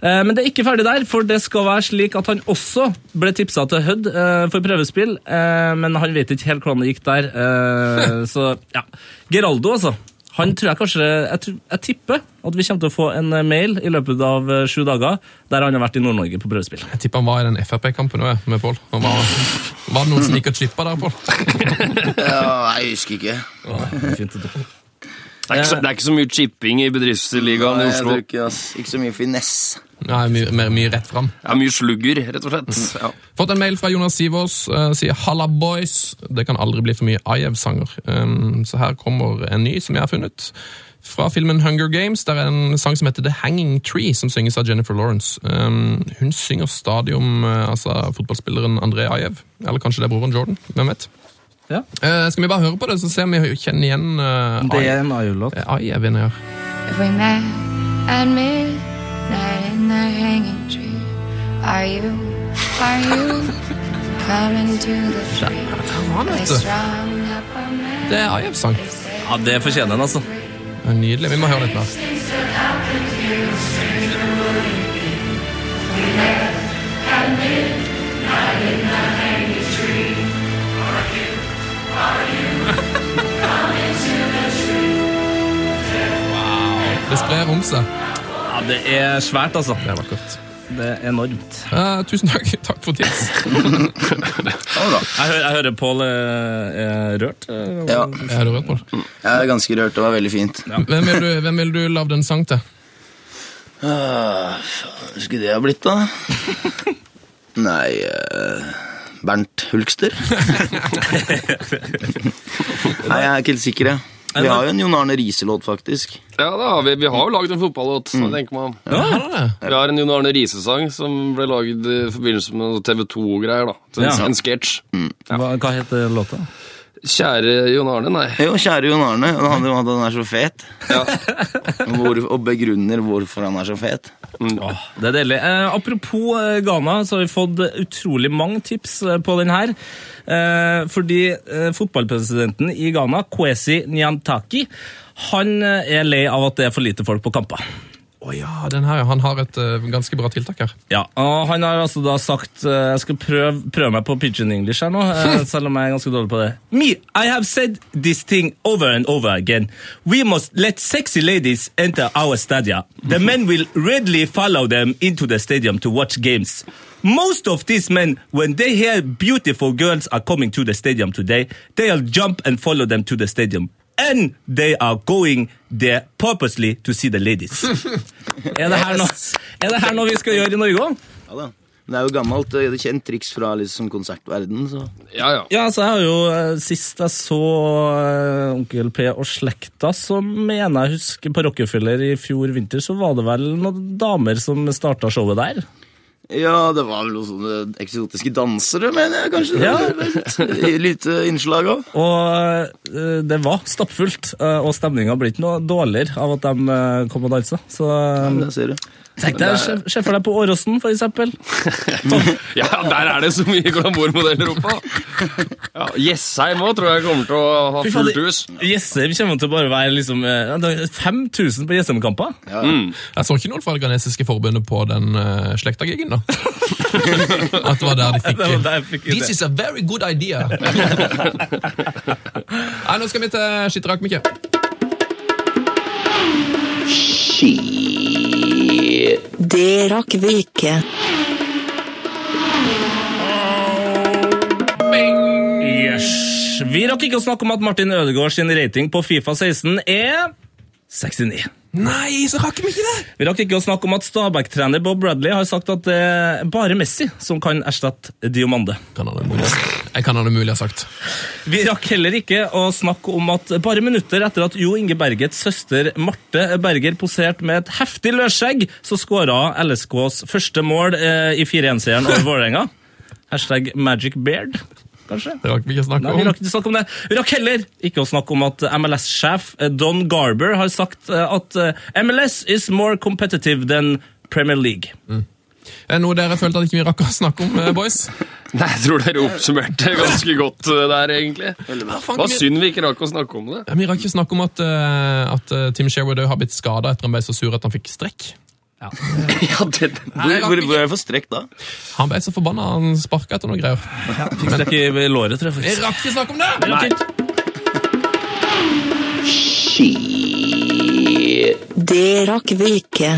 [SPEAKER 2] Eh, Men det er ikke ferdig der, for det skal være slik at han også ble tipsa til Hødd eh, for prøvespill, eh, men han vet ikke helt hvordan det gikk der. eh, <laughs> Så ja. Geraldo, altså. Han tror jeg kanskje jeg, tror, jeg tipper at vi kommer til å få en eh, mail i løpet av eh, sju dager der han har vært i Nord-Norge på prøvespill.
[SPEAKER 1] Jeg tipper han var i den Frp-kampen også, med Pål. Han Var, var det noen som gikk og chippa der, Pål?
[SPEAKER 5] Ja, jeg husker ikke.
[SPEAKER 2] Fint å tro.
[SPEAKER 6] Det, er ikke så, det er ikke så mye chipping i bedriftsligaen i
[SPEAKER 5] jeg
[SPEAKER 6] Oslo.
[SPEAKER 5] tror ikke, ass. ikke så mye finesse.
[SPEAKER 1] Nei, mye, mer- mye rett fram.
[SPEAKER 6] Det er mye slugger, rett og slett. Ja.
[SPEAKER 1] Fått en mail fra Jonas Sivås. eh, sier 'Halla, boys'. Det kan aldri bli for mye Ajev-sanger. Um, så her kommer en ny som jeg har funnet. Fra filmen Hunger Games. Det er en sang som heter The Hanging Tree, som synges av Jennifer Lawrence. Um, hun synger stadig om eh, altså, fotballspilleren André Ajev. Eller kanskje det er broren Jordan. Hvem vet.
[SPEAKER 2] Ja.
[SPEAKER 1] Eh, skal vi bare høre på det, så ser vi om vi kjenner igjen uh,
[SPEAKER 2] Det er en Ayo-låt.
[SPEAKER 1] Ajev inni her.
[SPEAKER 9] Every night at midnight in the hanging tree. Are you, are you coming to the tree? Place round up a man.
[SPEAKER 1] Det er Ajev-sang.
[SPEAKER 2] Ja, det fortjener den, altså.
[SPEAKER 1] Det er Nydelig. Vi må høre litt mer. Det sprer om seg.
[SPEAKER 2] Ja, Det er svært, altså.
[SPEAKER 1] Det er vakkert.
[SPEAKER 2] Det er enormt.
[SPEAKER 1] Eh, tusen takk. Takk for tips.
[SPEAKER 5] Sånn
[SPEAKER 2] Jeg hører, jeg hører Pål eh, er rørt. eh,
[SPEAKER 5] Ja,
[SPEAKER 1] Er du rørt, Pål?
[SPEAKER 5] jeg er ganske rørt. Det var veldig fint.
[SPEAKER 1] Hvem vil du, hvem vil du lagd en sang til?
[SPEAKER 5] Ah, faen, Hva skulle det ha blitt, da? <laughs> Nei eh, Bernt <laughs> Hulkster? Nei, jeg er ikke helt sikker, jeg. Vi har jo en Jon Arne Riise-låt, faktisk.
[SPEAKER 6] Ja, da har vi, vi har jo lagd en fotballåt, så tenker man.
[SPEAKER 1] Er det det?
[SPEAKER 6] Vi har en Jon Arne Riise-sang som ble lagd i forbindelse med noe TV 2-greier. da. Så En,
[SPEAKER 2] Ja.
[SPEAKER 6] en sketsj.
[SPEAKER 2] Hva, hva heter låta?
[SPEAKER 6] Kjære Jon Arne, nei.
[SPEAKER 5] Jo, kjære Jon Arne. Det handler om at han er så fet.
[SPEAKER 6] Ja.
[SPEAKER 5] Hvor, og begrunner hvorfor han er så fet.
[SPEAKER 2] Åh, det er deilig. Eh, apropos eh, Ghana, så har vi fått utrolig mange tips eh, på den her. Eh, fordi eh, fotballpresidenten i Ghana, Kwesi Nyantaki, han eh, er lei av at det er for lite folk på kamper.
[SPEAKER 1] Å ja, den her, ja. Han har et eh, ganske bra tiltak her.
[SPEAKER 2] Ja, og han har altså da sagt eh, Jeg skal prøve, prøve meg på pidgin English her nå, eh, selv om jeg er ganske dårlig på det. Me, I have said this thing over and over again. We must let sexy ladies enter our stadia. The men will readily follow them into the stadium to watch games. Most of these men, when they hear beautiful girls are coming to the stadium today, they'll jump and follow them to the stadium. And they are going there purposely to see the ladies. er, det her noe, er det her noe vi skal gjøre i Norge òg?
[SPEAKER 5] Ja da. Men det er jo gammelt, eh, det er kjent triks fra liksom konsertverdenen, så
[SPEAKER 6] Ja, ja.
[SPEAKER 2] Ja, altså jeg har jo eh, Sist jeg så eh, Onkel P og slekta, så mener jeg husker på Rockefeller i fjor vinter, så var det vel noen damer som starta showet der.
[SPEAKER 5] Ja, det var vel noen sånne eksotiske dansere, mener jeg kanskje.
[SPEAKER 2] Ja.
[SPEAKER 5] Ja. Lite innslag òg.
[SPEAKER 2] Og eh, det var stappfullt, eh, og stemninga ble ikke noe dårligere av at de eh, kom og dansa. Så eh,
[SPEAKER 5] Der Mm. ser du.
[SPEAKER 2] tenk deg, se se for deg på Åråsen, for eksempel.
[SPEAKER 6] Ja, der er det så mye glamourmodeller <laughs> oppe! Ja, Jessheim òg tror jeg kommer til å ha
[SPEAKER 2] Fy faen,
[SPEAKER 6] fullt hus.
[SPEAKER 2] Jessheim kommer til å bare være liksom eh, det er 5000 på Jessheim-kamper.
[SPEAKER 1] Jeg så ikke noen fra det ghanesiske forbundet på den uh, slektagigen, da. <laughs> At det var der de fikk
[SPEAKER 2] Det var der jeg fikk
[SPEAKER 1] This
[SPEAKER 2] det.
[SPEAKER 1] is a very good
[SPEAKER 2] <laughs>
[SPEAKER 1] idea. Nei, nå skal vi til skitterak, Mikke.
[SPEAKER 10] Det rakk vi ikke.
[SPEAKER 2] Yes. Vi rakk ikke å snakke om at Martin Ødegaard sin rating på Fifa 16 er 69.
[SPEAKER 1] Nei, så rakk vi ikke det!
[SPEAKER 2] Vi rakk ikke å snakke om at Stabæk-trener Bob Bradley har sagt at det er bare Messi som kan erstatte Diomande.
[SPEAKER 1] Kan han det mulig ha- Jeg kan han det mulig ha sagt.
[SPEAKER 2] Vi rakk heller ikke å snakke om at bare minutter etter at Jo Inge Bergets søster Marte Berger poserte med et heftig løsskjegg, så skåra LSKs første mål eh, i 4-1-seieren over Vålerenga. Hashtag magic beard, kanskje?
[SPEAKER 1] Det rakk vi ikke å snakke
[SPEAKER 2] Nei, vi
[SPEAKER 1] om.
[SPEAKER 2] rakk ikke snakke om det. Vi rakk heller ikke å snakke om at MLS-sjef eh, Don Garber har sagt eh, at eh, MLS is more competitive than Premier League.
[SPEAKER 1] Er det Noe dere følte at ikke vi rakk å snakke om, eh, boys?
[SPEAKER 6] Nei, jeg tror dere oppsummerte ganske godt eh, der, egentlig. Hva synd vi ikke rakk å snakke om det.
[SPEAKER 1] Ja, Vi rakk ikke snakke om at, eh, at eh, Tim Sherwood også har blitt skada etter han ble så sur at han fikk strekk.
[SPEAKER 6] Ja, det,
[SPEAKER 5] Hvor, hvor, hvor er jeg for strekk da?
[SPEAKER 1] Han ble så forbanna, han sparka etter noen greier.
[SPEAKER 2] Fikk strekk i i låret, tror jeg.
[SPEAKER 1] Vi
[SPEAKER 2] faktisk.
[SPEAKER 1] rakk ikke snakke om det!
[SPEAKER 2] Nei.
[SPEAKER 10] Det rakk vi ikke.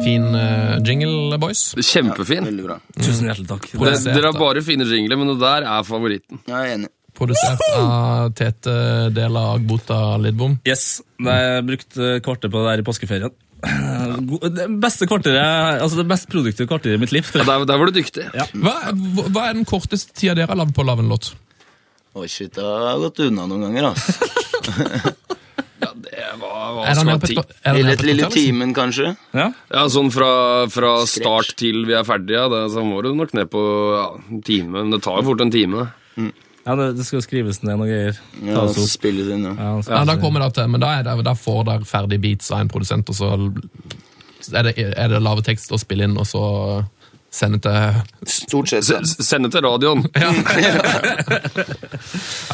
[SPEAKER 1] Fin eh, jingle, boys.
[SPEAKER 6] Kjempefin.
[SPEAKER 5] Veldig bra.
[SPEAKER 2] Tusen hjertelig takk.
[SPEAKER 6] Det,
[SPEAKER 1] Produsert
[SPEAKER 6] Eh, dere har
[SPEAKER 1] av-
[SPEAKER 6] bare fine jingler, men det der er favoritten.
[SPEAKER 5] Jeg er enig.
[SPEAKER 1] Produsert av Tete Dela Agbota Lidbom.
[SPEAKER 2] Yes, Nei, jeg brukte eh, kvarter på det der i påskeferien. <sighs> God- Det beste kvarteret, altså det mest produktive kvarteret i mitt liv.
[SPEAKER 6] Ja,
[SPEAKER 2] Tror jeg.
[SPEAKER 6] der, der var du dyktig.
[SPEAKER 1] Hva, hva er den korteste tida dere har lagd på å lage en låt?
[SPEAKER 5] Å, shit, det har gått unna noen ganger, altså.
[SPEAKER 6] Ja, det var,
[SPEAKER 1] Er
[SPEAKER 6] var
[SPEAKER 1] den
[SPEAKER 6] skal
[SPEAKER 1] her
[SPEAKER 6] være
[SPEAKER 1] på et
[SPEAKER 6] ti.
[SPEAKER 1] kva- er den her
[SPEAKER 5] Lille,
[SPEAKER 1] på et
[SPEAKER 5] lille
[SPEAKER 1] kvarter, liksom?
[SPEAKER 5] timen, kanskje.
[SPEAKER 2] Ja.
[SPEAKER 6] Ja, sånn fra, fra
[SPEAKER 5] Scratch.
[SPEAKER 6] start til vi er ferdige, ja, det, så må du nok ned på ja, en time. Men det tar jo fort en time.
[SPEAKER 2] Ja, det, det skal skrives ned noen greier.
[SPEAKER 5] Ja,
[SPEAKER 2] Tas
[SPEAKER 5] så
[SPEAKER 2] opp.
[SPEAKER 5] spilles inn, ja.
[SPEAKER 2] Ja, så-
[SPEAKER 1] Ja, da kommer det til, men da, er det, da får dere ferdig beats av en produsent, og så er det, er det lave tekst å spille inn, og så sende til <laughs> ja,
[SPEAKER 5] Stort sett,
[SPEAKER 6] S
[SPEAKER 5] ja.
[SPEAKER 6] s- Send det til radioen.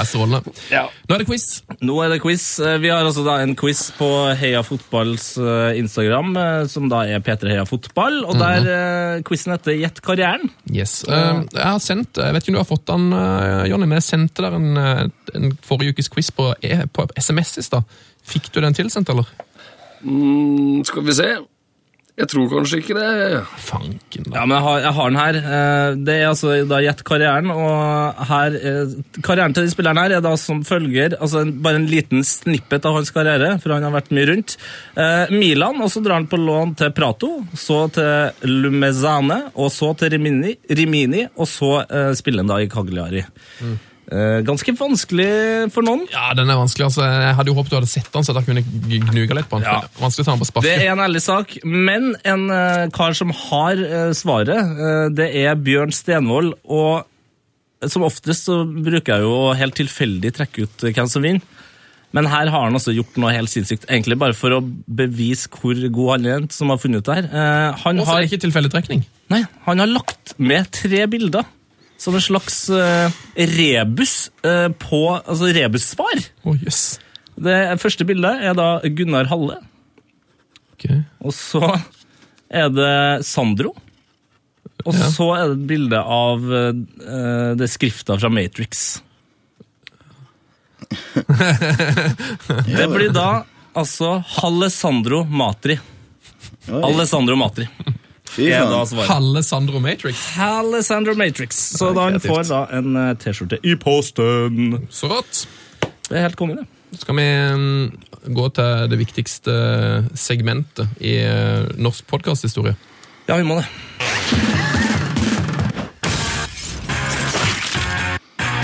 [SPEAKER 1] strålende. Nå er det quiz.
[SPEAKER 2] Nå er det quiz. Eh, Vi har altså da en quiz på Heia Fotballs eh, Instagram, eh, som da er P3 Heia Fotball, og der eh, quizen heter Gjett karrieren.
[SPEAKER 1] Yes. Eh, jeg har sendt, jeg vet ikke om du har fått den, eh, Jonny, men jeg sendte deg en, eh, en forrige ukes quiz på, e på SMS i stad. Fikk du den tilsendt, eller?
[SPEAKER 6] Mm, skal vi se. Jeg tror kanskje ikke det.
[SPEAKER 1] Fanken, da.
[SPEAKER 2] Ja, men jeg har, jeg har den her. Eh, Det er altså da Gjett karrieren, og her eh, Karrieren til de spillerne her er da som følger altså en, Bare en liten snippet av hans karriere, for han har vært mye rundt. Eh, Milan, og så drar han på lån til Prato, så til Lumezane, og så til Rimini, Rimini og så eh, spiller han da i Cagliari. Eh, Ganske vanskelig for noen.
[SPEAKER 1] Ja, den er vanskelig. altså. Jeg hadde jo håpet du hadde sett den, så jeg kunne jeg gnuga litt på den.
[SPEAKER 2] Ja.
[SPEAKER 1] Vanskelig å ta den på
[SPEAKER 2] Det
[SPEAKER 1] sparket.
[SPEAKER 2] er en ærlig sak, men en eh, kar som har eh, svaret, eh, det er Bjørn Stenvold. Og som oftest så bruker jeg jo å helt tilfeldig trekke ut eh, hvem som vinner. Men her har han altså gjort noe helt sinnssykt, egentlig bare for å bevise hvor god han er, som har funnet ut det her. Eh, han,
[SPEAKER 1] Og så er
[SPEAKER 2] har,
[SPEAKER 1] det ikke tilfeldig trekning.
[SPEAKER 2] nei, han har lagt med tre bilder. Som en slags eh, rebus eh, på Altså rebussvar.
[SPEAKER 1] Å, jøss.
[SPEAKER 2] Det første bildet er da Gunnar Halle.
[SPEAKER 1] Ok.
[SPEAKER 2] Og så er det Sandro. Og
[SPEAKER 1] Ja.
[SPEAKER 2] så er det et bilde av eh, det skrifta fra Matrix. det blir da altså Alessandro Matri. Alessandro Matri
[SPEAKER 5] Fy
[SPEAKER 2] er da
[SPEAKER 5] faen.
[SPEAKER 2] svaret.
[SPEAKER 1] Kalle Sandro Matrix.
[SPEAKER 2] Alessandro Matrix. Så da han får da en eh, T-skjorte i posten.
[SPEAKER 1] Så rått.
[SPEAKER 2] Det er helt konge, det.
[SPEAKER 1] Skal vi mm, gå til det viktigste segmentet i eh, norsk podkasthistorie?
[SPEAKER 2] Ja, vi må det.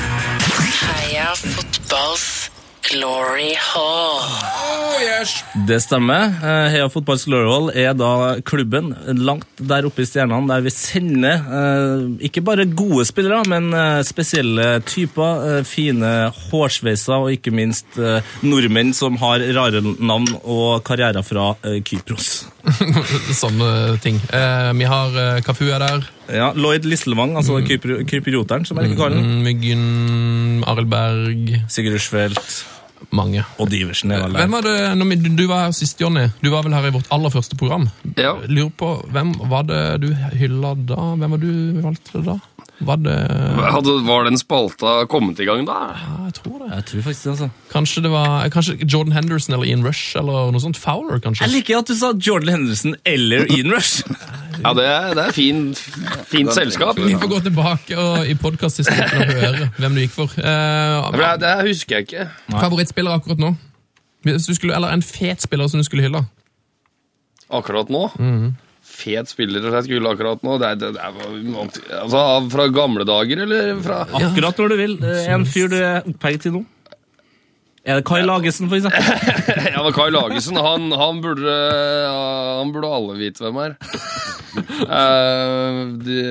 [SPEAKER 11] Heia fotballs glory hall.
[SPEAKER 2] Det stemmer. Eh, Heia Fotballs Glory Hall er da klubben langt der oppe i stjernene, der vi sender eh, ikke bare gode spillere, men eh, spesielle typer. eh, Fine hårsveiser og ikke minst eh, nordmenn som har rare navn og karrierer fra eh, Kypros.
[SPEAKER 1] Sånne ting. Eh, vi har eh, Kafu er der.
[SPEAKER 2] Ja, Lloyd Lislevang, altså Kypro- Kyprioteren, som jeg liker å kalle
[SPEAKER 1] Mm.
[SPEAKER 2] den.
[SPEAKER 1] Myggen, Arild Berg
[SPEAKER 2] Sigurd Rushfeldt.
[SPEAKER 1] Mange.
[SPEAKER 2] Og Diversen er vel
[SPEAKER 1] Hvem
[SPEAKER 2] der.
[SPEAKER 1] var det, når vi, du var her sist, Jonny. Du var vel her i vårt aller første program.
[SPEAKER 6] Ja.
[SPEAKER 1] Lurer på, Hvem var det du hylla da? Hvem var du valgte da? Var det
[SPEAKER 6] Hadde, var den spalta kommet i gang da?
[SPEAKER 1] ja, Jeg tror det.
[SPEAKER 2] Jeg tror faktisk det, altså.
[SPEAKER 1] Kanskje det var kanskje Jordan Henderson eller Ian Rush eller noe sånt. Fowler, kanskje.
[SPEAKER 2] Jeg liker at du sa Jordan Henderson eller Ian Rush.
[SPEAKER 6] Ja, det er, det er fin, fint selskap.
[SPEAKER 1] Vi får gå tilbake og, i podkasthistorien og høre hvem du gikk for. Eh,
[SPEAKER 6] For det, det husker jeg ikke.
[SPEAKER 1] favorittspiller akkurat nå? Hvis du skulle, eller en fet spiller som du skulle hylle?
[SPEAKER 6] Akkurat nå? Fet spiller jeg skulle akkurat nå. Det, er- det, det, er- altså, av- fra gamle dager, eller? Fra,
[SPEAKER 2] Akkurat når du vil. Eh, En fyr du er opphengt i nå. Er det Kai Lagesen, for eksempel?
[SPEAKER 6] <laughs> ja, men Kai Lagesen, han, han, burde, eh, han burde alle vite hvem er. Eh, de,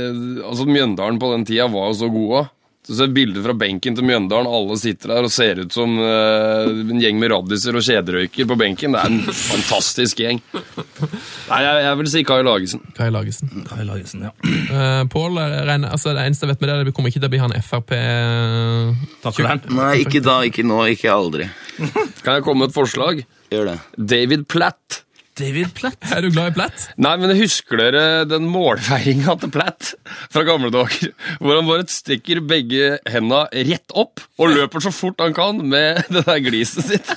[SPEAKER 6] altså, Mjøndalen på den tida var jo så god òg. Du ser bilder fra benken til Mjøndalen. Alle sitter der og ser ut som eh, en gjeng med raddiser og kjederøyker på benken. Det er en fantastisk gjeng. Nei, jeg, jeg vil si Kai Lagesen.
[SPEAKER 1] Kai Lagesen.
[SPEAKER 2] <clears throat> Kai Lagesen, ja.
[SPEAKER 1] Uh, Pål, jeg regner- altså, det eneste jeg vet med det, er at vi kommer ikke til å bli han Frp... Eh,
[SPEAKER 2] Takleren.
[SPEAKER 5] Nei, ikke da, ikke nå, ikke aldri.
[SPEAKER 6] Kan jeg komme med et forslag?
[SPEAKER 5] Gjør det.
[SPEAKER 6] David Platt.
[SPEAKER 2] David Platt.
[SPEAKER 1] Er du glad i Platt?
[SPEAKER 6] Nei, men husker dere den målfeiringa til Platt fra gamle dager? Hvor han bare stikker begge henda rett opp og løper så fort han kan med <laughs> det der gliset sitt.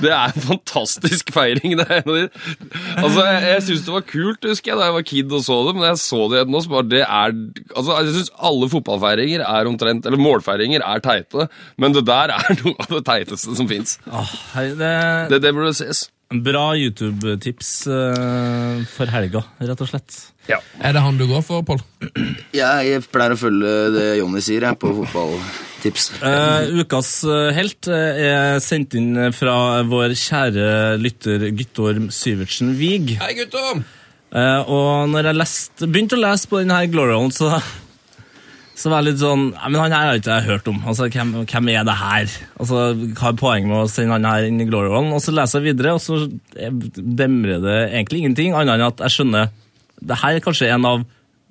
[SPEAKER 6] Det er en fantastisk feiring. Det er en av de. Altså, jeg, jeg syns det var kult husker jeg, da jeg var kid og så det, men jeg så det igjen nå. så bare det er, altså, Jeg syns alle fotballfeiringer er omtrent, eller målfeiringer er teite, men det der er noe av det teiteste som fins.
[SPEAKER 2] Åh, Ah, hei, det er
[SPEAKER 6] Det, det burde ses.
[SPEAKER 2] bra YouTube-tips eh, for helga, rett og slett.
[SPEAKER 6] Ja.
[SPEAKER 1] Er det han du går for, Pål?
[SPEAKER 5] Jeg, jeg pleier å følge det Jonny sier, jeg, på fotballtips.
[SPEAKER 2] Eh, ukas eh, helt eh, er sendt inn fra vår kjære lytter Guttorm Syvertsen Wiig.
[SPEAKER 1] Hei, gutter!
[SPEAKER 2] Eh, og når jeg leste, begynte å lese på denne Glorialen, så, så var jeg litt sånn Nei, men han her har ikke jeg hørt om. Altså, hvem, hvem er det her? Altså, Hva er poenget med å sende han her inn i Glorialen? Og så leser jeg videre, og så eh, demrer det egentlig ingenting, annet enn at jeg skjønner det her er kanskje en av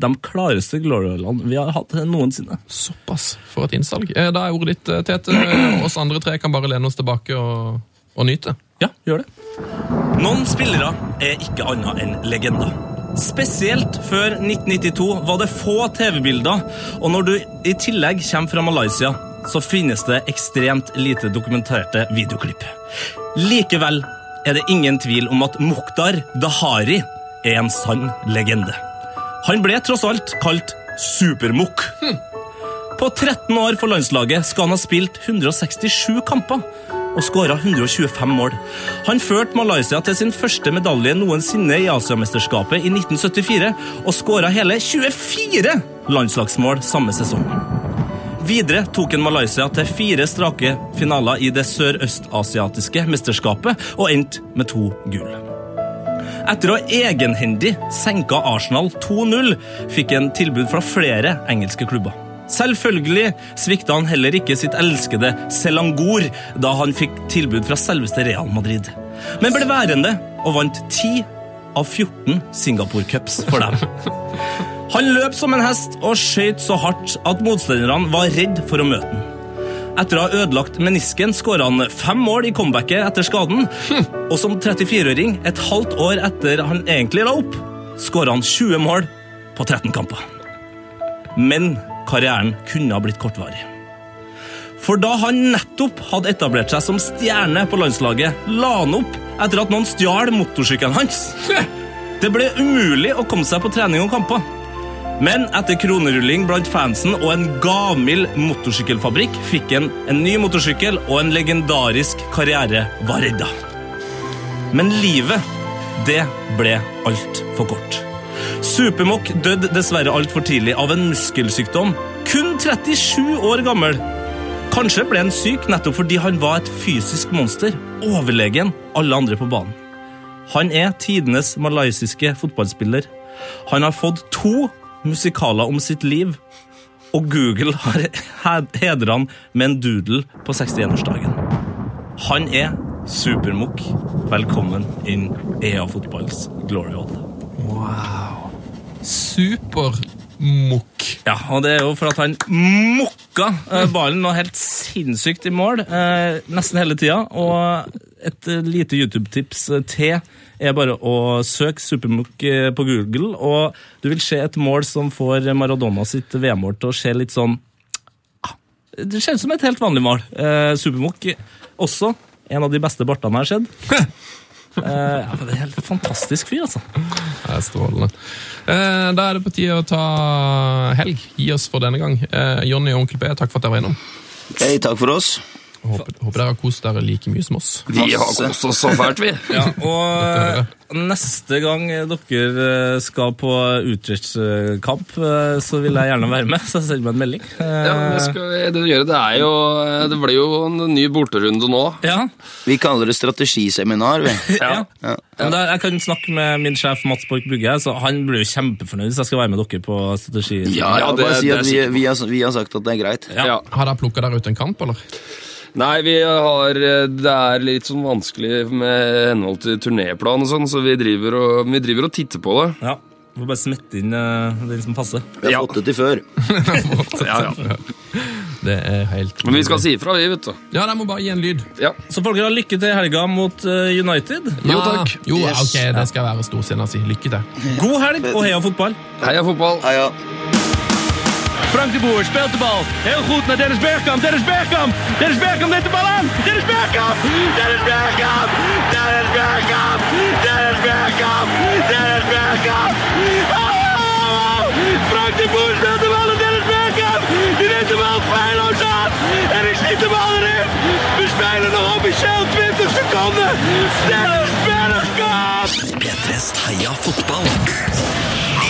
[SPEAKER 2] de klareste Glorialene vi har hatt noensinne.
[SPEAKER 1] Såpass for et innsalg. Eh, Da er ordet ditt, eh, Tete. Eh, Oss andre tre kan bare lene oss tilbake og, og nyte.
[SPEAKER 2] Ja, gjør det. Noen spillere er ikke annet enn legender. Spesielt før 1992 var det få TV-bilder, og når du i tillegg kommer fra Malaysia, så finnes det ekstremt lite dokumenterte videoklipp. Likevel er det ingen tvil om at Mukhtar Dahari er en sann legende. Han ble tross alt kalt Supermukh. På 13 år for landslaget skal han ha spilt 167 kamper og skåra 125 mål. Han førte Malaysia til sin første medalje noensinne i Asiamesterskapet i 1974 og skåra hele 24 landslagsmål samme sesong. Videre tok han Malaysia til fire strake finaler i det sørøstasiatiske mesterskapet og endte med to gull. Etter å egenhendig senka Arsenal 2-0, fikk han tilbud fra flere engelske klubber. Selvfølgelig svikta han heller ikke sitt elskede Selangor da han fikk tilbud fra selveste Real Madrid. Men ble værende og vant 10 av 14 Singapore Cups for dem. Han løp som en hest og skøyt så hardt at motstanderne var redd for å møte ham. Etter å ha ødelagt menisken skåra han fem mål i comebacket etter skaden. Og som 34-åring, et halvt år etter han egentlig la opp, skåra han 20 mål på 13 kamper. Men karrieren kunne ha blitt kortvarig. For da han nettopp hadde etablert seg som stjerne på landslaget, la han opp etter at noen stjal motorsykkelen hans. Det ble umulig å komme seg på trening og kamper. Men etter kronerulling blant fansen og en gavmild motorsykkelfabrikk fikk han en ny motorsykkel og en legendarisk karriere var redda. Men livet, det ble altfor kort. Supermokk døde dessverre altfor tidlig av en muskelsykdom, kun 37 år gammel. Kanskje ble han syk nettopp fordi han var et fysisk monster, overlegen alle andre på banen. Han er tidenes malaysiske fotballspiller. Han har fått to musikaler om sitt liv, og Google har hed- hedret han med en doodle på 61-årsdagen. Han er Supermokk. Velkommen inn i EA Fotballs glory hall.
[SPEAKER 1] Wow. Supermokk.
[SPEAKER 2] Ja, og det er jo for at han mokka eh, ballen noe helt sinnssykt i mål eh, nesten hele tida. Og et eh, lite YouTube-tips eh, til er bare å søke Supermukk eh, på Google, og du vil se et mål som får Maradona sitt VM-mål til å se litt sånn ah, Det ser ut som et helt vanlig mål. Eh, Supermukk også. En av de beste bartene jeg har sett. Eh, ja, men det er en helt fantastisk fyr, altså.
[SPEAKER 1] Det er strålende. Eh, Da er det på tide å ta helg. Gi oss for denne gang. Eh, Jonny og Onkel P, takk for at dere var innom.
[SPEAKER 5] Hei, takk for oss.
[SPEAKER 1] Håper, håper dere har kost dere like mye som oss.
[SPEAKER 6] Vi har kost oss så fælt, vi.
[SPEAKER 2] Ja, og eh, neste gang dere eh, skal på Utrecht-kamp, så vil jeg gjerne være med. Så send meg en melding. Eh,
[SPEAKER 6] Ja, men det, skal, vi- det, gjør det. det er jo eh, Det blir jo en ny borterunde nå.
[SPEAKER 2] Ja.
[SPEAKER 5] Vi kaller det strategiseminar, vi.
[SPEAKER 2] Ja. Men da- Jeg kan snakke med min sjef Mats Borch Bugge, så han blir jo kjempefornøyd hvis jeg skal være med dere på strategi.
[SPEAKER 5] bare si at vi, vi, har, vi har sagt at det er greit.
[SPEAKER 1] Har dere plukka dere ut en kamp, eller?
[SPEAKER 6] Nei, vi har eh, Det er litt sånn vanskelig med henhold til turnéplan og sånn, så vi driver og, vi driver og titter på det.
[SPEAKER 2] Ja. Får bare smette inn eh, den som passer.
[SPEAKER 5] Vi har fått det til før.
[SPEAKER 6] Ja, ja.
[SPEAKER 1] Det er helt
[SPEAKER 6] Men vi skal si ifra, vi, vet du.
[SPEAKER 1] Ja, de må bare gi en lyd.
[SPEAKER 6] Ja.
[SPEAKER 2] Så folkene, lykke til i helga mot eh, United.
[SPEAKER 6] Jo, takk.
[SPEAKER 1] Ah, Jo, ok, det skal være storsinna si. Lykke til.
[SPEAKER 2] God helg og heia fotball!
[SPEAKER 6] Heia fotball.
[SPEAKER 5] Heia.
[SPEAKER 3] Frank de Boer speelt de bal. Heel goed naar Dennis Bergkamp. Dennis Bergkamp. Dennis Bergkamp neemt de bal aan. Dennis Bergkamp. Dennis Bergkamp. Dennis Bergkamp. Dennis Bergkamp. Dennis Bergkamp. Oh! Frank de Boer speelt de bal naar Dennis Bergkamp. Die neemt de bal feilloos aan. En ik schiet de bal erin. We spelen nog officieel 20 seconden. Dennis Bergkamp.
[SPEAKER 4] P3s Heia fotball. Ny